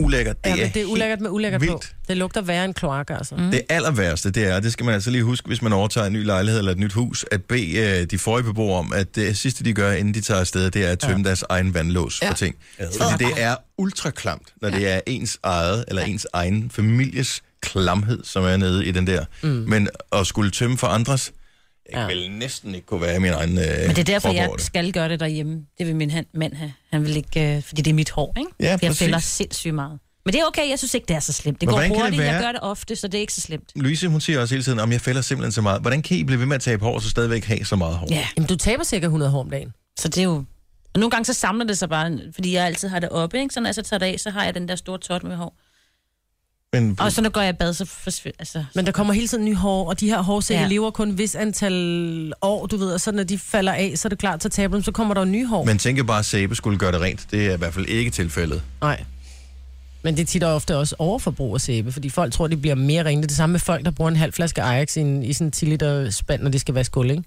Speaker 1: ulækkert.
Speaker 2: Det
Speaker 1: Det
Speaker 2: ja, men
Speaker 1: er
Speaker 2: det er ulækkert med ulækkert
Speaker 1: vildt.
Speaker 2: vildt. på. Det lugter værre end kloak, altså.
Speaker 1: Mm. Det aller værste, det er, og det skal man altså lige huske, hvis man overtager en ny lejlighed eller et nyt hus, at bede øh, de forrige beboere om, at det sidste, de gør, inden de tager afsted, det er at tømme ja. deres egen vandlås ja.
Speaker 4: Ja.
Speaker 1: for ting. Fordi det er ultraklamt, når ja. det er ens eget eller ens egen families klamhed, som er nede i den der. Mm. Men at skulle tømme for andres, jeg ja. vil næsten ikke kunne være i min egen øh,
Speaker 6: Men det er derfor,
Speaker 1: krop
Speaker 6: jeg
Speaker 1: over det.
Speaker 6: skal gøre det derhjemme. Det vil min han, mand have. Han vil ikke, øh, fordi det er mit hår, ikke?
Speaker 1: Ja,
Speaker 6: jeg
Speaker 1: præcis.
Speaker 6: fælder sindssygt meget. Men det er okay, jeg synes ikke, det er så slemt. Det
Speaker 1: Men
Speaker 6: går
Speaker 1: hvordan kan det
Speaker 6: hurtigt, jeg
Speaker 1: være-
Speaker 6: gør det ofte, så det er ikke så slemt.
Speaker 1: Louise, hun siger også hele tiden, om jeg fælder simpelthen så meget. Hvordan kan I blive ved med at tabe hår, og så stadigvæk have så meget hår?
Speaker 6: Ja,
Speaker 2: Jamen, du taber cirka 100 hår om dagen.
Speaker 6: så det er jo... Og nogle gange så samler det sig bare, fordi jeg altid har det oppe, ikke? Så når jeg så tager det af, så har jeg den der store tot med hår.
Speaker 1: Men,
Speaker 6: Og så når går jeg i bad, så forsvinder... Altså,
Speaker 2: Men der kommer hele tiden nye hår, og de her hårsække
Speaker 6: Ja.
Speaker 2: ja. lever kun et vis antal år, du ved, og så når de falder af, så er det klart, så taber dem, så kommer der jo nye hår.
Speaker 1: men tænk jo bare, at sæbe skulle gøre det rent. Det er i hvert fald ikke tilfældet.
Speaker 2: Nej. Men det er tit og ofte også overforbrug af sæbe, fordi folk tror, de bliver mere rene. Det er det samme med folk, der bruger en halv flaske Ajax i, en, i sådan en 10 liter spand, når de skal vaske gulv, ikke?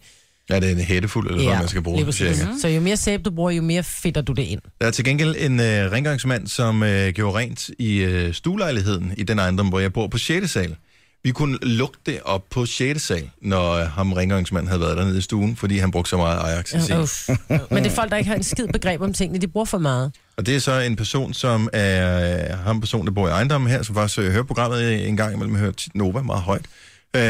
Speaker 1: Ja, det er en hættefuld, eller ja, hvad man skal bruge.
Speaker 2: lige præcis. Mhm.
Speaker 1: cirka.
Speaker 2: Så jo mere sæbe du bruger, jo mere fedter du det ind.
Speaker 1: Der er til gengæld en øh, rengøringsmand, som øh, gjorde rent i øh, stuelejligheden i den ejendom, hvor jeg bor på 6. sal. Vi kunne lugte det op på 6. sal, når øh, ham rengøringsmanden havde været dernede i stuen, fordi han brugte så meget Ajax i
Speaker 2: Ja,
Speaker 1: sin.
Speaker 2: Øh, Men det er folk, der ikke har en skid begreb om tingene, de bruger for meget.
Speaker 1: Og det er så en person, som er øh, ham person, der bor i ejendommen her, som faktisk øh, hører programmet en gang imellem, hører tit Nova meget højt. Øh,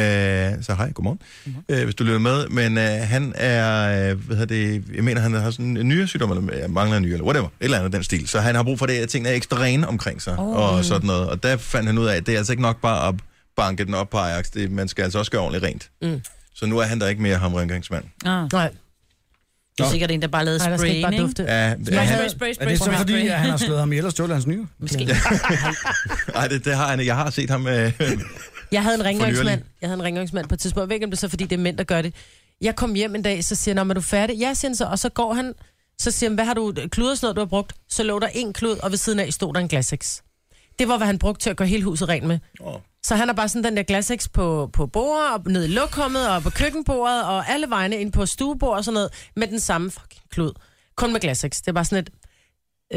Speaker 1: så hej, godmorgen, mm-hmm. øh, hvis du lytter med. Men øh, han er, øh, hvad hedder det, jeg mener, han har sådan en nyresygdom, eller øh, mangler en nyre, eller whatever, et eller andet af den stil. Så han har brug for det, at tingene er ekstra rene omkring sig,
Speaker 13: Åh.
Speaker 1: oh. og sådan noget. Og der fandt han ud af, at det er altså ikke nok bare at banke den op på Ajax. Det, man skal altså også gøre ordentligt rent.
Speaker 2: Mm.
Speaker 1: Så nu er han der ikke mere ham rengøringsmand.
Speaker 6: Ah.
Speaker 2: Nej.
Speaker 6: Det er sikkert en, der bare lavede
Speaker 2: Nej, der skal
Speaker 6: spray,
Speaker 2: ikke bare
Speaker 6: ikke?
Speaker 2: dufte.
Speaker 1: Ja,
Speaker 6: Spray,
Speaker 1: han-
Speaker 6: spray, spray,
Speaker 3: Er det så
Speaker 6: spray,
Speaker 3: fordi,
Speaker 6: spray.
Speaker 3: at han har slået ham ihjel og stjålet hans nyre?
Speaker 6: Måske.
Speaker 1: Nej, det, det har han. ikke. Jeg har set ham... Øh,
Speaker 2: Jeg havde en
Speaker 1: For nylig.
Speaker 2: rengøringsmand. Jeg havde en rengøringsmand på et tidspunkt. Jeg ved ikke, om det er så, fordi det er mænd, der gør det. Jeg kom hjem en dag, så siger han, "Nå, men er du færdig? Ja, siger han så, og så går han, så siger han, hvad har du, kluder sådan noget, du har brugt? Så lå der en klud, og ved siden af stod der en glasix. Det var, hvad han brugte til at gøre hele huset rent med.
Speaker 1: Oh.
Speaker 2: Så han har bare sådan den der glasix på, på bordet, og ned i lokummet, og på køkkenbordet, og alle vegne ind på stuebordet og sådan noget, med den samme fucking klud. Kun med glasix. Det er bare sådan et,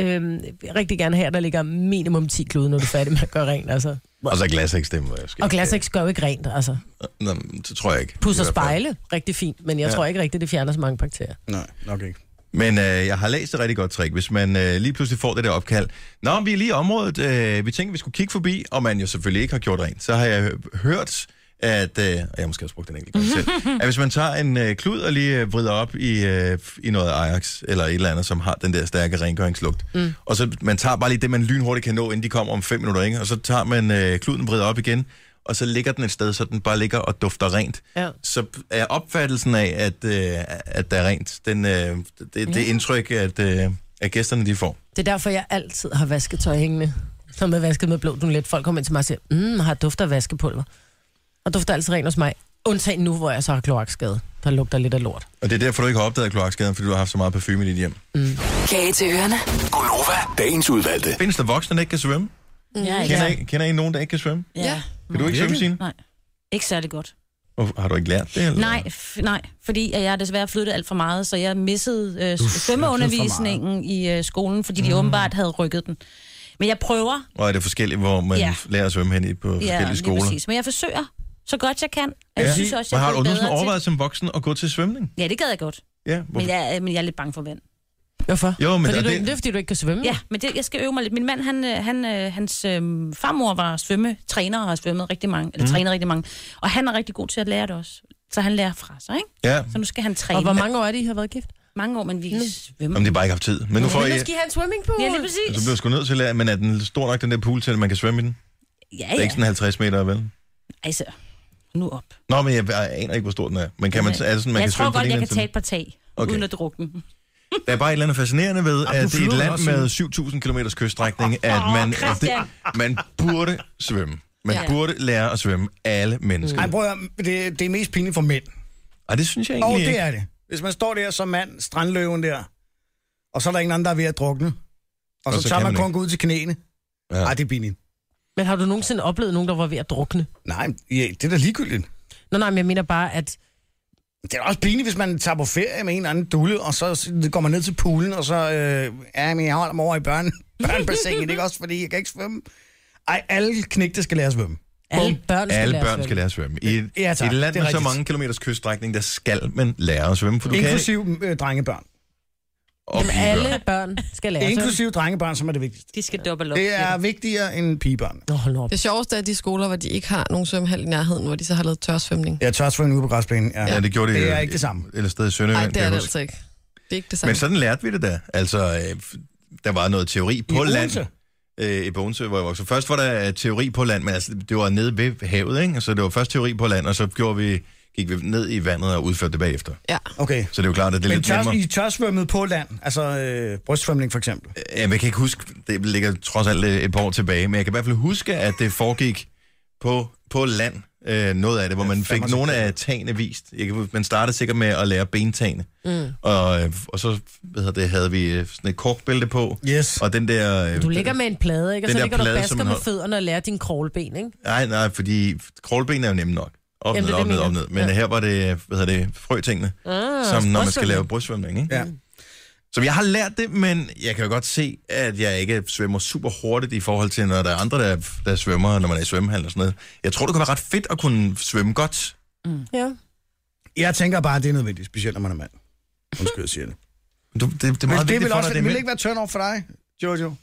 Speaker 2: øhm, rigtig gerne her, der ligger minimum 10 klude, når du er færdig med at gøre rent, altså.
Speaker 1: og så glas ikke stemmer, jeg skal
Speaker 2: Og glasix gør jo ikke rent, altså.
Speaker 1: Nå, men det tror jeg ikke.
Speaker 2: Pudser
Speaker 1: I hvert fald.
Speaker 2: spejle rigtig fint, men jeg
Speaker 1: Ja.
Speaker 2: ja. tror ikke rigtigt, det fjerner så mange bakterier.
Speaker 1: Nej, nok ikke. Men øh, jeg har læst et rigtig godt trick, hvis man øh, lige pludselig får det der opkald. Nå, vi er lige i området, øh, vi tænker, vi skulle kigge forbi, og man jo selvfølgelig ikke har gjort rent. Så har jeg hø- hørt, at, øh, og jeg har måske også brugt den enkelt gang selv, at hvis man tager en øh, klud og lige øh, vrider op i, øh, i noget Ajax, eller et eller andet, som har den der stærke rengøringslugt, Mm. og så man tager bare lige det, man lynhurtigt kan nå, inden de kommer om fem minutter, ikke? og så tager man øh, kluden vrider op igen, og så ligger den et sted, så den bare ligger og dufter rent.
Speaker 2: Ja.
Speaker 1: Så er opfattelsen af, at, øh, at der er rent, den, øh, det, det
Speaker 2: Ja.
Speaker 1: indtryk, at, øh, at gæsterne de får.
Speaker 2: Det er derfor, jeg altid har vasket tøj hængende. Som er vasket med blå dunet. Folk kommer ind til mig og siger, mm, har dufter af vaskepulver. Og dufter altid rent hos mig. Undtagen nu, hvor jeg så har kloakskade. Der lugter lidt af lort.
Speaker 1: Og det er derfor, du ikke har opdaget kloakskaden, fordi du har haft så meget parfume i dit hjem.
Speaker 8: Kage til ørerne.
Speaker 1: Gunova, dagens udvalgte. Findes der voksne, der ikke kan svømme?
Speaker 4: Mm.
Speaker 6: Ja,
Speaker 1: Kender,
Speaker 6: ikke.
Speaker 1: I, kender I nogen, der ikke kan svømme?
Speaker 6: Ja.
Speaker 1: Kan du ikke svømme, Signe?
Speaker 6: Nej. Ikke særlig godt.
Speaker 1: Hvorfor- Har du ikke lært det? Eller?
Speaker 6: Nej, f- nej, fordi at jeg desværre flyttede alt for meget, så jeg missede øh, svømmeundervisningen i øh, skolen, fordi
Speaker 1: Mm.
Speaker 6: de åbenbart havde rykket den. Men jeg prøver,
Speaker 1: Og er det forskelligt, hvor man
Speaker 6: Ja.
Speaker 1: ja. lærer at svømme hen i på
Speaker 6: ja,
Speaker 1: forskellige
Speaker 6: lige
Speaker 1: skoler?
Speaker 6: præcis. Men jeg forsøger så godt jeg kan. Og Jeg synes også,
Speaker 1: Men
Speaker 6: jeg
Speaker 1: har
Speaker 6: er
Speaker 1: du
Speaker 6: blevet
Speaker 1: nogensinde
Speaker 6: bedre til-
Speaker 1: overvejet som voksen at gå til svømning?
Speaker 6: Ja, det gad jeg godt.
Speaker 1: Ja,
Speaker 6: Men jeg, er- men jeg er lidt bange for vand.
Speaker 2: Hvorfor?
Speaker 1: Jo, men
Speaker 2: fordi
Speaker 1: og
Speaker 2: du,
Speaker 1: det,
Speaker 2: det er fordi, du ikke kan
Speaker 1: Mm.
Speaker 2: svømme.
Speaker 6: Ja, men det, jeg skal øve mig lidt. Min mand, han, øh, han, øh, hans øh, farmor var svømmetræner og har svømmet rigtig mange, eller
Speaker 2: Mm.
Speaker 6: mm. træner rigtig mange. Og han er rigtig god til at lære det også. Så han lærer fra sig, ikke?
Speaker 1: Ja.
Speaker 6: Så nu skal han træne.
Speaker 2: Og hvor mange år er det, I har været gift?
Speaker 6: Mange år, men vi
Speaker 1: Mm.
Speaker 6: svømmer.
Speaker 1: Jamen, det er Altså, bare ikke haft tid. Men nu får I...
Speaker 2: skal I have en swimmingpool.
Speaker 6: Ja, lige præcis.
Speaker 1: Så bliver jeg sgu nødt til at lære, men er den stor nok, den der pool, til at man kan svømme i den?
Speaker 6: Ja,
Speaker 1: Det er
Speaker 6: ja.
Speaker 1: ikke sådan 50 meter, vel?
Speaker 6: Altså, nu op.
Speaker 1: Nå, men jeg, jeg aner ikke, hvor stor den er. Men kan man, er det sådan, man
Speaker 6: jeg
Speaker 1: kan
Speaker 6: tror
Speaker 1: svømme fra
Speaker 6: godt,
Speaker 1: den
Speaker 6: jeg
Speaker 1: ene
Speaker 6: kan
Speaker 1: til den
Speaker 6: tage et par tag,
Speaker 1: Okay.
Speaker 6: okay. uden at drukne den.
Speaker 1: Der er bare et eller andet fascinerende ved,
Speaker 6: Ej, nu
Speaker 1: at i
Speaker 6: flyver
Speaker 1: et
Speaker 6: den
Speaker 1: land
Speaker 6: også,
Speaker 1: med
Speaker 6: Signe.
Speaker 1: 7000 km kyststrækning, at man,
Speaker 6: Christian.
Speaker 1: at det, man burde svømme. Man
Speaker 3: Ja.
Speaker 1: ja. burde lære at svømme alle mennesker.
Speaker 3: Ej, prøv at, høre, det, det er mest pinligt for mænd.
Speaker 1: Og det synes jeg egentlig
Speaker 3: Og
Speaker 1: ikke.
Speaker 3: det er det. Hvis man står der som mand, strandløven der, og så er der ingen anden, der er ved at drukne, og, og så, så tager
Speaker 1: kan
Speaker 3: man
Speaker 1: man
Speaker 3: kun gå ud til knæene. Ja. Ej, det er pinligt.
Speaker 2: Men har du nogensinde oplevet nogen, der var ved at drukne?
Speaker 3: Nej, ja, det er da ligegyldigt.
Speaker 2: Nå, nej, men jeg mener bare, at...
Speaker 3: Det er da også pinligt, hvis man tager på ferie med en eller anden dulle, og så s- går man ned til poolen, og så... Øh, ja, men jeg holder mig over i børne, børnebassinet, ikke også? Fordi jeg kan ikke svømme. Ej, alle knægte skal lære at svømme.
Speaker 2: Alle
Speaker 3: Bum.
Speaker 2: børn skal
Speaker 1: Alle
Speaker 2: lære at
Speaker 1: børn
Speaker 2: svømme.
Speaker 1: skal lære at svømme. I et,
Speaker 3: Ja,
Speaker 1: ja,
Speaker 3: tak.
Speaker 1: et land
Speaker 3: Det er
Speaker 1: med så
Speaker 3: rigtigt.
Speaker 1: mange kilometers kyststrækning, der skal man lære at svømme. For du kan
Speaker 3: Inklusiv øh, drengebørn.
Speaker 1: Og
Speaker 2: Men
Speaker 1: pigebørn.
Speaker 2: alle børn skal lære at svømme.
Speaker 3: Inklusiv drengebørn, som er det vigtigste.
Speaker 6: De skal dobbelt
Speaker 3: Det er vigtigere end pigebørn.
Speaker 2: Nå, hold op.
Speaker 4: Det sjoveste er de skoler, hvor de ikke har nogen svømmehal i nærheden, hvor de så har lavet tørsvømning.
Speaker 3: Jeg tør svømme ude på græsplænen. Ja,
Speaker 1: Ja, det gjorde det
Speaker 3: Det er
Speaker 1: jo.
Speaker 3: ikke det samme.
Speaker 1: Eller sted i
Speaker 4: Nej,
Speaker 1: Sønderjylland.
Speaker 4: det er
Speaker 1: kan
Speaker 4: det
Speaker 1: jeg huske.
Speaker 4: altså ikke. Det er ikke det samme.
Speaker 1: Men sådan lærte vi det da. Altså, øh, f- der var noget teori på
Speaker 3: Odense?
Speaker 1: land. Øh, I Bogense, hvor jeg voksede. Først var der øh, teori på land, men altså, det var nede ved havet, ikke? Så det var først teori på land, og så gjorde vi, gik vi ned i vandet og udførte det bagefter.
Speaker 4: Ja.
Speaker 3: Okay.
Speaker 1: Så det er jo klart, at det er
Speaker 3: Men
Speaker 1: lidt
Speaker 3: tør,
Speaker 1: nemmere.
Speaker 3: I tørsvømmede på land, altså øh, brystsvømning for eksempel.
Speaker 1: Jamen, jeg kan ikke huske, det ligger trods alt øh, et par år tilbage, men jeg kan i hvert fald huske, at det foregik på, på land, øh, noget af det, hvor man fik
Speaker 3: fandme
Speaker 1: nogle af tagene vist. Jeg kan, huske, man startede sikkert med at lære bentagene.
Speaker 2: Mm.
Speaker 1: Og, øh, og så hvad hedder det, havde vi øh, sådan et korkbælte på.
Speaker 3: Yes.
Speaker 1: Og den der... øh,
Speaker 2: Du ligger med en plade, ikke? Og
Speaker 1: Den
Speaker 2: så
Speaker 1: der
Speaker 2: ligger du og
Speaker 1: plade, som
Speaker 2: basker
Speaker 1: man
Speaker 2: med
Speaker 1: holder.
Speaker 2: fødderne og lærer din kravlben, ikke?
Speaker 1: Nej, nej, fordi krålben er jo nemme nok. Op,
Speaker 2: Jamen,
Speaker 1: ned,
Speaker 2: det er
Speaker 1: op,
Speaker 2: det,
Speaker 1: ned,
Speaker 2: jeg
Speaker 1: op,
Speaker 2: mener.
Speaker 1: ned. Men ja. her var det, hvad hedder det, frøtingene,
Speaker 2: Ah,
Speaker 1: ah, som når man skal
Speaker 2: brystsvømning.
Speaker 1: lave brystsvømning, ikke?
Speaker 3: Ja.
Speaker 1: Som jeg har lært det, men jeg kan jo godt se, at jeg ikke svømmer super hurtigt i forhold til, når der er andre, der, der svømmer, når man er i svømmehallen og sådan noget. Jeg tror, det kunne være ret fedt at kunne svømme godt.
Speaker 2: Ja.
Speaker 3: Jeg tænker bare, at det er nødvendigt, specielt når man er mand. Undskyld, jeg siger det.
Speaker 1: Du, det, det er
Speaker 3: Men
Speaker 1: meget
Speaker 3: det
Speaker 1: vigtigt
Speaker 3: vil
Speaker 1: for
Speaker 3: også
Speaker 1: dig,
Speaker 3: det vil
Speaker 1: mænd.
Speaker 3: ikke være turn off for dig, Jojo.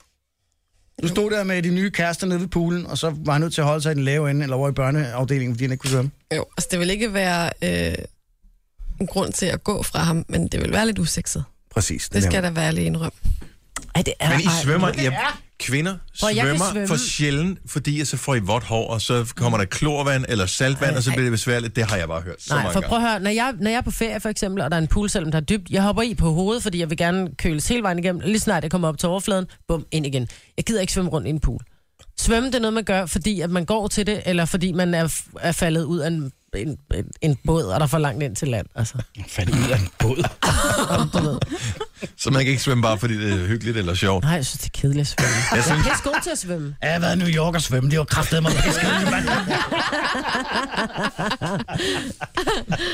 Speaker 3: Du stod der med de nye kærester nede ved poolen, og så var han nødt til at holde sig i den lave ende, eller over i børneafdelingen, fordi han ikke kunne svømme.
Speaker 4: Jo, altså det vil ikke være øh, en grund til at gå fra ham, men det vil være lidt usekset.
Speaker 3: Præcis.
Speaker 4: Det skal der være lige indrømme.
Speaker 2: Ej, det
Speaker 1: Men I svømmer, ja, kvinder
Speaker 4: Hvor jeg kan
Speaker 1: svømmer
Speaker 4: svømme.
Speaker 1: for sjældent, fordi så får I vådt hår, og så kommer der klorvand eller saltvand, og så bliver det besværligt. Det har jeg bare hørt så
Speaker 2: Nej,
Speaker 1: mange
Speaker 2: for
Speaker 1: gange.
Speaker 2: prøv at høre, når jeg, når jeg er på ferie for eksempel, og der er en pool, selvom der er dybt, jeg hopper i på hovedet, fordi jeg vil gerne køles hele vejen igennem. Lige snart jeg kommer op til overfladen, bum, ind igen. Jeg gider ikke svømme rundt i en pool. Svømme, det er noget, man gør, fordi at man går til det, eller fordi man er, er faldet ud af en, en, en, en båd, og der er for langt ind til land. Altså.
Speaker 3: Faldet ud af en båd?
Speaker 1: Så man kan ikke svømme bare, fordi det er hyggeligt eller sjovt.
Speaker 2: Nej, jeg synes, det er kedeligt at svømme.
Speaker 1: Jeg
Speaker 2: Jeg er
Speaker 1: synes,
Speaker 2: pisse god til at svømme.
Speaker 3: Jeg har været i New York og svømme, det var kraftedet mig.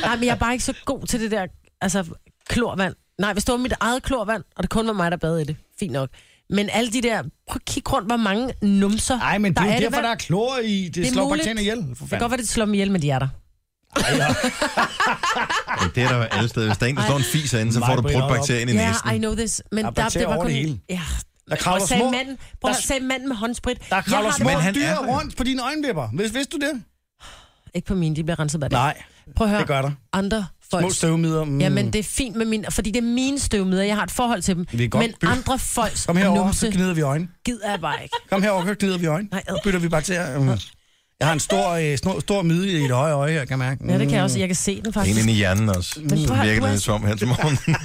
Speaker 2: Nej, men jeg er bare ikke så god til det der altså, klorvand. Nej, hvis det var mit eget klorvand, og det kun var mig, der badede i det, fint nok. Men alle de der, prøv at kigge rundt, hvor mange numser
Speaker 3: Nej, men det er
Speaker 2: i
Speaker 3: jo
Speaker 2: det
Speaker 3: derfor,
Speaker 2: vand.
Speaker 3: der er klor i. Det,
Speaker 2: Det er
Speaker 3: slår
Speaker 2: muligt.
Speaker 3: bakterierne ihjel. For
Speaker 2: Det kan
Speaker 3: fanden.
Speaker 2: godt være, det slår dem ihjel, men de er der.
Speaker 1: Men det er der jo alle steder. Hvis der er en, der står en fis herinde, så får du
Speaker 3: Mig, Britt,
Speaker 1: brudt bakterien i
Speaker 2: Ja,
Speaker 1: næsen.
Speaker 2: yeah, I know this. Men
Speaker 3: Der
Speaker 2: der,
Speaker 3: er
Speaker 2: der,
Speaker 3: bakterier
Speaker 2: det var
Speaker 3: over
Speaker 2: kun...
Speaker 3: det hele.
Speaker 2: Ja.
Speaker 3: Der kravler
Speaker 2: Og sagde
Speaker 3: små-
Speaker 2: manden, prøv at høre,
Speaker 3: der-
Speaker 2: sagde manden med håndsprit.
Speaker 3: Der
Speaker 2: jeg
Speaker 3: kravler
Speaker 2: har
Speaker 3: små
Speaker 1: Men han
Speaker 3: dyr
Speaker 1: er der.
Speaker 3: rundt på dine øjenvipper. Hvis, vidste du det?
Speaker 2: Ikke på mine, de bliver renset bag det.
Speaker 3: Nej,
Speaker 2: Prøv at høre,
Speaker 3: det gør der.
Speaker 2: andre
Speaker 3: Små
Speaker 2: folks...
Speaker 3: støvmider. Mm.
Speaker 2: Jamen, det er fint med mine, fordi det er mine støvmider, jeg har et forhold til dem.
Speaker 3: Vi kan godt
Speaker 2: Men
Speaker 3: bytte.
Speaker 2: andre folks
Speaker 3: Kom herover,
Speaker 2: numse
Speaker 3: så gnider vi øjne.
Speaker 2: gider jeg bare ikke.
Speaker 3: Kom herover, så gnider vi øjne.
Speaker 2: Nej, ad.
Speaker 3: Så bytter vi bakterier. Mm. Jeg har en stor, øh, stor, stor mide i det høje øje, jeg kan mærke. Mm.
Speaker 2: Ja, det kan jeg også. Jeg kan se den
Speaker 1: En
Speaker 2: faktisk.
Speaker 1: inde i hjernen også.
Speaker 2: prøv at
Speaker 1: Så
Speaker 2: høre,
Speaker 1: virker
Speaker 2: du
Speaker 1: det
Speaker 2: er-
Speaker 1: lidt som her til morgen.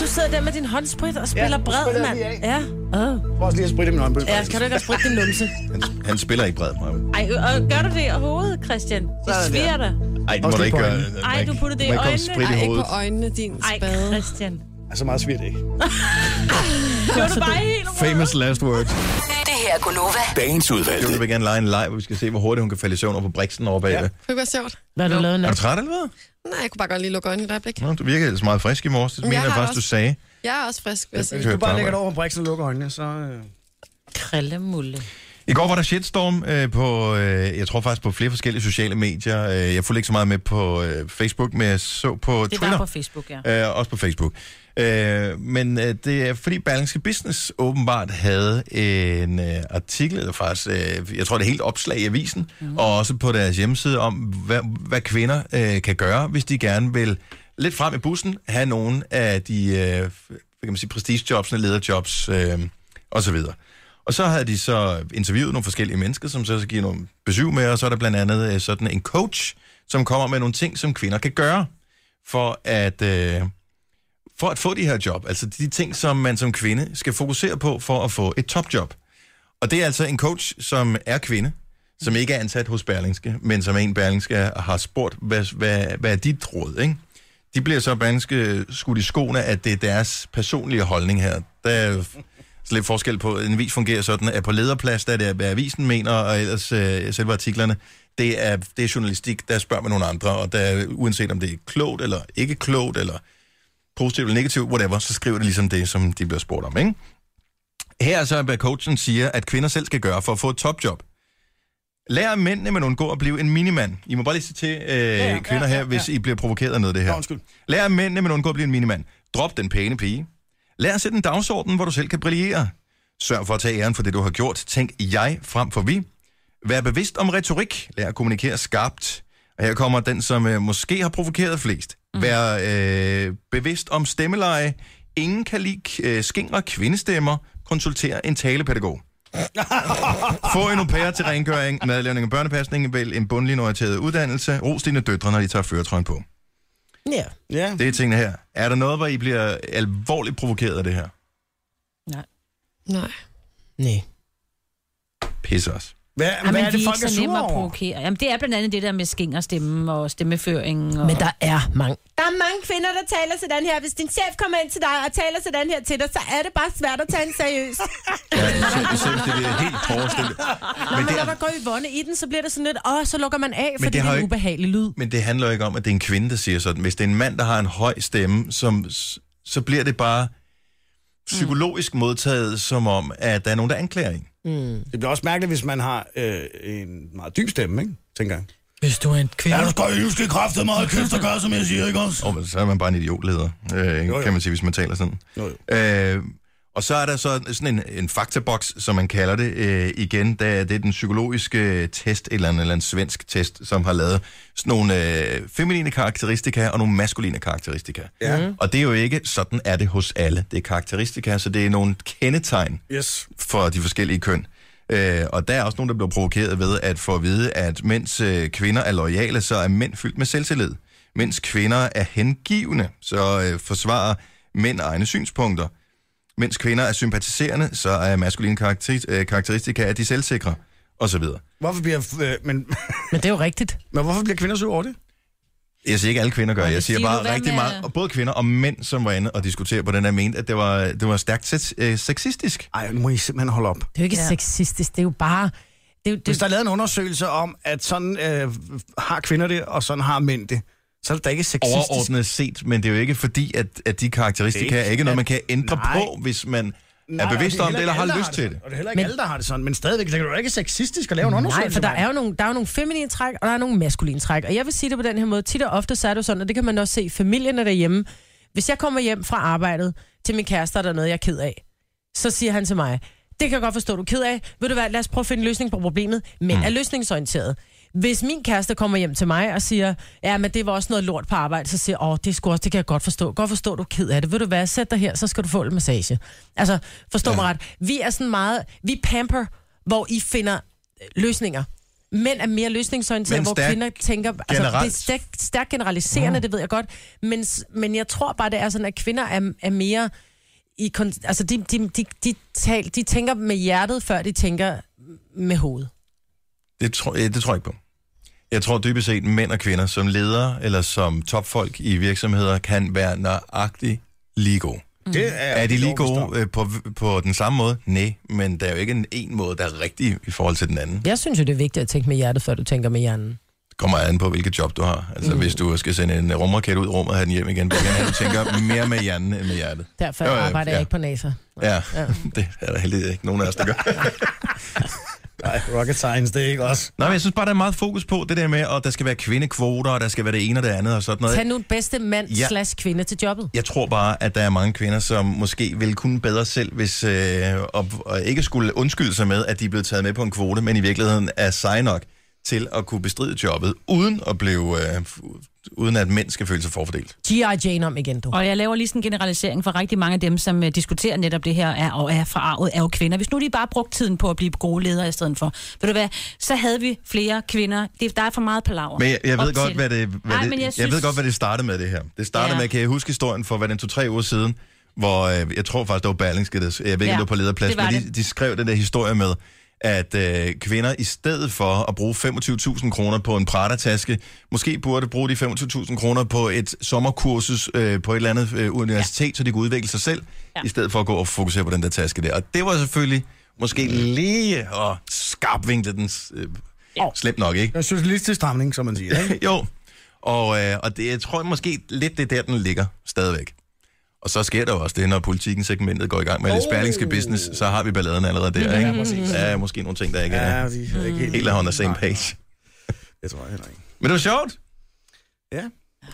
Speaker 2: Du sidder der med din håndsprit og spiller
Speaker 3: nu
Speaker 2: bred,
Speaker 3: spiller jeg
Speaker 2: mand.
Speaker 3: lige af.
Speaker 2: Ja. Oh.
Speaker 3: Jeg får også lige at spritte min øjenbryn.
Speaker 2: ja, kan du ikke have sprit din numse?
Speaker 1: Han, han spiller ikke bred, Maja.
Speaker 6: Ej, og gør du det af hovedet, Christian? Det
Speaker 3: Sådan
Speaker 6: sviger dig.
Speaker 1: Ej, det må
Speaker 3: Også
Speaker 1: du
Speaker 3: lidt
Speaker 1: ikke
Speaker 3: på
Speaker 1: gøre.
Speaker 3: øjnene.
Speaker 1: Man-
Speaker 6: Ej, du putter det i
Speaker 1: man kommer
Speaker 6: øjnene.
Speaker 1: sprit
Speaker 4: Ej,
Speaker 1: i
Speaker 4: ikke
Speaker 1: hovedet.
Speaker 4: på øjnene, din
Speaker 6: Ej,
Speaker 4: spade.
Speaker 6: Christian.
Speaker 3: Altså, meget svirt ikke.
Speaker 6: Gør du bare helt
Speaker 12: Famous last words.
Speaker 8: Det her er Gunova.
Speaker 9: Dagens
Speaker 1: Jo,
Speaker 9: udvalgte.
Speaker 1: Jeg vil gerne lege en leg, hvor vi skal se, hvor hurtigt hun kan falde i søvn over på briksen over bagved.
Speaker 4: Det kunne være sjovt.
Speaker 2: Hvad har du lavet nu?
Speaker 1: Er du træt eller hvad?
Speaker 4: Nej, jeg kunne bare godt lige lukke øjnene et øjeblik.
Speaker 1: Nå, du virker ellers meget frisk i morges. Det
Speaker 4: Jamen,
Speaker 1: mener
Speaker 4: jeg
Speaker 1: jeg
Speaker 4: har
Speaker 1: faktisk, du
Speaker 4: også-
Speaker 1: sagde.
Speaker 4: Jeg er også frisk, vil jeg sige.
Speaker 3: Hvis du bare lægger det over på briksen og lukker øjnene, så... Øh...
Speaker 6: Krillemulle.
Speaker 1: I går var der shitstorm øh, på, øh, jeg tror faktisk på flere forskellige sociale medier. Øh, jeg fulgte ikke så meget med på øh, Facebook, men jeg så på
Speaker 6: Det var
Speaker 1: Twitter.
Speaker 6: på Facebook, ja.
Speaker 1: Øh, også på Facebook. Øh, men øh, det er fordi Berlingske Business åbenbart havde en øh, artikel, eller faktisk, øh, jeg tror det er helt opslag i avisen, mm. og også på deres hjemmeside om, hvad, hvad kvinder øh, kan gøre, hvis de gerne vil lidt frem i bussen, have nogle af de øh, hvad kan man sige, prestigejobsene, lederjobs øh, osv. Og så havde de så interviewet nogle forskellige mennesker, som så giver nogle besøg med, og så er der blandt andet øh, sådan en coach, som kommer med nogle ting, som kvinder kan gøre for at, øh, for at få de her job. Altså de ting, som man som kvinde skal fokusere på for at få et topjob. Og det er altså en coach, som er kvinde, som ikke er ansat hos Berlingske, men som en Berlingske har spurgt, hvad, hvad, hvad er dit råd, ikke? De bliver så Berlingske skudt i skoene, at det er deres personlige holdning her. Der er så lidt forskel på, en avis fungerer sådan, at på lederplads, der er det, hvad avisen mener, og ellers øh, selve artiklerne, det er, det er journalistik, der spørger man nogle andre, og der, uanset om det er klogt eller ikke klogt, eller positivt eller negativt, whatever, så skriver det ligesom det, som de bliver spurgt om, ikke? Her er så, hvad coachen siger, at kvinder selv skal gøre for at få et topjob. Lær mændene, men undgå at blive en minimand. I må bare lige se til øh, ja, kvinder her, hvis I bliver provokeret af noget af det her.
Speaker 3: Nå, undskyld.
Speaker 1: Lær mændene, men undgå at blive en minimand. Drop den pæne pige. Lær at sætte en dagsorden, hvor du selv kan brillere. Sørg for at tage æren for det, du har gjort. Tænk jeg frem for vi. Vær bevidst om retorik. Lær at kommunikere skarpt. Og her kommer den, som øh, måske har provokeret flest. Mm. Vær øh, bevidst om stemmeleje. Ingen kan lide øh, skingre kvindestemmer. Konsulter en talepædagog. Få en au pair til rengøring, madlavning og børnepasning. Vælg en bundlinjeorienteret uddannelse. Ros dine døtre, når de tager føretrøjen på.
Speaker 2: Ja.
Speaker 3: Ja.
Speaker 1: Det er tingene her. Er der noget, hvor I bliver alvorligt provokeret af det her?
Speaker 4: Nej.
Speaker 2: Nej.
Speaker 1: Pisse os.
Speaker 3: Hvad,
Speaker 6: Jamen,
Speaker 3: hvad er
Speaker 6: vi
Speaker 3: det, folk
Speaker 6: ikke
Speaker 3: er
Speaker 6: så nemme
Speaker 3: sure
Speaker 6: at
Speaker 3: over?
Speaker 6: provokere. Jamen, det er blandt andet det der med skingerstemme og stemmeføring. Og...
Speaker 2: Men der er mange.
Speaker 13: Der er mange kvinder, der taler sådan her. Hvis din chef kommer ind til dig og taler sådan her til dig, så er det bare svært at tage en seriøst.
Speaker 1: Ja, selv, selv det bliver helt forestille.
Speaker 2: Nå, men,
Speaker 1: Men det,
Speaker 2: når man går i vonde i den, så bliver det sådan lidt, åh, så lukker man af,
Speaker 1: Men
Speaker 2: fordi
Speaker 1: det
Speaker 2: det,
Speaker 1: har
Speaker 2: er
Speaker 1: jo
Speaker 2: en
Speaker 1: ikke-
Speaker 2: ubehagelig lyd.
Speaker 1: men det handler jo ikke om, at det er en kvinde, der siger sådan. Hvis det er en mand, der har en høj stemme, som, s- så bliver det bare psykologisk modtaget, som om, at der er nogen, der anklager en.
Speaker 3: Mm. Det bliver også mærkeligt, hvis man har øh, en meget dyb stemme, ikke? tænker jeg.
Speaker 2: Hvis du er en kvinde...
Speaker 3: Ja, du skal, du skal kræfte meget kæft og gøre, som jeg siger, ikke også?
Speaker 1: Oh, så er man bare en idiotleder, øh,
Speaker 3: jo.
Speaker 1: kan man sige, hvis man taler sådan.
Speaker 3: Jo,
Speaker 1: Øh, og så er der så sådan en, en faktaboks, som man kalder det øh, igen. Der, det er den psykologiske test, et eller andet, eller en svensk test, som har lavet sådan nogle øh, feminine karakteristika og nogle maskuline karakteristika.
Speaker 3: Ja.
Speaker 1: Og det er jo ikke, sådan er det hos alle. Det er karakteristika, så det er nogle kendetegn
Speaker 3: Yes.
Speaker 1: for de forskellige køn. Øh, og der er også nogen, der bliver provokeret ved at få at vide, at mens øh, kvinder er lojale, så er mænd fyldt med selvtillid. Mens kvinder er hengivne, så øh, forsvarer mænd egne synspunkter. Mens kvinder er sympatiserende, så er maskuline karakter- øh, karakteristika, at de er selvsikre, osv.
Speaker 3: Hvorfor bliver... Øh, men...
Speaker 2: men det er jo rigtigt.
Speaker 3: Men hvorfor bliver kvinder sure over det?
Speaker 1: Jeg siger ikke, alle kvinder gør. Jeg siger
Speaker 3: siger du,
Speaker 1: bare
Speaker 3: hvad
Speaker 1: rigtig
Speaker 3: med-
Speaker 1: meget. Og både kvinder og mænd, som var inde og diskutere på den her, mente, at det var, det var stærkt se- øh, sexistisk.
Speaker 3: Ej, må I simpelthen holde op.
Speaker 2: Det er jo ikke ja. sexistisk, det er jo bare... Det, er jo- det,
Speaker 3: Hvis der er lavet en undersøgelse om, at sådan øh, har kvinder det, og sådan har mænd det, så er det da ikke sexistisk.
Speaker 1: overordnet set, men det er jo ikke fordi, at, at de karakteristika
Speaker 3: Det er
Speaker 1: er
Speaker 3: ikke-
Speaker 1: ikke noget, man kan ændre
Speaker 3: Nej.
Speaker 1: på, hvis man
Speaker 3: Nej,
Speaker 1: er
Speaker 3: og
Speaker 1: bevidst
Speaker 3: er
Speaker 1: om det,
Speaker 3: heller
Speaker 1: eller
Speaker 3: ikke
Speaker 1: har
Speaker 3: alle, der
Speaker 1: lyst til det.
Speaker 3: sådan. Og det er heller ikke
Speaker 2: Men-
Speaker 3: alle, der har det sådan, men stadigvæk, det er jo ikke sexistisk at lave en undersøgelse.
Speaker 2: Nej, for der
Speaker 3: mand.
Speaker 2: er jo nogle, der er jo nogle feminine træk, og der er nogle maskuline træk. Og jeg vil sige det på den her måde. Tit og ofte så er det jo sådan, og det kan man også se i familierne derhjemme. Hvis jeg kommer hjem fra arbejdet til min kæreste, og der er noget, jeg er ked af, så siger han til mig, det kan jeg godt forstå, du er ked af. Ved du hvad, lad os prøve at finde en løsning på problemet, men er løsningsorienteret. Hvis min kæreste kommer hjem til mig og siger, ja, men det var også noget lort på arbejde, så siger jeg, åh, det, er sgu også, det kan jeg godt forstå. Godt forstå, du er ked af det. Ved du hvad, sæt dig her, så skal du få en massage. Altså, forstå ja. mig ret. Vi er sådan meget, vi pamper, hvor I finder øh, løsninger. Mænd er mere løsningsorienterede,
Speaker 1: Men
Speaker 2: hvor
Speaker 1: stærkt
Speaker 2: kvinder tænker... Altså, det er
Speaker 1: generelt.
Speaker 2: stærkt, stærkt generaliserende, det ved jeg godt. Men, s- men jeg tror bare, det er sådan, at kvinder er, er mere i kon- altså de, de, de, de, tal, de tænker med hjertet, før de tænker med hovedet.
Speaker 1: Det tror, jeg, det tror jeg ikke på. Jeg tror dybest set, mænd og kvinder som ledere eller som topfolk i virksomheder kan være nøjagtigt lige gode.
Speaker 3: Det er,
Speaker 1: Er de lige gode øh, på, på den samme måde? Nej, men der er jo ikke en, en måde, der er rigtig i forhold til den anden.
Speaker 2: Jeg synes jo, det er vigtigt at tænke med hjertet, før du tænker med hjernen.
Speaker 1: Det kommer an på, hvilket job du har. Altså,
Speaker 2: Mm.
Speaker 1: mm. hvis du skal sende en rumraket ud i rummet og have den hjem igen, du kan du tænker mere med hjernen end med hjertet.
Speaker 2: Derfor
Speaker 1: Jo, jo,
Speaker 2: arbejder
Speaker 1: ja.
Speaker 2: jeg ikke på NASA.
Speaker 1: Ja,
Speaker 2: Ja.
Speaker 1: det er der heldigvis ikke nogen af os, der gør.
Speaker 3: Nej, rocket science, det er ikke også.
Speaker 1: Nej, men jeg synes bare, der er meget fokus på det der med, at der skal være kvindekvoter, og der skal være det ene og det andet og sådan noget.
Speaker 2: Tag nu den bedste mand
Speaker 1: Ja.
Speaker 2: ja. slash kvinde til jobbet.
Speaker 1: Jeg tror bare, at der er mange kvinder, som måske vil kunne bedre selv, hvis øh, og, og ikke skulle undskylde sig med, at de er blevet taget med på en kvote, men i virkeligheden er seje nok til at kunne bestride jobbet, uden at blive, øh, f- uden at mænd skal føle sig forfordelt.
Speaker 2: G.I. Jane om igen, du.
Speaker 6: Og jeg laver lige sådan en generalisering for rigtig mange af dem, som øh, diskuterer netop det her er, og er forarvet, er jo kvinder. Hvis nu de bare brugte tiden på at blive gode ledere i stedet for, ved du hvad, så havde vi flere kvinder. Det, der er for meget palaver.
Speaker 1: Men jeg, jeg ved
Speaker 6: op
Speaker 1: godt,
Speaker 6: til.
Speaker 1: hvad det, hvad
Speaker 6: Nej,
Speaker 1: det
Speaker 6: men
Speaker 1: jeg,
Speaker 6: jeg, synes,
Speaker 1: ved godt, hvad det startede med det her. Det startede
Speaker 6: Ja.
Speaker 1: med, kan jeg huske historien for, hvad den to-tre uger siden, hvor øh, jeg tror faktisk, det var Berlingske, der, jeg ved ikke,
Speaker 6: Ja,
Speaker 1: ja. det var på lederplads,
Speaker 6: det var
Speaker 1: men de,
Speaker 6: det.
Speaker 1: de skrev den der historie med, at øh, kvinder i stedet for at bruge 25.000 kroner på en Prada-taske, måske burde bruge de 25.000 kroner på et sommerkursus øh, på et eller andet øh, universitet, ja. så de kunne udvikle sig selv, ja. i stedet for at gå og fokusere på den der taske der. Og det var selvfølgelig måske lige at skarpvinkle den øh, ja. slemt nok, ikke?
Speaker 3: Det er en socialistisk stramning, som man siger. Ikke?
Speaker 1: jo, og, øh, og det, jeg tror måske lidt, det er der, den ligger stadigvæk. Og så sker der jo også det, når politikken segmentet går i gang med oh. det sperlingske business, så har vi balladen allerede der,
Speaker 3: Ja,
Speaker 1: ikke?
Speaker 3: præcis.
Speaker 1: Ja, måske nogle ting, der ikke
Speaker 3: Ja,
Speaker 1: er,
Speaker 3: de er ikke helt-
Speaker 1: helt er on the same page.
Speaker 3: Det tror jeg heller ikke.
Speaker 1: Men det var sjovt.
Speaker 3: Ja.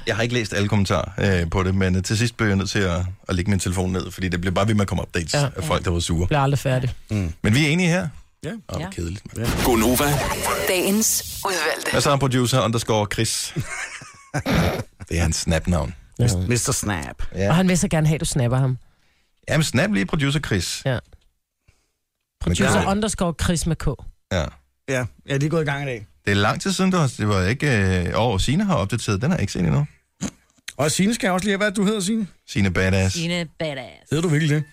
Speaker 1: Jeg har ikke læst alle kommentarer øh, på det, men øh, til sidst blev jeg nødt til at, at lægge min telefon ned, fordi det blev bare ved med at komme updates ja.
Speaker 2: Ja.
Speaker 1: af folk, der var sure.
Speaker 2: Bliver aldrig færdig.
Speaker 1: Mm. Men vi er enige her.
Speaker 3: Ja.
Speaker 1: Åh, oh, kedeligt. Ja.
Speaker 9: Gonova.
Speaker 8: Dagens udvalgte.
Speaker 1: Hvad så er producer underscore Chris? det er hans snap-navn.
Speaker 3: Mr. Snap.
Speaker 2: Og
Speaker 1: Ja.
Speaker 2: han vil så gerne have, at du snapper ham.
Speaker 1: Jamen, snap lige producer Chris.
Speaker 2: Ja. Producer ja. underscore Chris med K.
Speaker 1: Ja.
Speaker 3: Ja, ja, de er gået i gang i dag.
Speaker 1: Det er lang tid siden, du har... Det var ikke... Øh, over Sine har opdateret. Den har jeg ikke set endnu.
Speaker 3: Og Signe skal jeg også lige have, hvad du hedder, Signe.
Speaker 1: Sine Badass.
Speaker 6: Sine badass.
Speaker 3: Hedder du virkelig det?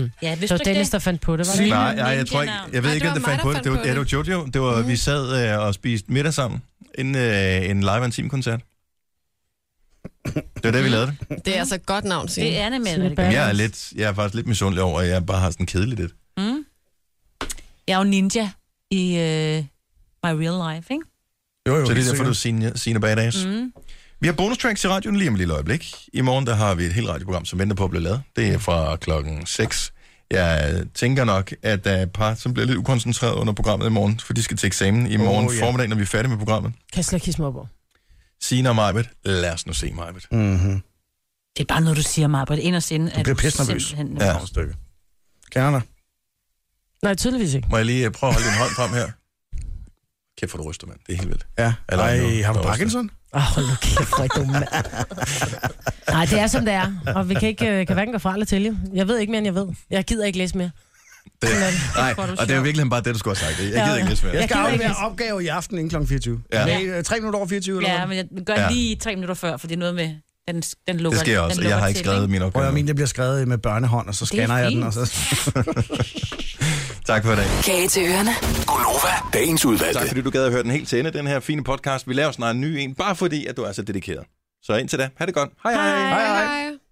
Speaker 2: Mm.
Speaker 6: Ja,
Speaker 2: Det var Dennis, der fandt på det, var det ikke?
Speaker 1: Nej, nej, jeg tror ikke, jeg ved ikke, om det fandt på det. Det var, ja, det var Jojo. Det var, vi sad øh, og spiste middag sammen, inden øh, en live intim koncert. Det var det, vi lavede det.
Speaker 4: Det er altså et godt navn, Signe.
Speaker 6: Det er det, Mette. Signe
Speaker 1: Jamen, jeg, er lidt, jeg er faktisk lidt misundelig over, at jeg bare har sådan kedeligt lidt.
Speaker 6: Mm. Jeg er jo ninja i øh, my real life, ikke?
Speaker 1: Jo, jo, så det
Speaker 6: helt
Speaker 1: er derfor,
Speaker 6: sikkert.
Speaker 1: du senior, senior badass. Mm. Vi har bonus tracks i radioen lige om et lille øjeblik. I morgen der har vi et helt radioprogram, som venter på at blive lavet. Det er fra klokken 6. Jeg tænker nok, at der er et par, som bliver lidt ukoncentreret under programmet i morgen, for de skal til eksamen i morgen oh,
Speaker 2: ja.
Speaker 1: yeah. formiddag, når vi er færdige med programmet.
Speaker 2: Kan jeg slet ikke mig over?
Speaker 1: Signe og Majbet, lad os nu se Majbet.
Speaker 3: Mm-hmm.
Speaker 6: Det er bare noget, du siger mig, på det inderst inde.
Speaker 3: Du bliver pisse nervøs.
Speaker 1: Ja.
Speaker 3: Kender dig?
Speaker 2: Nej, tydeligvis ikke.
Speaker 1: Må jeg lige øh, prøve at holde din hånd frem her? Kæft, hvor du ryster, mand. Det er helt vildt.
Speaker 3: Ja.
Speaker 1: Eller
Speaker 3: Ej,
Speaker 1: nu,
Speaker 3: har du
Speaker 1: der ryster.
Speaker 3: Parkinson?
Speaker 2: Åh, oh, hold nu kæft, hvor er I dumme, mand. Nej, det er, som det er. Og vi kan ikke øh, kan hverken gå fra eller til, jo. Jeg ved ikke mere, end jeg ved. Jeg gider ikke læse mere.
Speaker 1: Det, nej,
Speaker 2: Hvor er du
Speaker 1: og det er jo
Speaker 2: sjov.
Speaker 1: virkelig bare det, du skulle have sagt. Jeg
Speaker 2: Ja,
Speaker 1: gider ikke læse mere.
Speaker 3: Jeg skal
Speaker 2: gider
Speaker 3: aflevere
Speaker 2: ikke-
Speaker 3: opgave i aften inden kl. 24.
Speaker 1: Ja.
Speaker 3: Nej, øh, tre minutter over 24 eller
Speaker 6: Ja,
Speaker 3: hvad?
Speaker 6: men jeg gør
Speaker 1: Ja.
Speaker 6: ja. lige tre minutter før, for det er noget med, den, den lukker
Speaker 1: Det sker
Speaker 6: den
Speaker 1: også.
Speaker 6: lukker
Speaker 1: Jeg har ikke
Speaker 6: til,
Speaker 1: skrevet min
Speaker 3: Prøv at
Speaker 1: opgave.
Speaker 3: høre, min det bliver skrevet med børnehånd, og så
Speaker 6: Det er
Speaker 3: scanner jeg den,
Speaker 6: fint.
Speaker 3: og så...
Speaker 1: tak for i dag.
Speaker 8: Kage til ørerne.
Speaker 9: Gunova, dagens udvalgte.
Speaker 1: Tak fordi du gad at høre den helt til ende, den her fine podcast. Vi laver snart en ny en, bare fordi at du er så dedikeret. Så indtil da, ha' det godt. Hej hej.
Speaker 4: Hej, hej.